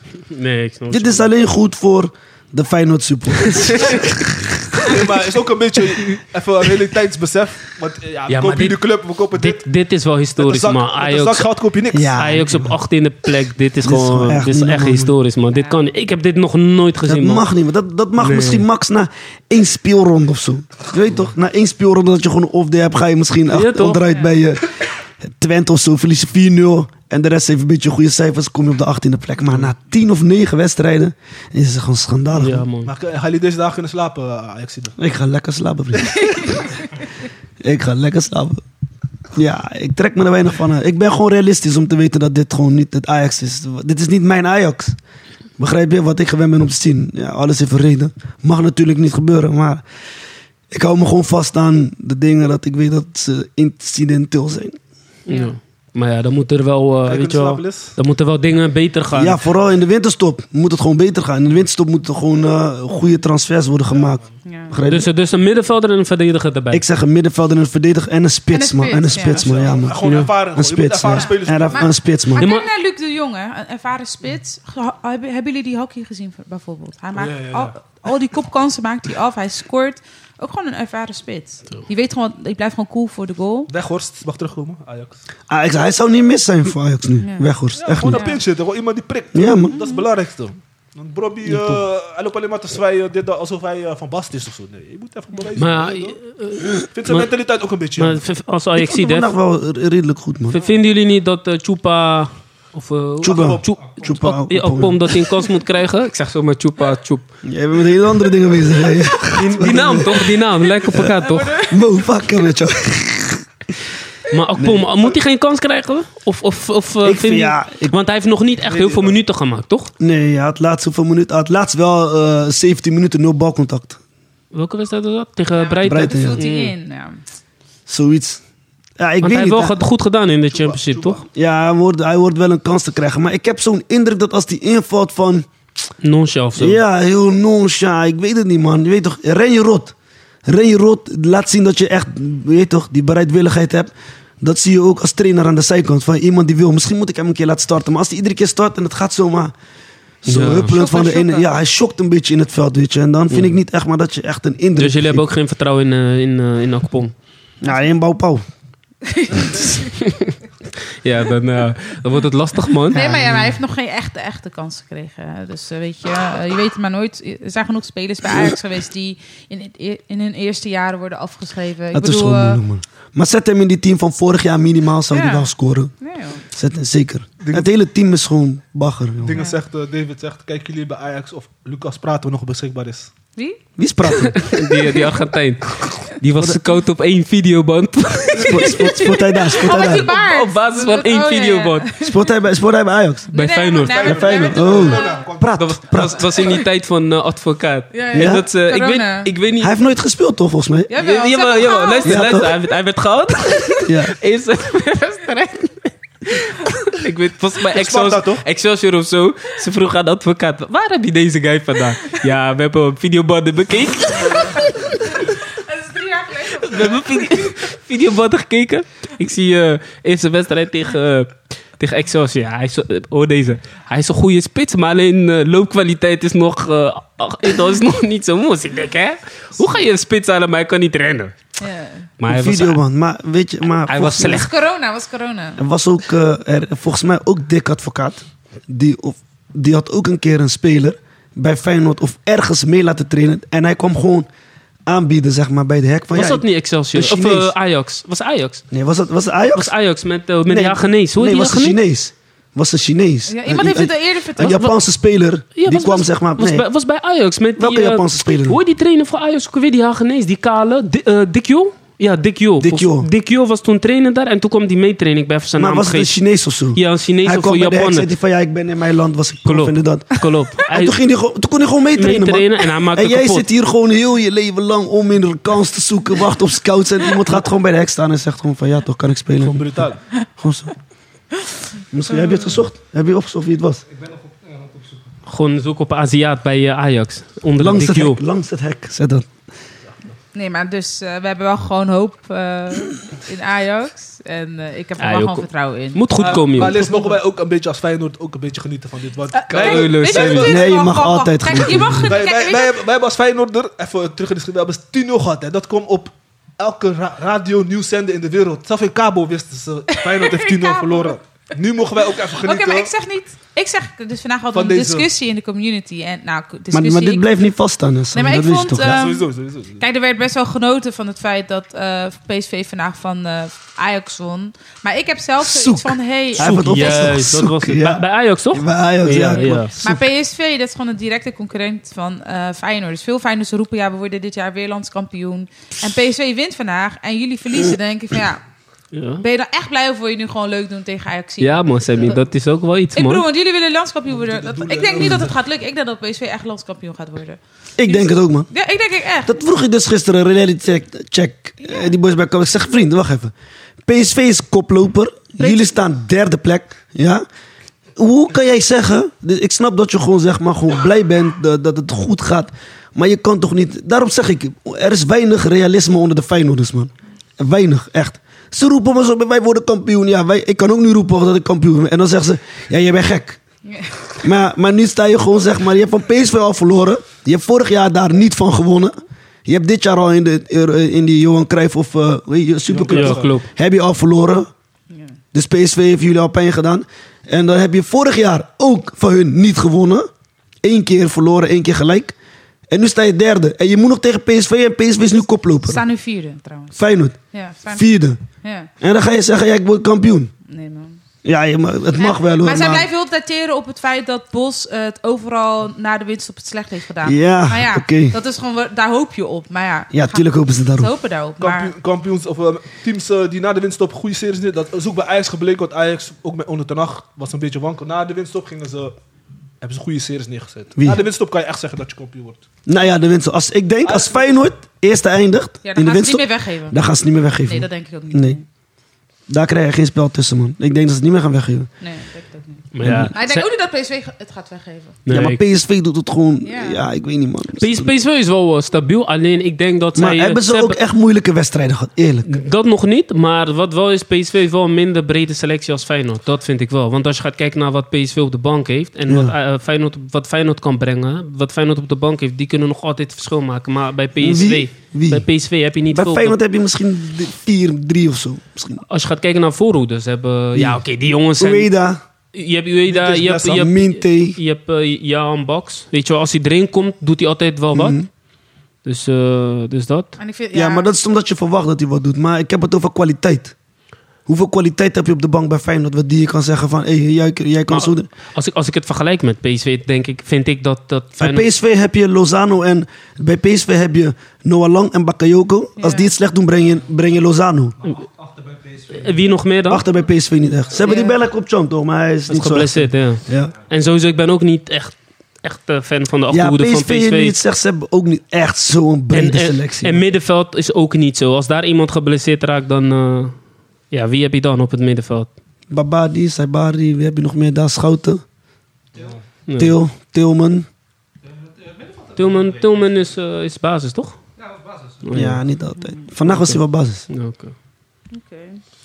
E: Nee, ik snap
D: Dit is alleen goed voor de Feyenoord supporters.
C: Nee, maar het is ook een beetje even een realiteitsbesef. Want eh, ja, we
E: Ja, maar
C: kopen hier de
E: dit-
C: club, we kopen dit.
E: Dit, dit is wel
C: Met een
E: historisch,
C: zak-
E: man.
C: Met een zak
E: Ajax,
C: geld koop je niks.
D: Ja.
E: Ajax op 18e plek. Dit is
D: Dit is
E: gewoon
D: gewoon echt
E: dit is
D: niet
E: echt
D: normaal,
E: historisch, man. Dit kan, ik heb dit nog nooit
D: dat
E: gezien, man.
D: mag niet, maar dat, dat mag
E: Nee.
D: misschien max na één speelronde of zo. Je weet toch, na één speelronde dat je gewoon een off-day hebt, ga je misschien achter-
E: toch?
D: onderuit bij je Twente of zo, verlies je 4-0. En de rest heeft een beetje goede cijfers, kom je op de 18e plek. Maar na 10 of 9 wedstrijden is het gewoon schandalig.
E: Ja,
D: man.
E: man.
C: Maar eh, gaan jullie deze dagen kunnen slapen, eh, Ajaxiden?
D: Ik ga lekker slapen, vriend. ik ga lekker slapen. Ja, ik trek me er weinig van aan. Ik ben gewoon realistisch om te weten dat dit gewoon niet het Ajax is. Dit is niet mijn Ajax. Begrijp je wat ik gewend ben om te zien? Ja, alles heeft een reden. Mag natuurlijk niet gebeuren, maar ik hou me gewoon vast aan de dingen dat ik weet dat ze incidenteel zijn.
E: Ja. Maar ja, dan moet er wel, eh,
C: Kijk,
E: weet
C: het
E: je wel,
C: slapen is.
E: dan moeten wel dingen beter gaan.
D: Ja, vooral in de winterstop moet het gewoon beter gaan. In de winterstop moeten gewoon eh, goede transfers worden gemaakt.
B: Ja.
D: Begrijp je?
E: dus, dus een middenvelder en een verdediger erbij.
D: Ik zeg een middenvelder, een verdediger en een spits,
B: En een
D: man. En een
B: spits, ja.
D: spits, man. Ja, man.
C: Gewoon ervaren.
D: Een
C: gewoon. Je moet
D: spits,
C: ervaren
D: ja.
C: spelers.
D: En
B: Maar-
D: een spits, man.
B: Maar
E: Ja,
B: kijk
E: maar-
B: naar Luc de Jonge, een ervaren spits. Ge- Hebben hebben jullie die hockey gezien bijvoorbeeld? Hij maakt
C: ja, ja.
B: Al, al die kopkansen maakt hij af. Hij scoort. Ook gewoon een ervaren spits. Die weet gewoon, die blijft gewoon cool voor de goal.
C: Weghorst mag terugkomen, Ajax.
D: Ajax, Ah, hij zou niet mis zijn voor Ajax nu.
B: Ja.
D: Weghorst,
C: Ja,
D: echt
C: gewoon
D: niet.
C: een pin zitten. Gewoon iemand die prikt.
D: Ja, man.
C: Dat is het belangrijkste. Want Brobby, eh, hij loopt alleen maar te zwijgen dit, dat, alsof hij eh, van Bast is of zo. Nee, je moet even bewijzen.
E: Maar,
C: Ik
E: eh,
C: vind zijn
E: maar-
C: mentaliteit ook een beetje...
E: maar v- als
D: Ik
E: Ajax
D: vond
E: ziet,
D: hem nou- vandaag
E: hè,
D: wel r- redelijk goed, man.
E: v- vinden jullie niet dat eh, Chupa... Of, eh,
D: Chupa.
E: Chup-
D: Chupa,
E: Ak- ja,
D: Akpom.
E: Akpom dat hij een kans moet krijgen? Ik zeg zomaar Chupa, Chup.
D: Jij bent met hele andere dingen bezig. hè?
E: Die, die naam toch? Die naam. Lijkt op elkaar toch?
D: Mo, fuck hem met jou.
E: Maar Akpom, moet hij geen kans krijgen? Of, of, of eh,
D: Ik vind-
E: vind je-
D: ja, ik-
E: Want hij heeft nog niet echt heel veel minuten gemaakt, toch?
D: Nee, hij had laatst hoeveel minuten? Hij had laatst wel eh, 17 minuten nul balcontact.
E: Welke wedstrijd was dat? Tegen Breiten?
D: Breiten.
B: Daar vult hij
E: ja.
B: in. Ja.
D: Zoiets. Ja, ik
E: Want hij
D: weet
E: heeft wel
D: niet.
E: goed- goed gedaan in de Championship, toch?
D: Ja, hij wordt, hij wordt wel een kans te krijgen. Maar ik heb zo'n indruk dat als die invalt van...
E: Nonsja of zo.
D: Ja, heel nonchalant. Ik weet het niet, man. Je weet toch, ren je rot. Ren je rot. Laat zien dat je echt, je weet toch, die bereidwilligheid hebt. Dat zie je ook als trainer aan de zijkant. Van iemand die wil, misschien moet ik hem een keer laten starten. Maar als hij iedere keer start en het gaat zomaar... Zo
E: Ja.
D: huppelend van de
B: Shocken,
D: ene...
B: shocken.
D: Ja, hij schokt een beetje in het veld, weet je. En dan vind ik niet echt maar dat je echt een indruk
E: Mm. Dus jullie hebben ook geen vertrouwen in, eh, in, eh, in Akpom?
D: Ja, in bouwpauw.
E: Ja, dan, eh, dan wordt het lastig, man.
B: Nee, maar ja, maar hij heeft nog geen echte, echte kans gekregen. hè. Dus eh, weet je, eh, je weet het maar nooit. Er zijn genoeg spelers bij Ajax geweest die in, het e- in hun eerste jaren worden afgeschreven. Ik
D: Dat is
B: bedoel,
D: gewoon
B: eh,
D: moeilijk, man. Maar zet hem in die team van vorig jaar minimaal, zou hij
B: Ja.
D: wel scoren.
B: nee, joh.
D: Zet hem zeker.
C: Dingen-
D: Het hele team is gewoon bagger, jongen.
C: Dingen zegt, eh, David zegt, kijken jullie bij Ajax of Lucas Prato nog beschikbaar is.
B: Wie?
D: Wie is praten?
E: Die, die Argentijn. Die was scout op één videoband.
D: Sport, sport, sport hij daar, sport
B: Oh,
D: hij
B: met
D: daar.
B: die baard.
E: op basis van
B: Oh,
E: één
B: ja, ja.
E: videoband.
D: Sport hij bij, sport hij bij Ajax?
E: Bij
B: Nee, nee,
E: Feyenoord.
B: nee, nee,
D: Bij
B: nee, nee,
D: Feyenoord.
B: nee, nee, nee, nee.
D: Oh, praat.
E: Dat was, dat was- was in die tijd van eh, advocaat.
B: Ja,
D: ja.
E: En dat, ze- ik,
B: Corona.
E: weet, ik weet niet...
D: Hij heeft nooit gespeeld, toch, volgens mij?
B: Jawel, ze hebben hem
E: jawel,
B: gehaald.
E: luister,
D: Ja,
E: luister.
D: toch?
E: Hij werd, hij werd gehaald.
D: Ja.
E: Eerst wedstrijd. Ik weet, volgens mij
C: Sparta,
E: Excelsior,
C: toch?
E: Excelsior of zo. Ze vroeg aan de advocaat, waar heb je deze guy vandaan? Ja, we hebben videobanden bekeken.
B: Dat is drie jaar geleden.
E: We hebben video, videobanden gekeken. Ik zie eh, eerste wedstrijd tegen, eh, tegen Excelsior. Ja, hij is, zo- eh, hoor deze. Hij is een goede spits, maar alleen eh, loopkwaliteit is nog, eh, ach, dat is nog niet zo mooi. Ik denk, hè? Hoe ga je een spits halen, maar hij kan niet rennen?
B: Ja.
E: Maar hij was,
D: video, man. Maar weet je, maar...
E: hij
D: volgens-
E: was slecht.
B: Was corona, was corona.
D: Er was ook, eh, er, volgens mij ook Dick Advocaat. Die, of, die had ook een keer een speler bij Feyenoord of ergens mee laten trainen. En hij kwam gewoon aanbieden, zeg maar, bij de hek. Van,
E: Was
D: ja,
E: dat niet Excelsior?
D: een
E: Of
D: Chinees.
E: eh, Ajax? Was Ajax?
D: Nee, was dat was het Ajax?
E: Was Ajax met, eh, met die
D: nee,
E: Hagenees? Hoe
D: nee,
E: heet die
D: was een
E: Hagenees?
D: Chinees. Was een Chinees.
B: Ja,
D: Een-
B: iemand heeft het
D: een-
B: al eerder
D: Een
B: verteld.
D: Japanse speler,
E: Ja,
D: die
E: was-
D: kwam
E: was-
D: zeg maar...
E: Was,
D: nee.
E: bij, was bij Ajax met
D: Welke
E: die... eh,
D: Japanse speler?
E: Hoe heet die trainer voor Ajax ook weer? Die Hagenees, die kale, Di- eh, Dick Jong? Ja, Dick Yo.
D: Dick Yo.
E: Volgens- Dick Yo was toen trainer daar en toen kwam hij mee trainen. Ik ben even zijn
D: Maar
E: naam
D: was het een
E: vergeten.
D: Chinees of zo?
E: Ja, een Chinees
D: hij
E: of
D: kwam
E: een
D: bij de ex, zei
E: Japaner.
D: hij van ja, ik ben in mijn land, was ik prof
E: Klopt.
D: en dat.
E: Klopt.
D: En
E: Hij
D: toen, ging hij, gewoon- toen kon hij gewoon meetrainen, man.
E: trainen en hij maakte
D: En jij
E: kapot.
D: zit hier gewoon heel je leven lang om in een kans te zoeken, wacht op scouts. En iemand gaat gewoon bij de hek staan en zegt gewoon van ja, toch kan ik spelen.
C: Gewoon brutaal.
D: Gewoon zo. Misschien heb je het gezocht? Heb je opgezocht wie het was?
E: Gewoon zoek op Aziat bij eh, Ajax. Onder
D: Langs
E: Dick
D: het
E: Yo.
D: hek, langs het hek, zet dat.
B: Nee, maar dus eh, we hebben wel gewoon hoop eh, in Ajax. En eh, ik heb er wel
E: Ajax.
B: gewoon vertrouwen in.
E: Moet goed
C: Maar-
E: komen,
C: Maar
E: joh.
C: les mogen wij ook een beetje als Feyenoord ook een beetje genieten van dit. Want wij,
B: Eh, Kijk,
F: Leuk, leuk,
B: weet je wat het is?
D: Nee, je
B: Wacht,
D: mag
B: wacht, wacht.
D: altijd
B: Kijk, je
D: genieten.
B: mag
C: wij,
B: genieten. Kijk,
C: wij,
B: weet
C: wij
B: je-
C: hebben, wij hebben als Feyenoorder, even terug in de geschiedenis, we hebben 10-0 gehad. En dat kwam op elke ra radio nieuwszender in de wereld. Zelfs in Cabo wisten ze, Feyenoord heeft 10-0
B: Cabo.
C: verloren. Nu mogen wij ook even
B: Oké,
C: genieten.
B: maar ik zeg niet... Ik zeg, dus vandaag hadden
C: Van
B: we een
C: deze-
B: discussie in de community. En, nou,
D: Maar,
B: discussie...
D: maar dit blijft niet vaststaan, hè, Sam,
B: Nee, maar
D: dat
B: ik
D: weet je
B: vond,
D: toch?
B: eh,
C: ja,
B: ehm,
C: sowieso, sowieso. sowieso.
B: Kijk, er werd best wel genoten van het feit dat eh, PSV vandaag van eh, Ajax won. Maar ik heb zelf
D: Zoek.
B: zoiets van... Hey,
D: Hij heeft het opgezocht.
E: Juist, dat was het.
D: Ja.
E: Bij, bij Ajax, toch?
D: Bij Ajax, ja, klopt.
B: Maar PSV, dat is gewoon een directe concurrent van eh Feyenoord. Dus veel Feyenoorders roepen, ja, we worden dit jaar weer landskampioen. En PSV wint vandaag en jullie verliezen. Dan denk ik van, ja,
E: Ja.
B: ben je dan echt blij of wil je nu gewoon leuk doen tegen Ajax?
E: Ja, man, Sammy, dat is ook wel iets,
B: Ik bedoel,
E: man.
B: want jullie willen landskampioen worden. Dat- ik denk niet dat het gaat lukken. Ik denk dat PSV echt landskampioen gaat worden.
D: Ik denk het ook, man.
B: Ja, ik denk ik echt.
D: Dat vroeg ik dus gisteren, een reality check. check. Eh, die boys bij elkaar. Ik zeg, vriend, wacht even. PSV is koploper. Jullie staan derde plek. Ja? Hoe kan jij zeggen... Dus ik snap dat je gewoon, zeg maar, gewoon blij bent dat, dat het goed gaat. Maar je kan toch niet... Daarom zeg ik, er is weinig realisme onder de Feyenoorders, man. Weinig, echt. Ze roepen maar zo, wij worden kampioen. Ja, wij, ik kan ook nu roepen dat ik kampioen ben. En dan zeggen ze, ja, jij bent gek. Maar, maar nu sta je gewoon, zeg maar, je hebt van PSV al verloren. Je hebt vorig jaar daar niet van gewonnen. Je hebt dit jaar al in, de, eh, in die Johan Cruijff of eh, weet je, Supercup.
E: Ja, klopt.
D: Heb je al verloren. Dus PSV heeft jullie al pijn gedaan. En dan heb je vorig jaar ook van hun niet gewonnen. Eén keer verloren, één keer gelijk. En nu sta je derde. En je moet nog tegen PSV en PSV is nu
B: We
D: koploper.
B: staan nu vierde, trouwens.
D: Feyenoord,
B: Ja, staan...
D: vierde.
B: ja.
D: En dan ga je zeggen, ja, ik word kampioen.
B: nee man.
D: Ja, je mag- het mag
B: Ja,
D: wel hoor.
B: Maar zij blijven heel dateren op het feit dat Bos eh, het overal na de winst op het slecht heeft gedaan.
D: Ja,
B: maar ja,
D: oké.
B: dat is gewoon, wa- daar hoop je op. Maar ja,
D: Ja,
B: ga-
D: tuurlijk hopen ze
B: we
D: daarop.
B: hopen daarop. Maar
C: Kampioen, kampioens of eh, teams eh, die na de winststop goede series neer. Dat is ook bij Ajax gebleken. Want Ajax, ook met onder ten Hag, was een beetje wankel. Na de winststop gingen ze, hebben ze goede series neergezet.
D: Wie?
C: Na de winststop kan je echt zeggen dat je kampioen wordt.
D: Nou ja, de winst. Als, ik denk, als Feyenoord eerste eindigt
B: Oh.
D: in
B: ja, dan
D: de
B: gaan ze het
D: winst,
B: niet meer weggeven.
D: dan gaan ze het niet meer weggeven.
B: Nee, dat denk ik ook niet.
D: Nee. Daar krijg je geen spel tussen, man. Ik denk dat ze het niet meer gaan weggeven.
B: Nee, dat denk ik ook niet.
E: Maar ja,
B: Maar ik
E: Sa-
B: denk ook niet dat PSV ge- het gaat weggeven.
E: nee,
D: ja, maar
E: ik-
D: PSV doet het gewoon... Ja,
B: Ja.
D: ik weet niet, man.
E: PS- PSV is wel eh, stabiel, alleen ik denk dat zij...
D: maar
E: eh,
D: hebben ze, ook
E: hebben-
D: echt moeilijke wedstrijden gehad, eerlijk?
E: Dat nog niet, maar wat wel is, PSV heeft wel een minder brede selectie als Feyenoord. Dat vind ik wel. Want als je gaat kijken naar wat PSV op de bank heeft en
D: Ja.
E: wat, eh, Feyenoord, wat Feyenoord kan brengen, wat Feyenoord op de bank heeft, die kunnen nog altijd verschil maken. Maar bij PSV,
D: Wie? Wie?
E: Bij PSV heb je niet
D: Bij
E: veel.
D: Feyenoord heb je misschien d- vier, drie of zo. Misschien.
E: Als je gaat kijken naar voorhoeders, hebben... Ja, oké, die jongens zijn...
D: Ueda,
E: Je hebt Ueda,
C: Mintjes,
E: je hebt, je
C: Blessam,
E: hebt,
D: Minte.
E: je hebt eh, Jaan Baks. Weet je wel, als hij erin komt, doet hij altijd wel
D: Mhm.
E: wat. Dus, eh, dus dat.
B: En ik vind,
D: Ja, maar dat is omdat je verwacht dat hij wat doet. Maar ik heb het over kwaliteit. Hoeveel kwaliteit heb je op de bank bij Feyenoord? Wat die je kan zeggen van, hé, jij, jij kan
E: Maar
D: zo... doen.
E: Als ik, als ik het vergelijk met PSV, denk ik, vind ik dat, dat
D: Bij
E: Feyenoord...
D: PSV heb je Lozano en bij PSV heb je Noah Lang en Bakayoko. Als
B: Ja.
D: die het slecht doen, breng je, breng je Lozano.
E: Wie nog meer dan?
D: Achter bij PSV niet echt. Ze hebben die Belk op champ toch, maar hij is
E: Dat is
D: niet zo. echt.
E: geblesseerd, ja.
D: Ja.
E: En sowieso, ik ben ook niet echt, echt eh, fan van de
D: ja,
E: achterhoede van
D: PSV
E: PSV.
D: je niet zegt, ze hebben ook niet echt zo'n
E: en, eh,
D: brede
E: en,
D: selectie.
E: en middenveld is ook niet zo. Als daar iemand geblesseerd raakt, dan... eh, ja, wie heb je dan op het middenveld?
D: Babadi, Saibari, wie heb je nog meer daar? Schouten,
E: Nee.
D: Til, Tilman.
E: Tilman, Tilman is, eh, is basis, toch? Oh,
D: Ja. niet altijd. Vandaag was hij wel basis.
E: Ja, oké.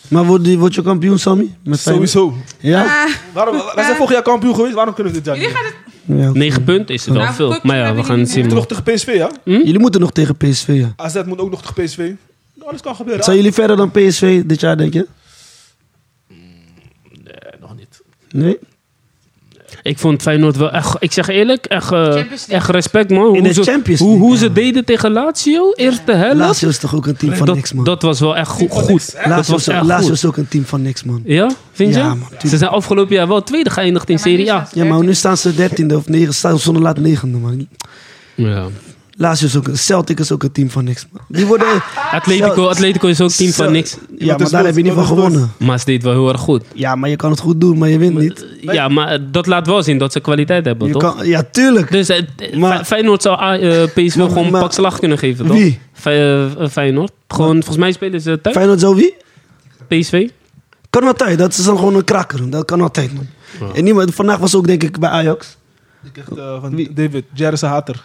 D: Maar word je, word je kampioen, Sammy? Met Feyenoord?
C: Sowieso.
D: Ja?
B: Ah.
C: Waarom, wij zijn vorig jaar kampioen geweest, waarom kunnen we dit jaar niet?
B: Jullie gaan het...
D: ja.
E: Negen punten is het wel
B: Nou,
E: veel.
B: kort,
E: Maar ja,
B: hebben
E: we gaan
B: jullie
E: het zien.
C: Moeten
E: man.
C: nog tegen PSV, ja?
E: Hm?
D: Jullie moeten nog tegen PSV, ja.
C: AZ moet ook nog tegen PSV. Nou, Alles kan gebeuren.
D: Zijn jullie verder dan PSV dit jaar, denk je?
C: Mm, Nee, nog niet.
D: Nee?
E: Ik vond Feyenoord wel echt... Ik zeg eerlijk, echt, eh,
B: Champions League.
E: echt respect,
D: In
E: man. hoe
D: de
E: ze,
D: Champions
E: hoe,
D: League,
E: hoe
D: ja.
E: ze deden tegen Lazio, eerste helft.
D: Lazio is toch ook een team van
E: Dat,
D: niks, man.
E: dat was wel echt goed.
C: van niks,
E: goed.
C: hè?
E: Dat
D: Lazio
E: was
D: is,
E: echt
D: Lazio
E: goed.
D: is ook een team van niks, man.
E: Ja, vind je?
D: Ja, man, tuurlijk.
E: ze zijn afgelopen jaar wel tweede geëindigd in
B: Ja, maar nu
E: Serie A.
B: staan ze
D: Ja, maar nu staan ze dertiende of negen, staan zonder laat negende, man.
E: Ja.
D: Lazio is ook een... Celtic is ook een team van niks, man. Die worden...
E: Atletico, Atletico is ook team
D: Cel-
E: van niks.
D: Ja, maar
A: is
D: daar
A: goed,
D: heb je niet van
A: wat is goed?
D: gewonnen.
E: Maar ze deed wel heel erg goed.
D: Ja, maar je kan het goed doen, maar je wint niet.
E: Ja, maar dat laat wel zien dat ze kwaliteit hebben,
D: Je
E: eh, toch?
D: kan, ja, tuurlijk.
E: Dus eh, eh,
D: Maar-
E: Fe- Feyenoord zou A- eh, PSV
D: Maar-
E: gewoon een
D: maar-
E: pak slag kunnen geven, toch?
D: Wie?
E: Fe- eh, Feyenoord. Gewoon, volgens mij spelen ze thuis.
D: Feyenoord zo wie?
E: PSV.
D: Kan altijd. Dat is dan gewoon een kraker. Dat kan altijd, man. En niemand, vandaag was ook denk ik bij Ajax.
C: Ik kreeg eh, van David, Jerry is een hater.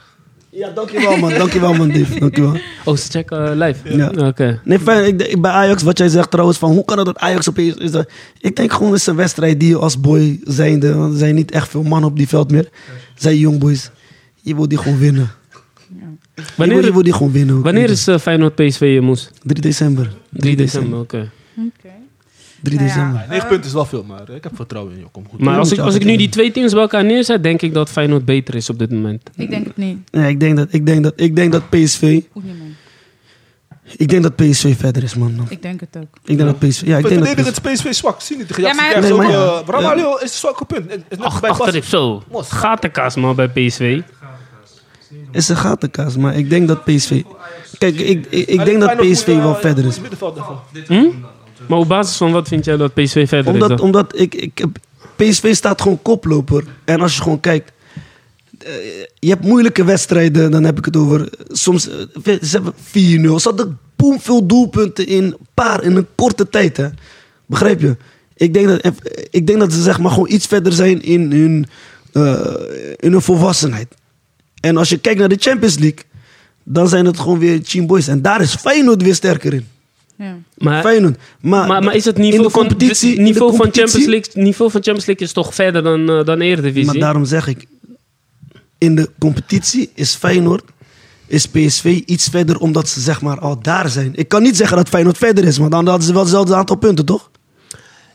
D: Ja, dankjewel man. dankjewel man, Dave. Dankjewel.
E: Oh, ze checken eh, live.
D: Ja.
E: Oké.
D: Nee, fijn. Ik, denk- bij Ajax, wat jij zegt trouwens, van hoe kan het dat Ajax opeens... Is dat, ik denk gewoon, het is een wedstrijd die je als boy zijnde... Want er zijn niet echt veel mannen op die veld meer. Het zijn young boys. Je wil die gewoon winnen. Wanneer, je, wil, je
E: Wanneer,
D: wil die gewoon winnen. ook.
E: wanneer is eh, Feyenoord PSV je moes?
D: 3 december.
E: 3 december, oké.
B: Oké.
D: 3
B: Nou ja.
D: december.
C: 9 punten is wel veel, maar eh, ik heb vertrouwen in je. Kom goed.
E: Maar als ik,
D: moet
E: als ik nu
D: altijd
E: die twee teams bij elkaar neerzet, denk ik dat Feyenoord beter is op dit moment.
B: Ik denk het niet.
D: Ja, ik, denk dat, ik, denk dat, ik denk dat PSV...
B: Ook niet, man.
D: Ik denk dat PSV verder is, man.
B: Ik denk het ook.
D: Ik denk dat PSV... Ja, ik denk dat
C: Verdedig het
D: PSV...
C: PSV zwak. Zie niet de reactie.
B: maar-
C: Ja, maar,
D: Nee, maar ja.
C: Ramalho is een zwakke punt. Het- het is net
E: Ach,
C: bij Bas.
E: achterin, zo.
C: Mos.
E: Gatenkaas man bij PSV.
D: is een gatenkaas, maar ik denk dat PSV... Kijk, ik, ik, ik denk dat
C: Feyenoord moet,
D: PSV wel
C: eh,
D: verder is.
C: moet middenveld daarvan.
E: Hm? Maar op basis van wat vind jij dat PSV verder is
D: Omdat,
E: dan?
D: omdat ik, ik, PSV staat gewoon koploper. En als je gewoon kijkt. eh, je hebt moeilijke wedstrijden, dan heb ik het over. Soms eh, we- ze hebben 4-0. Er zaten boem veel doelpunten in. een Paar in een korte tijd, hè? Begrijp je? Ik denk dat, eh, ik denk dat ze zeg maar gewoon iets verder zijn in hun, eh, in hun volwassenheid. En als je kijkt naar de Champions League, dan zijn het gewoon weer team boys. En daar is Feyenoord weer sterker in.
B: Ja.
E: Maar,
D: Feyenoord. Maar,
E: maar, maar is het
D: in
E: niveau,
D: de
E: van,
D: competitie,
E: het niveau,
D: in de
E: van
D: competitie-
E: Champions League, niveau van Champions League is toch verder dan, eh, dan Eredivisie?
D: Maar daarom zeg ik, in de competitie is Feyenoord, is PSV iets verder omdat ze zeg maar al daar zijn. Ik kan niet zeggen dat Feyenoord verder is, want dan hadden ze wel hetzelfde aantal punten, toch?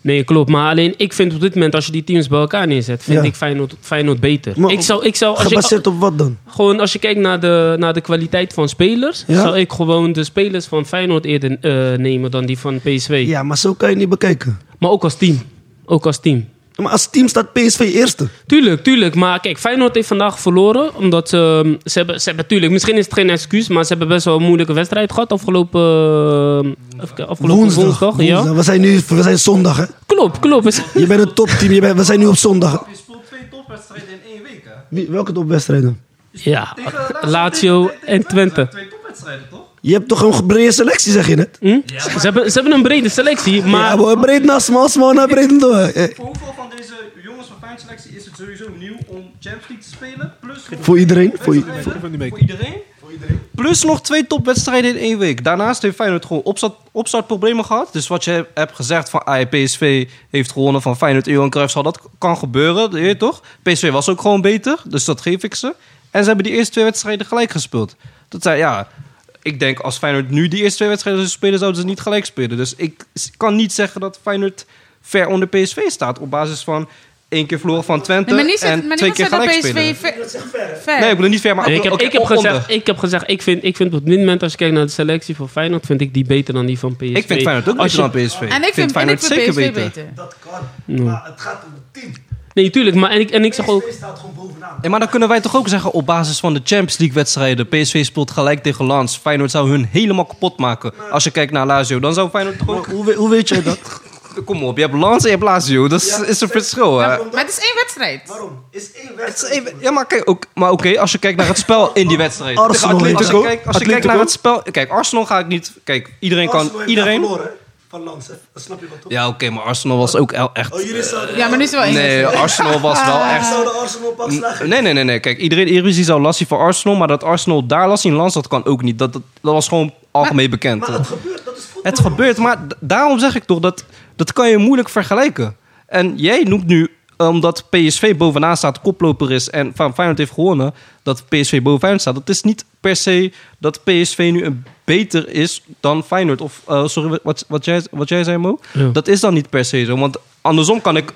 E: Nee, klopt. Maar alleen ik vind op dit moment, als je die teams bij elkaar neerzet, vind
D: Ja.
E: ik Feyenoord, Feyenoord beter.
D: Maar
E: ik zou, ik zou, als je,
D: Gebaseerd op wat dan?
E: Gewoon als je kijkt naar de, naar de kwaliteit van spelers,
D: Ja?
E: zou ik gewoon de spelers van Feyenoord eerder eh, nemen dan die van PSV.
D: Ja, maar zo kan je niet bekijken.
E: Maar ook als team. Ook als team.
D: Maar als team staat PSV eerste.
E: Tuurlijk, tuurlijk. Maar kijk, Feyenoord heeft vandaag verloren. Omdat ze, ehm, ze, hebben, ze hebben, tuurlijk, misschien is het geen excuus, maar ze hebben best wel een moeilijke wedstrijd gehad afgelopen, eh, even- afgelopen woensdag. ja?
D: Woensdag. We zijn nu we zijn zondag, hè?
E: Klopt, klopt. Is-
D: Je bent een topteam, je bent, we zijn nu op zondag.
F: Je speelt twee topwedstrijden in één week, hè?
D: Wie, welke topwedstrijden?
E: Ja, Lazio en Twente.
F: Twee topwedstrijden, toch?
D: Je hebt toch een brede selectie, zeg je net?
E: Hm? Ze, hebben, ze hebben een brede selectie,
D: Ja,
E: maar
D: maar breed naar smal, smal naar breed door. Eh,
F: Voor hoeveel van deze jongens van fijn selectie is het sowieso nieuw om Champions League te spelen? Plus nog-
D: Voor iedereen? Voor i-
F: Voor iedereen? Voor iedereen. Plus nog twee topwedstrijden in één week. Daarnaast heeft Feyenoord gewoon opstart, opstartproblemen gehad. Dus wat je hebt gezegd van ah, PSV heeft gewonnen van Feyenoord, Johan Cruijffsal. Dat kan gebeuren, weet je toch? PSV was ook gewoon beter, dus dat geef ik ze. En ze hebben die eerste twee wedstrijden gelijk gespeeld. Dat zijn, ja... Ik denk als Feyenoord nu die eerste twee wedstrijden zou spelen, zouden ze niet gelijk spelen. Dus ik s- kan niet zeggen dat Feyenoord ver onder PSV staat. Op basis van één keer verloren van Twente
B: Nee, maar niet zo,
F: en
B: maar
F: twee
B: niemand zei
F: keer
B: dat
F: gelijk
B: PSV
F: spelen.
B: ver.
F: Nee, ik bedoel niet ver, maar
E: Nee, ik, heb,
F: oké,
E: ik, heb
F: onder.
E: gezegd, ik heb gezegd, ik vind, ik vind op dit moment, als je kijkt naar de selectie van Feyenoord, vind ik die beter dan die van PSV.
F: Ik vind Feyenoord ook
E: Als
F: beter
E: je-
F: dan PSV.
B: En ik vind, en ik
F: Feyenoord
B: vind PSV beter.
D: Dat kan,
E: Ja.
C: Ah,
D: maar het gaat om het team.
E: Nee, tuurlijk, maar en ik, en ik zeg ook...
D: PSV staat gewoon bovenaan.
F: Ja, maar dan kunnen wij toch ook zeggen op basis van de Champions League wedstrijden. PSV speelt gelijk tegen Lans. Feyenoord zou hun helemaal kapot maken. Als je kijkt naar Lazio, dan zou Feyenoord toch ook...
D: Hoe, we- hoe weet jij dat?
F: Kom op, je hebt Lans en je hebt Lazio. Dat is, is een verschil, hè?
B: Maar het is één wedstrijd.
D: Waarom? Is één
F: Het is even- Ja, maar kijk, ook, maar oké, als je kijkt naar het spel in die wedstrijd.
D: Arsenal
F: Tegen Atletico.
D: heeft-
F: Als je kijkt, als je kijkt
C: Atletico?
F: naar het spel... Kijk, Arsenal ga ik niet... Kijk, iedereen kan... Iedereen...
D: van Lansen. Dat snap je wel toch?
F: Ja, oké, maar Arsenal was ook el- echt...
D: jullie zouden...
B: Ja, maar nu is het wel één
F: Nee,
B: wedstrijd.
F: Arsenal was wel echt...
D: Arsenal pas
F: Nee, nee, nee, nee. Kijk, iedereen, iedereen die zou lastig voor Arsenal, maar dat Arsenal daar last in lans, dat kan ook niet. Dat, dat, dat was gewoon algemeen bekend. het,
D: gebeurt, dat is voetbal.
F: gebeurt, maar d- daarom zeg ik toch dat dat kan je moeilijk vergelijken. En jij noemt nu omdat PSV bovenaan staat, koploper is en van Feyenoord heeft gewonnen, dat PSV bovenaan staat. Dat is niet per se dat PSV nu een beter is dan Feyenoord. Of eh, sorry, wat, wat, jij, wat jij zei, Mo?
E: Ja.
F: Dat is dan niet per se zo, want andersom kan ik.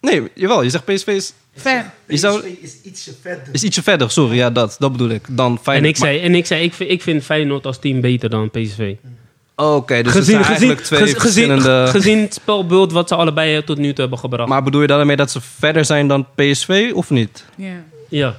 F: Nee, jawel, je zegt PSV is
B: Ver.
F: je zou-
D: is ietsje verder.
F: is ietsje verder, sorry. Ja, dat, dat bedoel ik. Dan
E: En
F: Feyenoord.
E: ik zei, en ik, zei ik, vind, ik vind Feyenoord als team beter dan PSV.
F: Maar- Oké, dus het zijn eigenlijk twee
E: gez- gezien,
F: verschillende...
E: gezien het spelbeeld wat ze allebei eh, tot nu toe hebben gebracht.
F: maar bedoel je daarmee dat ze verder zijn dan PSV of niet?
B: Ja.
E: ja.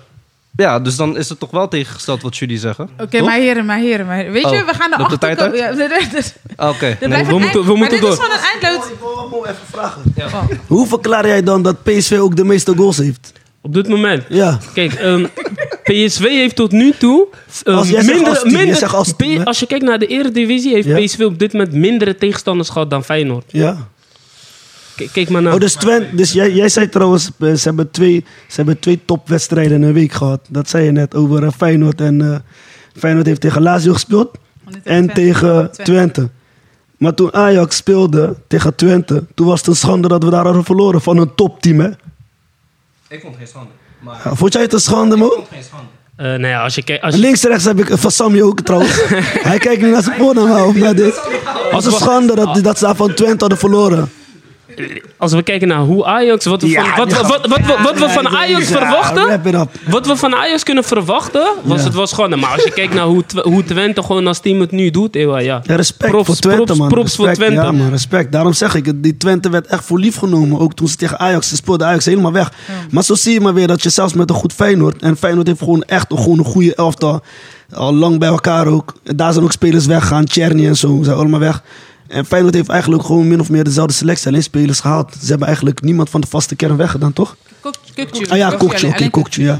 F: Ja, dus dan is het toch wel tegengesteld wat jullie zeggen.
B: Oké,
F: Toch?
B: mijn heren, mijn heren, mijn heren. Weet je,
F: Oh,
B: we gaan
F: loopt de
B: erachter
F: tijd uit?
B: komen. Ja, er- er- er-
F: Ah, Oké.
B: er
F: nee.
B: blijft
E: we
B: een
E: moeten-
B: eind-
E: we
B: maar
E: moeten
B: dit is
E: door.
B: gewoon een eindloos...
D: Ik wil wel even vragen. Hoe verklaar jij dan dat PSV ook de meeste goals heeft?
E: Op dit moment.
D: Ja.
E: Kijk, ehm, PSV heeft tot nu toe ehm,
D: Als jij zegt
E: minder.
D: als team, jij
E: minder
D: zegt als
E: P-
D: team, hè?
E: als je kijkt naar de Eredivisie, heeft
D: Ja.
E: PSV op dit moment mindere tegenstanders gehad dan Feyenoord.
D: Ja.
E: K- kijk maar naar.
D: Oh, dus Twen, dus jij, jij zei trouwens, eh, ze hebben, twee, ze hebben twee topwedstrijden in een week gehad. Dat zei je net over eh, Feyenoord. En eh, Feyenoord heeft tegen Lazio gespeeld en tegen Twente. Maar toen Ajax speelde tegen Twente, toen was het een schande dat we daar hadden verloren van een topteam, hè?
F: Ik vond geen schande. Maar
D: Ja, Vond jij het een schande, man?
F: geen schande.
E: Eh, nou ja, als je kijkt. Als je-
D: Links en rechts heb ik van Sammy ook trouwens. Hij kijkt nu naar zijn porno of naar dit. Als een schande
E: Oh.
D: dat, dat ze daar van Twente hadden verloren.
E: Als we kijken naar hoe Ajax, wat we van, wat, wat, wat, wat, wat we van Ajax verwachten,
D: Wrap it up.
E: wat we van Ajax kunnen verwachten, was
D: Ja.
E: het was gewoon. Maar als je kijkt naar hoe, Tw- hoe Twente gewoon als team het nu doet, eeuw, ja.
D: Ja, respect
E: Props-
D: voor Twente,
E: props-
D: man.
E: props voor
D: Respect,
E: Twente.
D: Ja, man, respect. Daarom zeg ik, het, die Twente werd echt voor lief genomen. Ook toen ze tegen Ajax, ze speelde Ajax helemaal weg. Maar zo zie je maar weer dat je zelfs met een goed Feyenoord... en Feyenoord heeft gewoon echt een, gewoon een goede elftal. Al lang bij elkaar ook. En Daar zijn ook spelers weggegaan. Tjerni en zo, zijn allemaal weg. En Feyenoord heeft eigenlijk gewoon min of meer dezelfde selectie. Alleen spelers gehaald. Ze hebben eigenlijk niemand van de vaste kern weggedaan, toch?
B: Kokje.
D: Ah ja, Kokje, oké, Kokje, ja.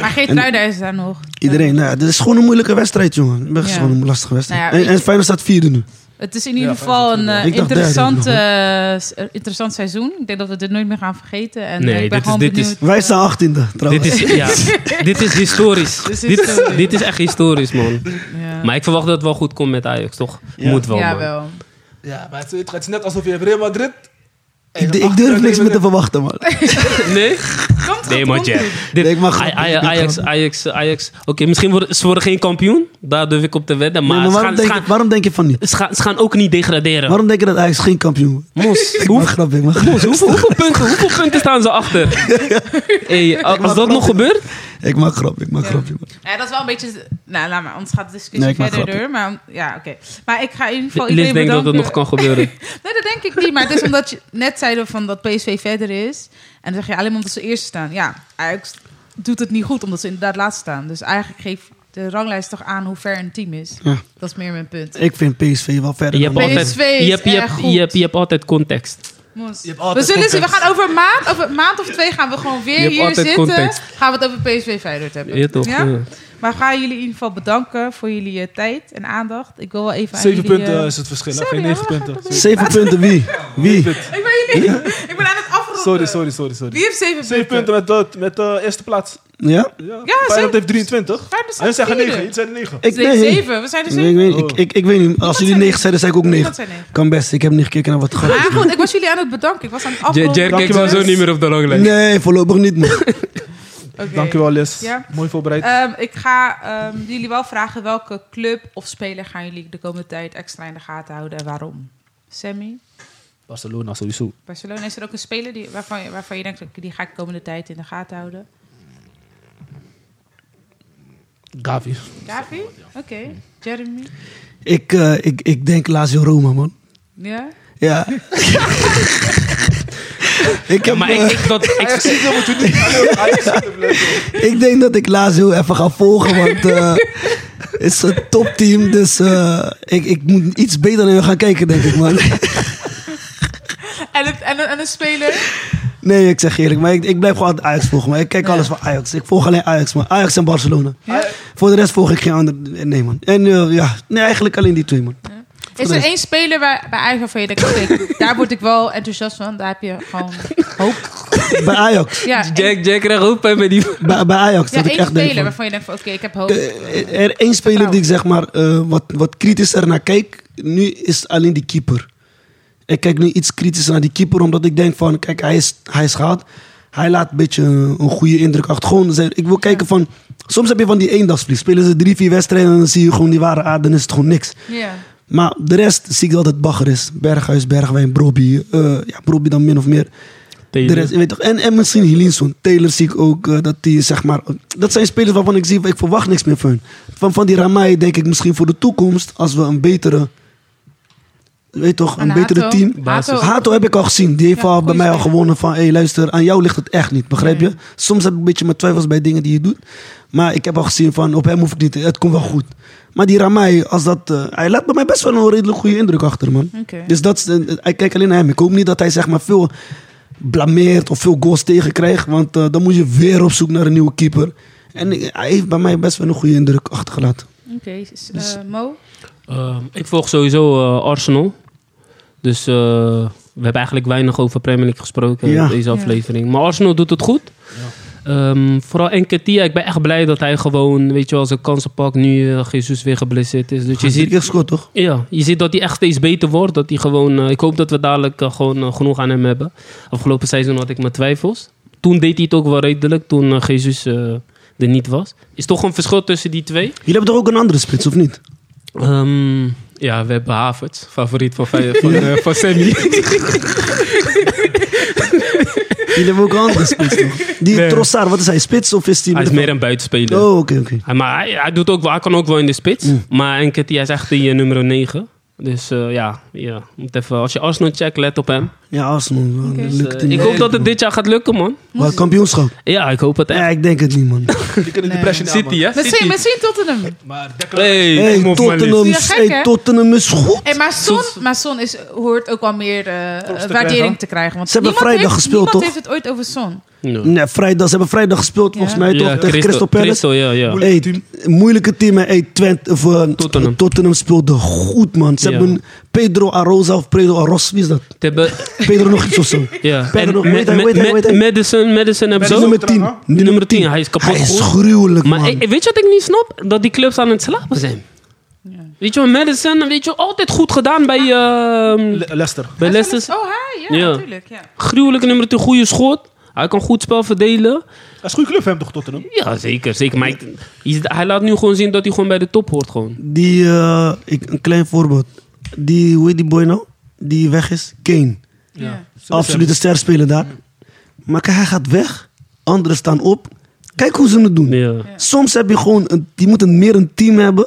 B: Maar geen Truida is daar nog.
D: Iedereen, nou ja, dit is gewoon een moeilijke wedstrijd, jongen. Het is
B: Ja.
D: gewoon een lastige wedstrijd.
B: Nou ja,
D: en, en
B: weet je-
D: Feyenoord staat vierde nu.
B: Het is in ieder geval een eh,
D: Ik dacht
B: interessant,
D: derde
B: eh, s- eh, interessant seizoen. Ik denk dat we dit nooit meer gaan vergeten. En eh,
E: Nee,
B: ik
E: dit
B: ben
E: is-
B: gewoon
E: dit is-
B: benieuwd.
D: Wij staan achttiende, trouwens.
E: Dit is, ja, dit is historisch.
B: Dit is
E: Dit,
B: historisch.
E: dit is echt historisch, man.
B: Ja.
E: Maar ik verwacht dat het wel goed komt met Ajax, toch?
D: Ja.
E: Moet wel,
B: ja,
E: man.
B: wel.
C: Ja, maar het, het is net alsof je hebt Real Madrid...
D: Ik, ik durf niks meer te verwachten, man.
E: Nee?
B: Komt
E: Nee,
B: goed,
E: maar
B: komt
E: Jack.
B: goed.
E: Dit-
D: Nee, ik mag
E: Aj-
D: grappen,
E: Aj-
D: ik mag
E: Ajax,
D: grappen.
E: Ajax, Ajax. Oké, misschien worden ze worden geen kampioen. Daar durf ik op te wedden. Maar,
D: Nee, maar
E: ze,
D: waarom,
E: gaan,
D: denk,
E: ze, gaan,
D: waarom denk je van niet?
E: ze, gaan, ze gaan ook niet degraderen.
D: Waarom denk je dat Ajax geen kampioen wordt?
E: Mos,
D: Ik
E: hoe-
D: maak grap, ik maak grap.
E: hoeveel, hoeveel punten, hoeveel punten staan ze achter? Hey, als dat nog gebeurt...
D: Ik maak grap, ik maak
B: Ja.
D: grap. jongen.
B: Ja, dat is wel een beetje... Nou, laat maar. Anders gaat de
D: Nee,
B: discussie
D: ik maak
B: verder
D: grappen.
B: door. Maar ja, oké. Maar ik ga in ieder geval
E: Liz
B: iedereen
E: denkt dat
B: bedanken.
E: dat nog kan gebeuren.
B: Nee, dat denk ik niet. Maar het is omdat je net zeiden van dat PSV verder is. En dan zeg je alleen maar omdat ze eerst staan. Ja, Ajax doet het niet goed omdat ze inderdaad laatst staan. Dus eigenlijk geeft de ranglijst toch aan hoe ver een team is.
D: Ja.
B: Dat is meer mijn punt.
D: Ik vind PSV wel verder.
E: Je hebt
D: dan-
B: PSV
E: altijd,
B: is
E: je hebt, je,
B: erg
E: hebt,
B: goed.
E: je, hebt, je hebt altijd context.
B: Mos.
C: Je hebt
B: We
C: altijd
B: zullen zien. We
C: context.
B: gaan over een maand, over een maand of twee gaan we gewoon
E: Je
B: weer
E: hebt
B: hier
E: altijd
B: zitten.
E: context.
B: Gaan we het over PSV Feyenoord hebben.
E: Ja, toch?
B: Ja?
E: Ja.
B: Maar ga jullie in ieder geval bedanken voor jullie eh, tijd en aandacht. Ik wil wel even
C: Zeven
B: aan jullie...
C: punten
B: eh,
C: is het verschil, hè?
B: sorry,
C: geen
B: hoor,
C: negen
B: dat
C: punten.
B: gaat
D: Zeven punten, wie? Wie?
B: eh, Ik ben jullie... Ik ben aan het afronden.
C: Sorry, sorry, sorry. sorry.
B: Wie heeft zeven punten?
C: Zeven punten met, de- met de eerste plaats.
D: Ja?
C: Ja,
B: zeven.
C: Feyenoord heeft 23.
B: Feyenoord staat
C: Hij zeggen
B: vierde.
C: 9, jullie zeggen 9.
D: Ik,
B: Nee, zeven. We zijn er
D: Ik,
B: zeven.
D: ik, weet-
E: Oh.
D: ik, ik, ik weet niet. Als jullie
B: zei
D: negen zeiden, zei ik ook
B: Niemand
D: negen.
B: zei negen.
D: Kan best, ik heb niet gekeken naar wat het gaat.
B: Maar Ah, goed, ik was jullie aan het bedanken. Ik was aan het
E: Jer
B: afronden.
E: Jer kijkt
C: Dankjewel,
E: sowieso
C: Liz.
E: niet meer op de ranglijst.
D: Nee, voorlopig niet, man.
B: Oké.
C: Dankjewel, Les.
B: Ja.
C: Mooi voorbereid.
B: Ehm, ik ga ehm, jullie wel vragen welke club of speler gaan jullie de komende tijd extra in de gaten houden en waarom? Sammy,
C: Barcelona sowieso.
B: Barcelona, is er ook een speler die, waarvan, je- waarvan je denkt, die ga ik de komende tijd in de gaten houden?
C: Gavi.
B: Gavi? Oké. Jeremy?
D: Ik, eh, ik, ik denk Lazio Roma, man.
B: Ja?
D: Ja. ik, heb,
E: Maar
D: eh,
E: ik, ik, dat, ik,
D: Ik denk dat ik Lazio even ga volgen, want eh, het is een topteam. Dus eh, ik, ik moet iets beter naar hun gaan kijken, denk ik, man.
B: En, het, en, een- en een speler?
D: Nee, ik zeg eerlijk, maar ik, ik blijf gewoon altijd Ajax volgen. Maar ik kijk alles van Ajax. Ik volg alleen Ajax, man. Ajax en Barcelona. Voor de rest volg ik geen ander. Nee, man. En eh, ja, nee, eigenlijk alleen die twee, man.
B: Is er één speler waar, bij Ajax waarvan je denkt, oké, daar word ik wel enthousiast van. Daar heb je gewoon hoop.
D: Bij Ajax.
B: Ja, één-
E: Jack, Jack krijgt ook pijn bij die...
D: Bij, bij Ajax.
B: ja,
D: dat ik
B: één
D: echt denk
B: speler
D: van-
B: waarvan je denkt, van, oké, ik heb hoop.
D: Eh, er één speler die ik zeg maar eh, wat, wat kritischer naar kijk, nu is alleen die keeper. Ik kijk nu iets kritischer naar die keeper, omdat ik denk van, kijk, hij is, hij is gehaald. Hij laat een beetje een, een goede indruk achter. Gewoon, zijn- ik wil kijken van, soms heb je van die eendagsvlieg. Spelen ze drie, vier wedstrijden en dan zie je gewoon die ware aarde, dan is het gewoon niks.
B: Ja.
D: Maar de rest zie ik dat het bagger is. Berghuis, Bergwijn, Brobby. eh, ja, Brobby dan min of meer. De rest, je weet toch, en, en misschien Hilinson. Taylor zie ik ook, eh, dat die zeg maar... Dat zijn spelers waarvan ik zie, ik verwacht niks meer van hun. Van, van die Ramai denk ik misschien voor de toekomst, als we een betere weet toch, een
B: Aan
D: betere
B: Hato.
D: team.
B: Basis. Hato.
D: Hato heb ik al gezien. Die heeft
B: Ja,
D: al bij
B: goeie
D: mij al
B: speler.
D: gewonnen van... Hé, hey, luister, aan jou ligt het echt niet. Begrijp je? Soms heb ik een beetje mijn twijfels bij dingen die je doet. Maar ik heb al gezien van... Op hem hoef ik niet. Het komt wel goed. Maar die Ramai, als dat... eh, hij laat bij mij best wel een redelijk goede indruk achter, man.
B: Oké.
D: Dus dat is, eh, ik kijk alleen naar hem. Ik hoop niet dat hij zeg maar veel blameert of veel goals tegenkrijgt. Want eh, dan moet je weer op zoek naar een nieuwe keeper. En eh, hij heeft bij mij best wel een goede indruk achtergelaten.
B: Oké, s-
D: Dus
B: eh, Mo?
E: Ehm, ik volg sowieso eh, Arsenal. Dus eh, we hebben eigenlijk weinig over Premier League gesproken
D: Ja.
E: in deze aflevering. Maar Arsenal doet het goed. Ehm, vooral Enketia, ik ben echt blij dat hij gewoon, weet je wel, zijn kansen pakt. Nu eh, Jesus weer geblesseerd is. Dus je ziet,
D: echt schot, toch?
E: ja, je ziet dat hij echt steeds beter wordt. Dat hij gewoon, eh, ik hoop dat we dadelijk eh, gewoon eh, genoeg aan hem hebben. Afgelopen seizoen had ik mijn twijfels. Toen deed hij het ook wel redelijk, toen eh, Jesus eh, er niet was. Is toch een verschil tussen die twee?
D: Jullie hebben toch ook een andere spits, of niet?
E: Ehm, ja, we hebben Havertz, favoriet van, Fey- van, eh, van Sammy.
D: Jullie hebben ook een andere spits, toch? Die
E: Nee.
D: Trossard, wat is hij? Spits of is hij...
E: Hij is meer een buitenspeler.
D: Oh, oké, oké.
E: Hij- Maar hij, hij doet ook, wel- hij kan ook wel in de spits. Maar Enketia hij is echt die eh, nummer 9. Dus eh, ja, ja moet even, als je Arsenal checkt, let op hem.
D: Ja, Arsenal. wel een
B: Oké.
E: Dus,
D: leuke
E: eh,
D: team.
E: ik hoop dat het dit jaar gaat lukken, man.
D: Maar kampioenschap?
E: Ja, ik hoop het echt.
D: Ja, ik denk het niet, man.
C: Die kunnen de pressie niet aan,
E: City, hè?
B: Misschien,
E: City.
B: misschien Tottenham.
C: Maar
E: Hey,
D: Hey,
E: kom op, man.
D: Tottenham,
B: Ja, gek,
D: hey,
B: hè?
D: Tottenham is goed.
B: Hey, maar Son, maar Son is, hoort ook wel meer eh,
C: krijgen.
B: waardering te krijgen. Want
D: Ze hebben
B: niemand
D: vrijdag
B: heeft,
D: gespeeld,
B: niemand
D: toch?
B: heeft het ooit over Son.
E: Ja.
D: Nee, vrijdag, ze hebben vrijdag gespeeld, volgens
B: Ja.
D: mij, toch?
E: Ja,
D: tegen Crystal
E: Crystal-
D: Palace.
E: Crystal, ja, ja.
D: Hey, t- moeilijke team. hè. Hey, Twente, of, eh,
E: Tottenham.
D: Tottenham speelde goed, man. Ze
E: Ja.
D: hebben Pedro Arroza of Pedro Arros. Wie is dat?
E: Ze hebben-
D: Pedro nog iets of zo.
E: Ja.
D: Pedro nog.
E: En
D: Weet hij,
E: Ma-
D: weet hij,
E: Ma-
D: weet hij.
E: Madison, Madison hebben
D: Hij
E: ze
D: is
E: ook.
D: nummer 10.
E: Die nummer 10, hij is kapot
D: Hij is
E: goed.
D: gruwelijk,
E: Maar
D: man.
E: ik- weet je wat ik niet snap? Dat die clubs aan het slapen zijn. Weet je wel, Madison, weet je wel, altijd goed gedaan bij, ehm
C: Le- Eh, Leicester.
E: bij
B: Hij is
E: Leicester.
B: wel eens- Oh, hij? Ja,
E: Ja.
B: natuurlijk. Ja.
E: Gruwelijke nummer 10, goede schot. Hij kan goed spel verdelen.
C: Dat is een goede club, hem toch, Tottenham?
E: Ja, zeker, zeker. Maar ik- hij- hij laat nu gewoon zien dat hij gewoon bij de top hoort. Gewoon.
D: Die, eh, ik, een klein voorbeeld. Die, hoe heet die boy nou? Die weg is? Kane.
B: Ja.
D: Absolute ster spelen daar. Maar kijk, hij gaat weg. Anderen staan op. Kijk hoe ze het doen.
E: Ja.
D: Soms heb je gewoon, een, je moet een, meer een team hebben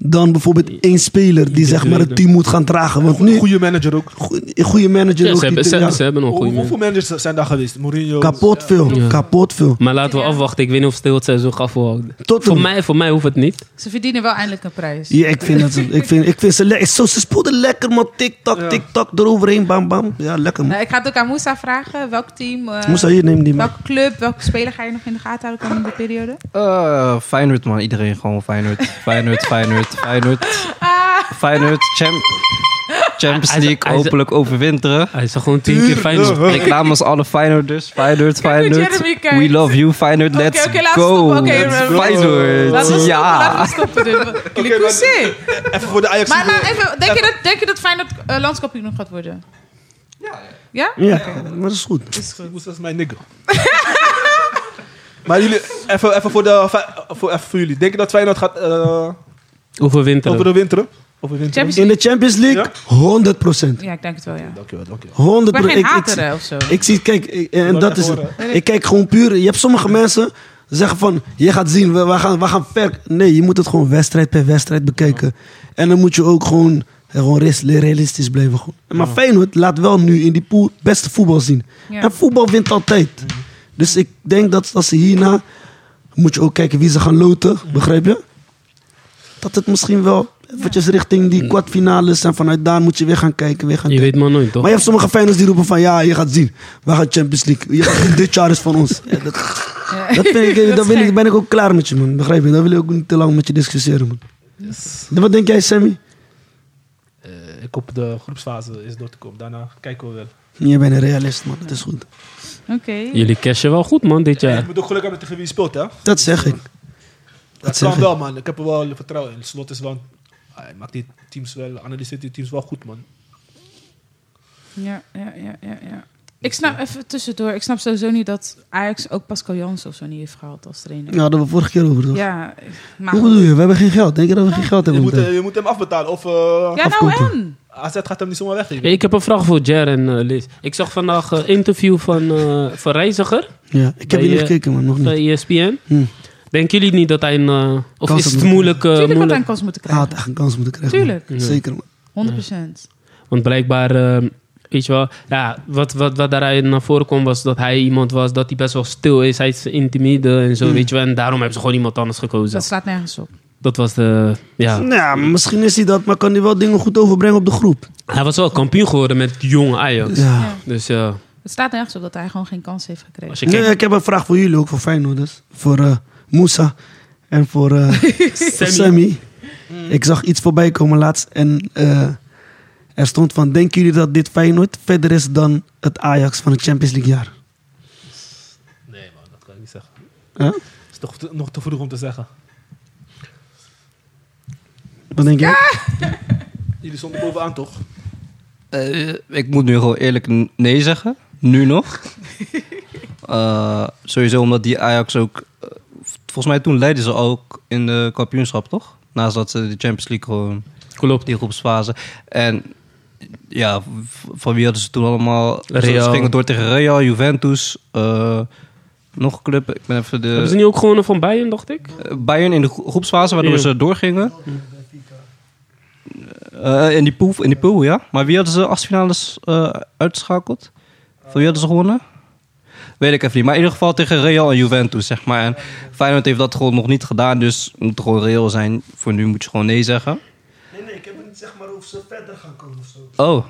D: dan bijvoorbeeld één speler die zeg maar het team moet gaan dragen. Want nu,
C: Goede manager ook.
D: een goede manager
E: Ja,
D: ook
E: ze, hebben,
D: die-
E: ze,
D: ja,
E: ze hebben nog
C: Hoe-
E: goede
C: hoeveel
E: mensen.
C: managers zijn daar geweest? Mourinho.
D: kapot veel,
E: Ja.
D: kapot veel.
E: Maar laten we afwachten. Ik weet niet of Stil het seizoen gaat volhouden.
D: Tot
E: Voor mij, voor mij hoeft het niet.
B: Ze verdienen wel eindelijk een prijs.
D: Ja, ik vind, dat, ze- ik vind, ik vind ze lekker. Zo, ze speelden lekker, man. Tik-tak, tik-tak, eroverheen, bam, bam. Ja, lekker, man.
B: Nou, ik ga het ook aan Moussa vragen. Welk team, eh,
D: Moest hier nemen die man.
B: welke club, welke speler ga je nog in de gaten houden komende periode?
F: Eh Feyenoord, man. Iedereen gewoon Feyenoord. Feyenoord, Feyenoord, Feyenoord.
B: Ah,
F: Feyenoord, champ Champions
E: Hij- hij-
F: League,
E: hij-
F: hopelijk overwinteren.
E: Hij is toch gewoon tien keer fijn.
F: Ik laam ons alle Feyenoorders. Feyenoord,
B: hoe
F: Feyenoord.
B: Jeremy kijkt.
F: We love you, Feyenoord.
B: Oké,
F: Let's
B: oké, laten we
F: go.
B: stoppen. Oké,
F: Let's
B: we- we- Laten we
F: Feyenoord.
B: stoppen, laten
F: Ja.
B: we stoppen. dus. Jullie pousser.
C: Even voor de Ajax.
B: Maar, maar even, denk je dat, denk je dat Feyenoord eh, landskampioen gaat worden? Ja. Ja?
D: Ja, maar dat is goed.
B: Is goed.
C: Moest dat is mijn nigger. maar jullie, even, even, voor de, voor, even voor jullie. Denk je dat Feyenoord gaat eh
E: Overwinteren.
C: over de winter? Over de winter?
B: Champions
D: In de
B: League?
D: Champions League,
C: Ja.
D: 100%. 100%.
B: Ja, ik denk het wel, ja.
C: Dankjewel, dankjewel.
B: Ik ben geen
D: Ik- ik-
B: hater hè, of zo.
D: Ik zie, kijk, ik- en
C: Wil
D: dat
C: ik
D: is
C: even
D: het.
C: horen.
D: Ik kijk gewoon puur. Je hebt sommige mensen zeggen van, je gaat zien, we, we gaan, we gaan ver. Nee, je moet het gewoon wedstrijd per wedstrijd bekijken. En dan moet je ook gewoon, eh, gewoon res- realistisch blijven. gewoon. Maar Feyenoord laat wel nu in die pool beste voetbal zien.
B: Ja.
D: En voetbal wint altijd. Dus ik denk dat als ze hierna, moet je ook kijken wie ze gaan loten, begrijp je? Dat het misschien wel eventjes richting
C: Mm.
D: die kwartfinales en vanuit daar moet je weer gaan kijken, weer gaan
E: Je weet maar nooit, toch?
D: maar je hebt sommige fans die roepen van ja, je gaat zien. Wij gaan Champions League. Je gaat zien, dit jaar is van ons. Ja, dat, dat vind ik,
B: Dat
D: dat
B: is
D: ben, ik,
B: gek.
D: ben ik ook klaar met je man. Begrijp je? Daar wil ik ook niet te lang met je discussiëren man. Dus Wat denk jij Sammy?
C: Eh, ik hoop de groepsfase is door te komen. Daarna kijken we wel.
D: Je bent een realist man, dat is goed.
B: Oké.
E: Jullie cashen wel goed, man, dit
C: Je
E: jaar.
C: moet ook geluk hebben tegen wie je speelt, hè?
D: Dat zeg ik.
C: Dat
D: zeg
C: kan
D: ik.
C: wel, man. Ik heb er wel vertrouwen in. Slot is wel... Ah, Hij maakt die teams wel, analyseert die teams wel goed, man.
B: Ja, ja, ja, ja, ja. Ik snap even tussendoor. Ik snap sowieso niet dat Ajax ook Pascal Jansen of zo niet heeft gehaald als trainer.
D: Ja, hadden we vorige keer over toch?
B: Ja, maar
D: Hoe bedoel je? We hebben geen geld. Denk je dat we geen geld
C: Je
D: hebben?
C: moet,
D: meteen?
C: eh, je moet hem afbetalen of eh
B: Ja, nou
D: afkopen.
B: en?
C: AZ gaat hem niet zomaar weggeven.
E: Hey, Ik heb een vraag voor Jer en eh, Liz. Ik zag vandaag een interview van, eh, van Reiziger
D: Ja, ik heb
E: Bij,
D: hier niet
E: eh,
D: gekeken man, nog niet.
E: bij ESPN.
D: Hm.
E: Denken jullie niet dat hij een... eh, of
D: Kans had
E: is het
D: moeten
E: moeilijk... eh,
B: Tuurlijk had
D: Ah,
B: hij
E: moeilijk?
B: een kans moeten
D: Hij had
B: krijgen.
D: echt een kans moeten krijgen. man.
B: Tuurlijk.
D: Zeker man.
B: 100 procent. Dus
E: Want blijkbaar, ehm, weet je wel, ja, wat, wat, wat daaruit naar voren kwam was dat hij iemand was, dat hij best wel stil is. Hij is intimide en zo,
D: Hm.
E: weet je wel. En daarom hebben ze gewoon iemand anders gekozen.
B: Dat slaat nergens op.
E: Dat was de, ja.
D: Nou, ja, misschien is hij dat, maar kan hij wel dingen goed overbrengen op de groep.
E: Hij was wel kampioen geworden met jonge Ajax.
D: Ja.
E: Dus ja,
B: Het slaat nergens op dat hij gewoon geen kans heeft gekregen.
E: als je kijkt,
D: Nee, ik heb een vraag voor jullie ook, voor Feyenoorders. Voor eh Moussa en voor eh, voor
E: Sammy.
D: Sammy. Ik zag iets voorbij komen laatst en eh, er stond van... Denken jullie dat dit Feyenoord verder is dan het Ajax van het Champions League jaar?
C: Nee, man, dat kan ik niet zeggen.
D: Huh?
C: Het is toch te- nog te vroeg om te zeggen.
D: Wat denk je?
C: Jullie stonden bovenaan, toch?
F: Eh, ik moet nu gewoon eerlijk n- nee zeggen. Nu nog. Eh, sowieso omdat die Ajax ook... eh, volgens mij toen leidden ze ook in de kampioenschap, toch? Naast dat ze de Champions League gewoon...
E: klopt.
F: Die groepsfase. En ja, v- van wie hadden ze toen allemaal... Ze- Ze
E: Real.
F: gingen door tegen Real, Juventus... eh, nog een club, ik ben even de...
E: Hebben ze niet ook gewonnen van Bayern, dacht ik?
F: Eh, Bayern in de gro- groepsfase, waardoor
E: Ja.
F: ze doorgingen. Eh, in, die pool, in die pool, ja. Maar wie hadden ze als finales eh uitgeschakeld? Van wie hadden ze gewonnen? Weet ik even niet. Maar in ieder geval tegen Real en Juventus, zeg maar. En Feyenoord heeft dat gewoon nog niet gedaan, dus het moet gewoon reëel zijn. Voor nu moet je gewoon nee zeggen.
D: Nee, nee, ik heb het niet zeg maar of ze verder gaan komen of zo.
F: Oh,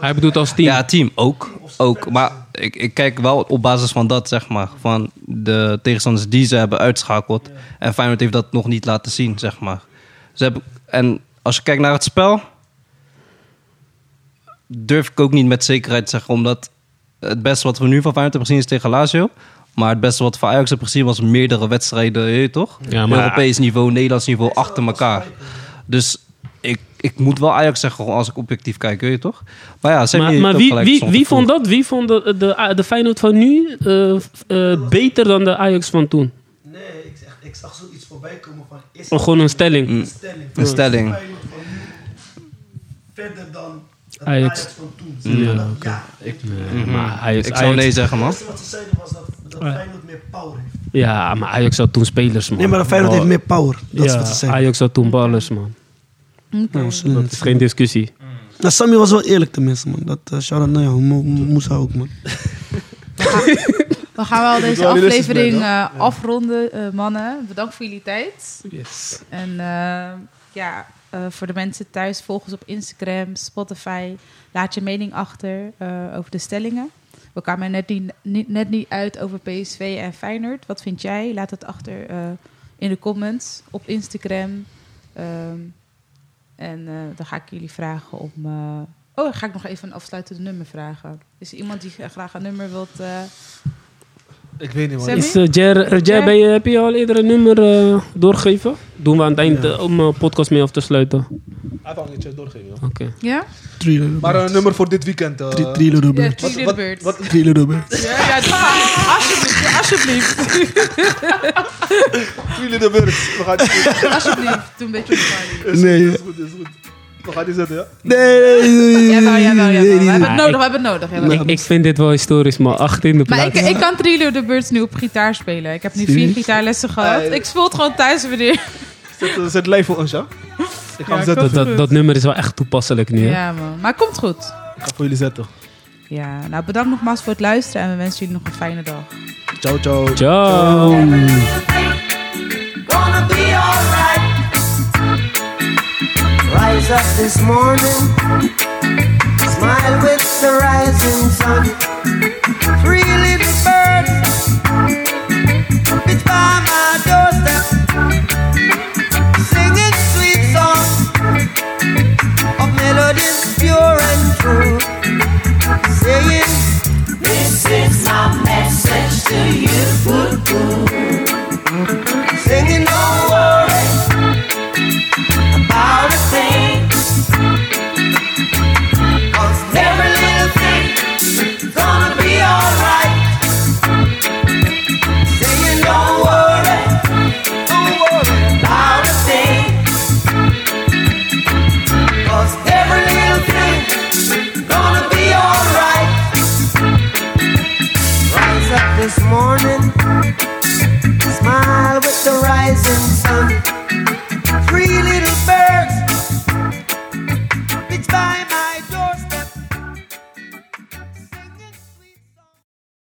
E: Hij bedoelt als team.
F: ja, team ook. ook. Maar ik, ik kijk wel op basis van dat, zeg maar. Van de tegenstanders die ze hebben uitschakeld. En Feyenoord heeft dat nog niet laten zien, zeg maar. Ze hebben, en als je kijkt naar het spel... durf ik ook niet met zekerheid te zeggen. Omdat het beste wat we nu van Feyenoord hebben gezien is tegen Lazio. Maar het beste wat we van Ajax hebben gezien was meerdere wedstrijden, je weet toch?
E: Ja, maar-
F: Europees niveau, Nederlands niveau, achter elkaar. Dus ik, ik moet wel Ajax zeggen gewoon als ik objectief kijk, weet je toch? Maar ja, Sammy
E: Maar,
F: heeft
E: maar
F: ook
E: wie,
F: gelijk,
E: wie,
F: stond
E: wie
F: te vroeg.
E: vond dat? Wie vond de, eh, de, de Feyenoord van nu eh, f- eh, beter dan de Ajax van toen?
D: Nee, ik, zeg, ik zag zoiets voorbij komen van... Is
E: Of gewoon een stelling.
F: Mm.
D: stelling.
F: Een stelling.
D: Verder dan het
E: Mm. Ajax. Ajax
D: van toen.
E: Ja, oké. Mm. Nee, maar Ajax,
F: Ik zou nee
E: Ajax-
F: zeggen, man.
D: wat ze zeiden was dat, dat Feyenoord meer power heeft.
E: Ja, maar Ajax had toen spelers, man.
D: Nee, maar Feyenoord heeft meer power. Dat is
E: Ja,
D: wat ze zeiden.
E: Ajax had toen ballers, man.
D: Nou, we zullen
E: Dat
D: het
E: is
D: zien.
E: geen discussie.
D: Nou, Sammy was wel eerlijk tenminste, man. Dat uh, shout-out naar jou. Mo- Mo- Moussa ook, man.
B: We gaan wel deze
C: wel realistisch
B: aflevering
C: blijven,
B: eh, afronden, eh, mannen. Bedankt voor jullie tijd. En eh, ja, eh, voor de mensen thuis, volg ons op Instagram, Spotify. Laat je mening achter eh, over de stellingen. We kwamen er net niet, niet- net niet uit over PSV en Feyenoord. Wat vind jij? Laat het achter eh, in de comments op Instagram. Ehm, en eh, dan ga ik jullie vragen om... eh, Oh, ga ik nog even een afsluitend nummer vragen. Is er iemand die graag een nummer wilt... eh,
C: Ik weet niet, man.
B: Sammy?
E: Is, eh, Jer, eh, Jer, ben je, heb je al eerder een nummer eh, doorgegeven? Doen we aan het eind eh, om een podcast mee af te sluiten. Oké.
C: Hij wou niet doorgeven, joh.
B: Ja?
D: Three little
C: Maar
D: birds.
C: een nummer voor dit weekend. eh,
D: Three- Three little
B: Ja,
D: birds.
B: Three Little Birds.
C: wat-
D: Three little birds.
B: Ja, ja, doe maar. alsjeblieft, ja, alsjeblieft.
C: Jullie de birds. We gaan die zetten.
B: Alsjeblieft, doe een beetje party.
D: Nee,
C: Is goed, is goed. We gaan die zetten, ja?
D: nee, nee,
C: Eh,
D: nee.
B: Jawel, jawel, jawel. We hebben het
E: niet.
B: nodig, we hebben het nodig. jawel.
E: Ik, ik vind dit wel historisch, maar
B: Maar
E: 18e plaats.
B: ik, ik kan Three Little Birds nu op gitaar spelen. Ik heb nu vier
D: Serieus?
B: gitaarlessen gehad.
C: Eh,
B: Ik speel het gewoon thuis weer.
C: Zet, eh, zet live voor ons, ja? Ik ga
B: Ja,
C: hem zetten.
E: dat, dat, dat nummer is wel echt toepasselijk nu. hè?
B: Ja, man. Maar komt goed.
C: Ik ga voor jullie zetten.
B: Ja, nou bedankt nogmaals voor het luisteren en we wensen jullie nog een fijne dag.
C: Ciao, ciao.
E: Ciao.
G: gonna be alright. Rise up this morning, smile with the rising sun. Three little birds, bit by my doorstep, singing sweet songs of melodies pure and true, saying. This is my message to you. Singing, don't worry about a thing. 'Cause every little thing is gonna be alright. Singing, don't worry, don't worry about a thing. 'Cause every little thing is gonna be alright. Rise up this morning smile with the rising sun.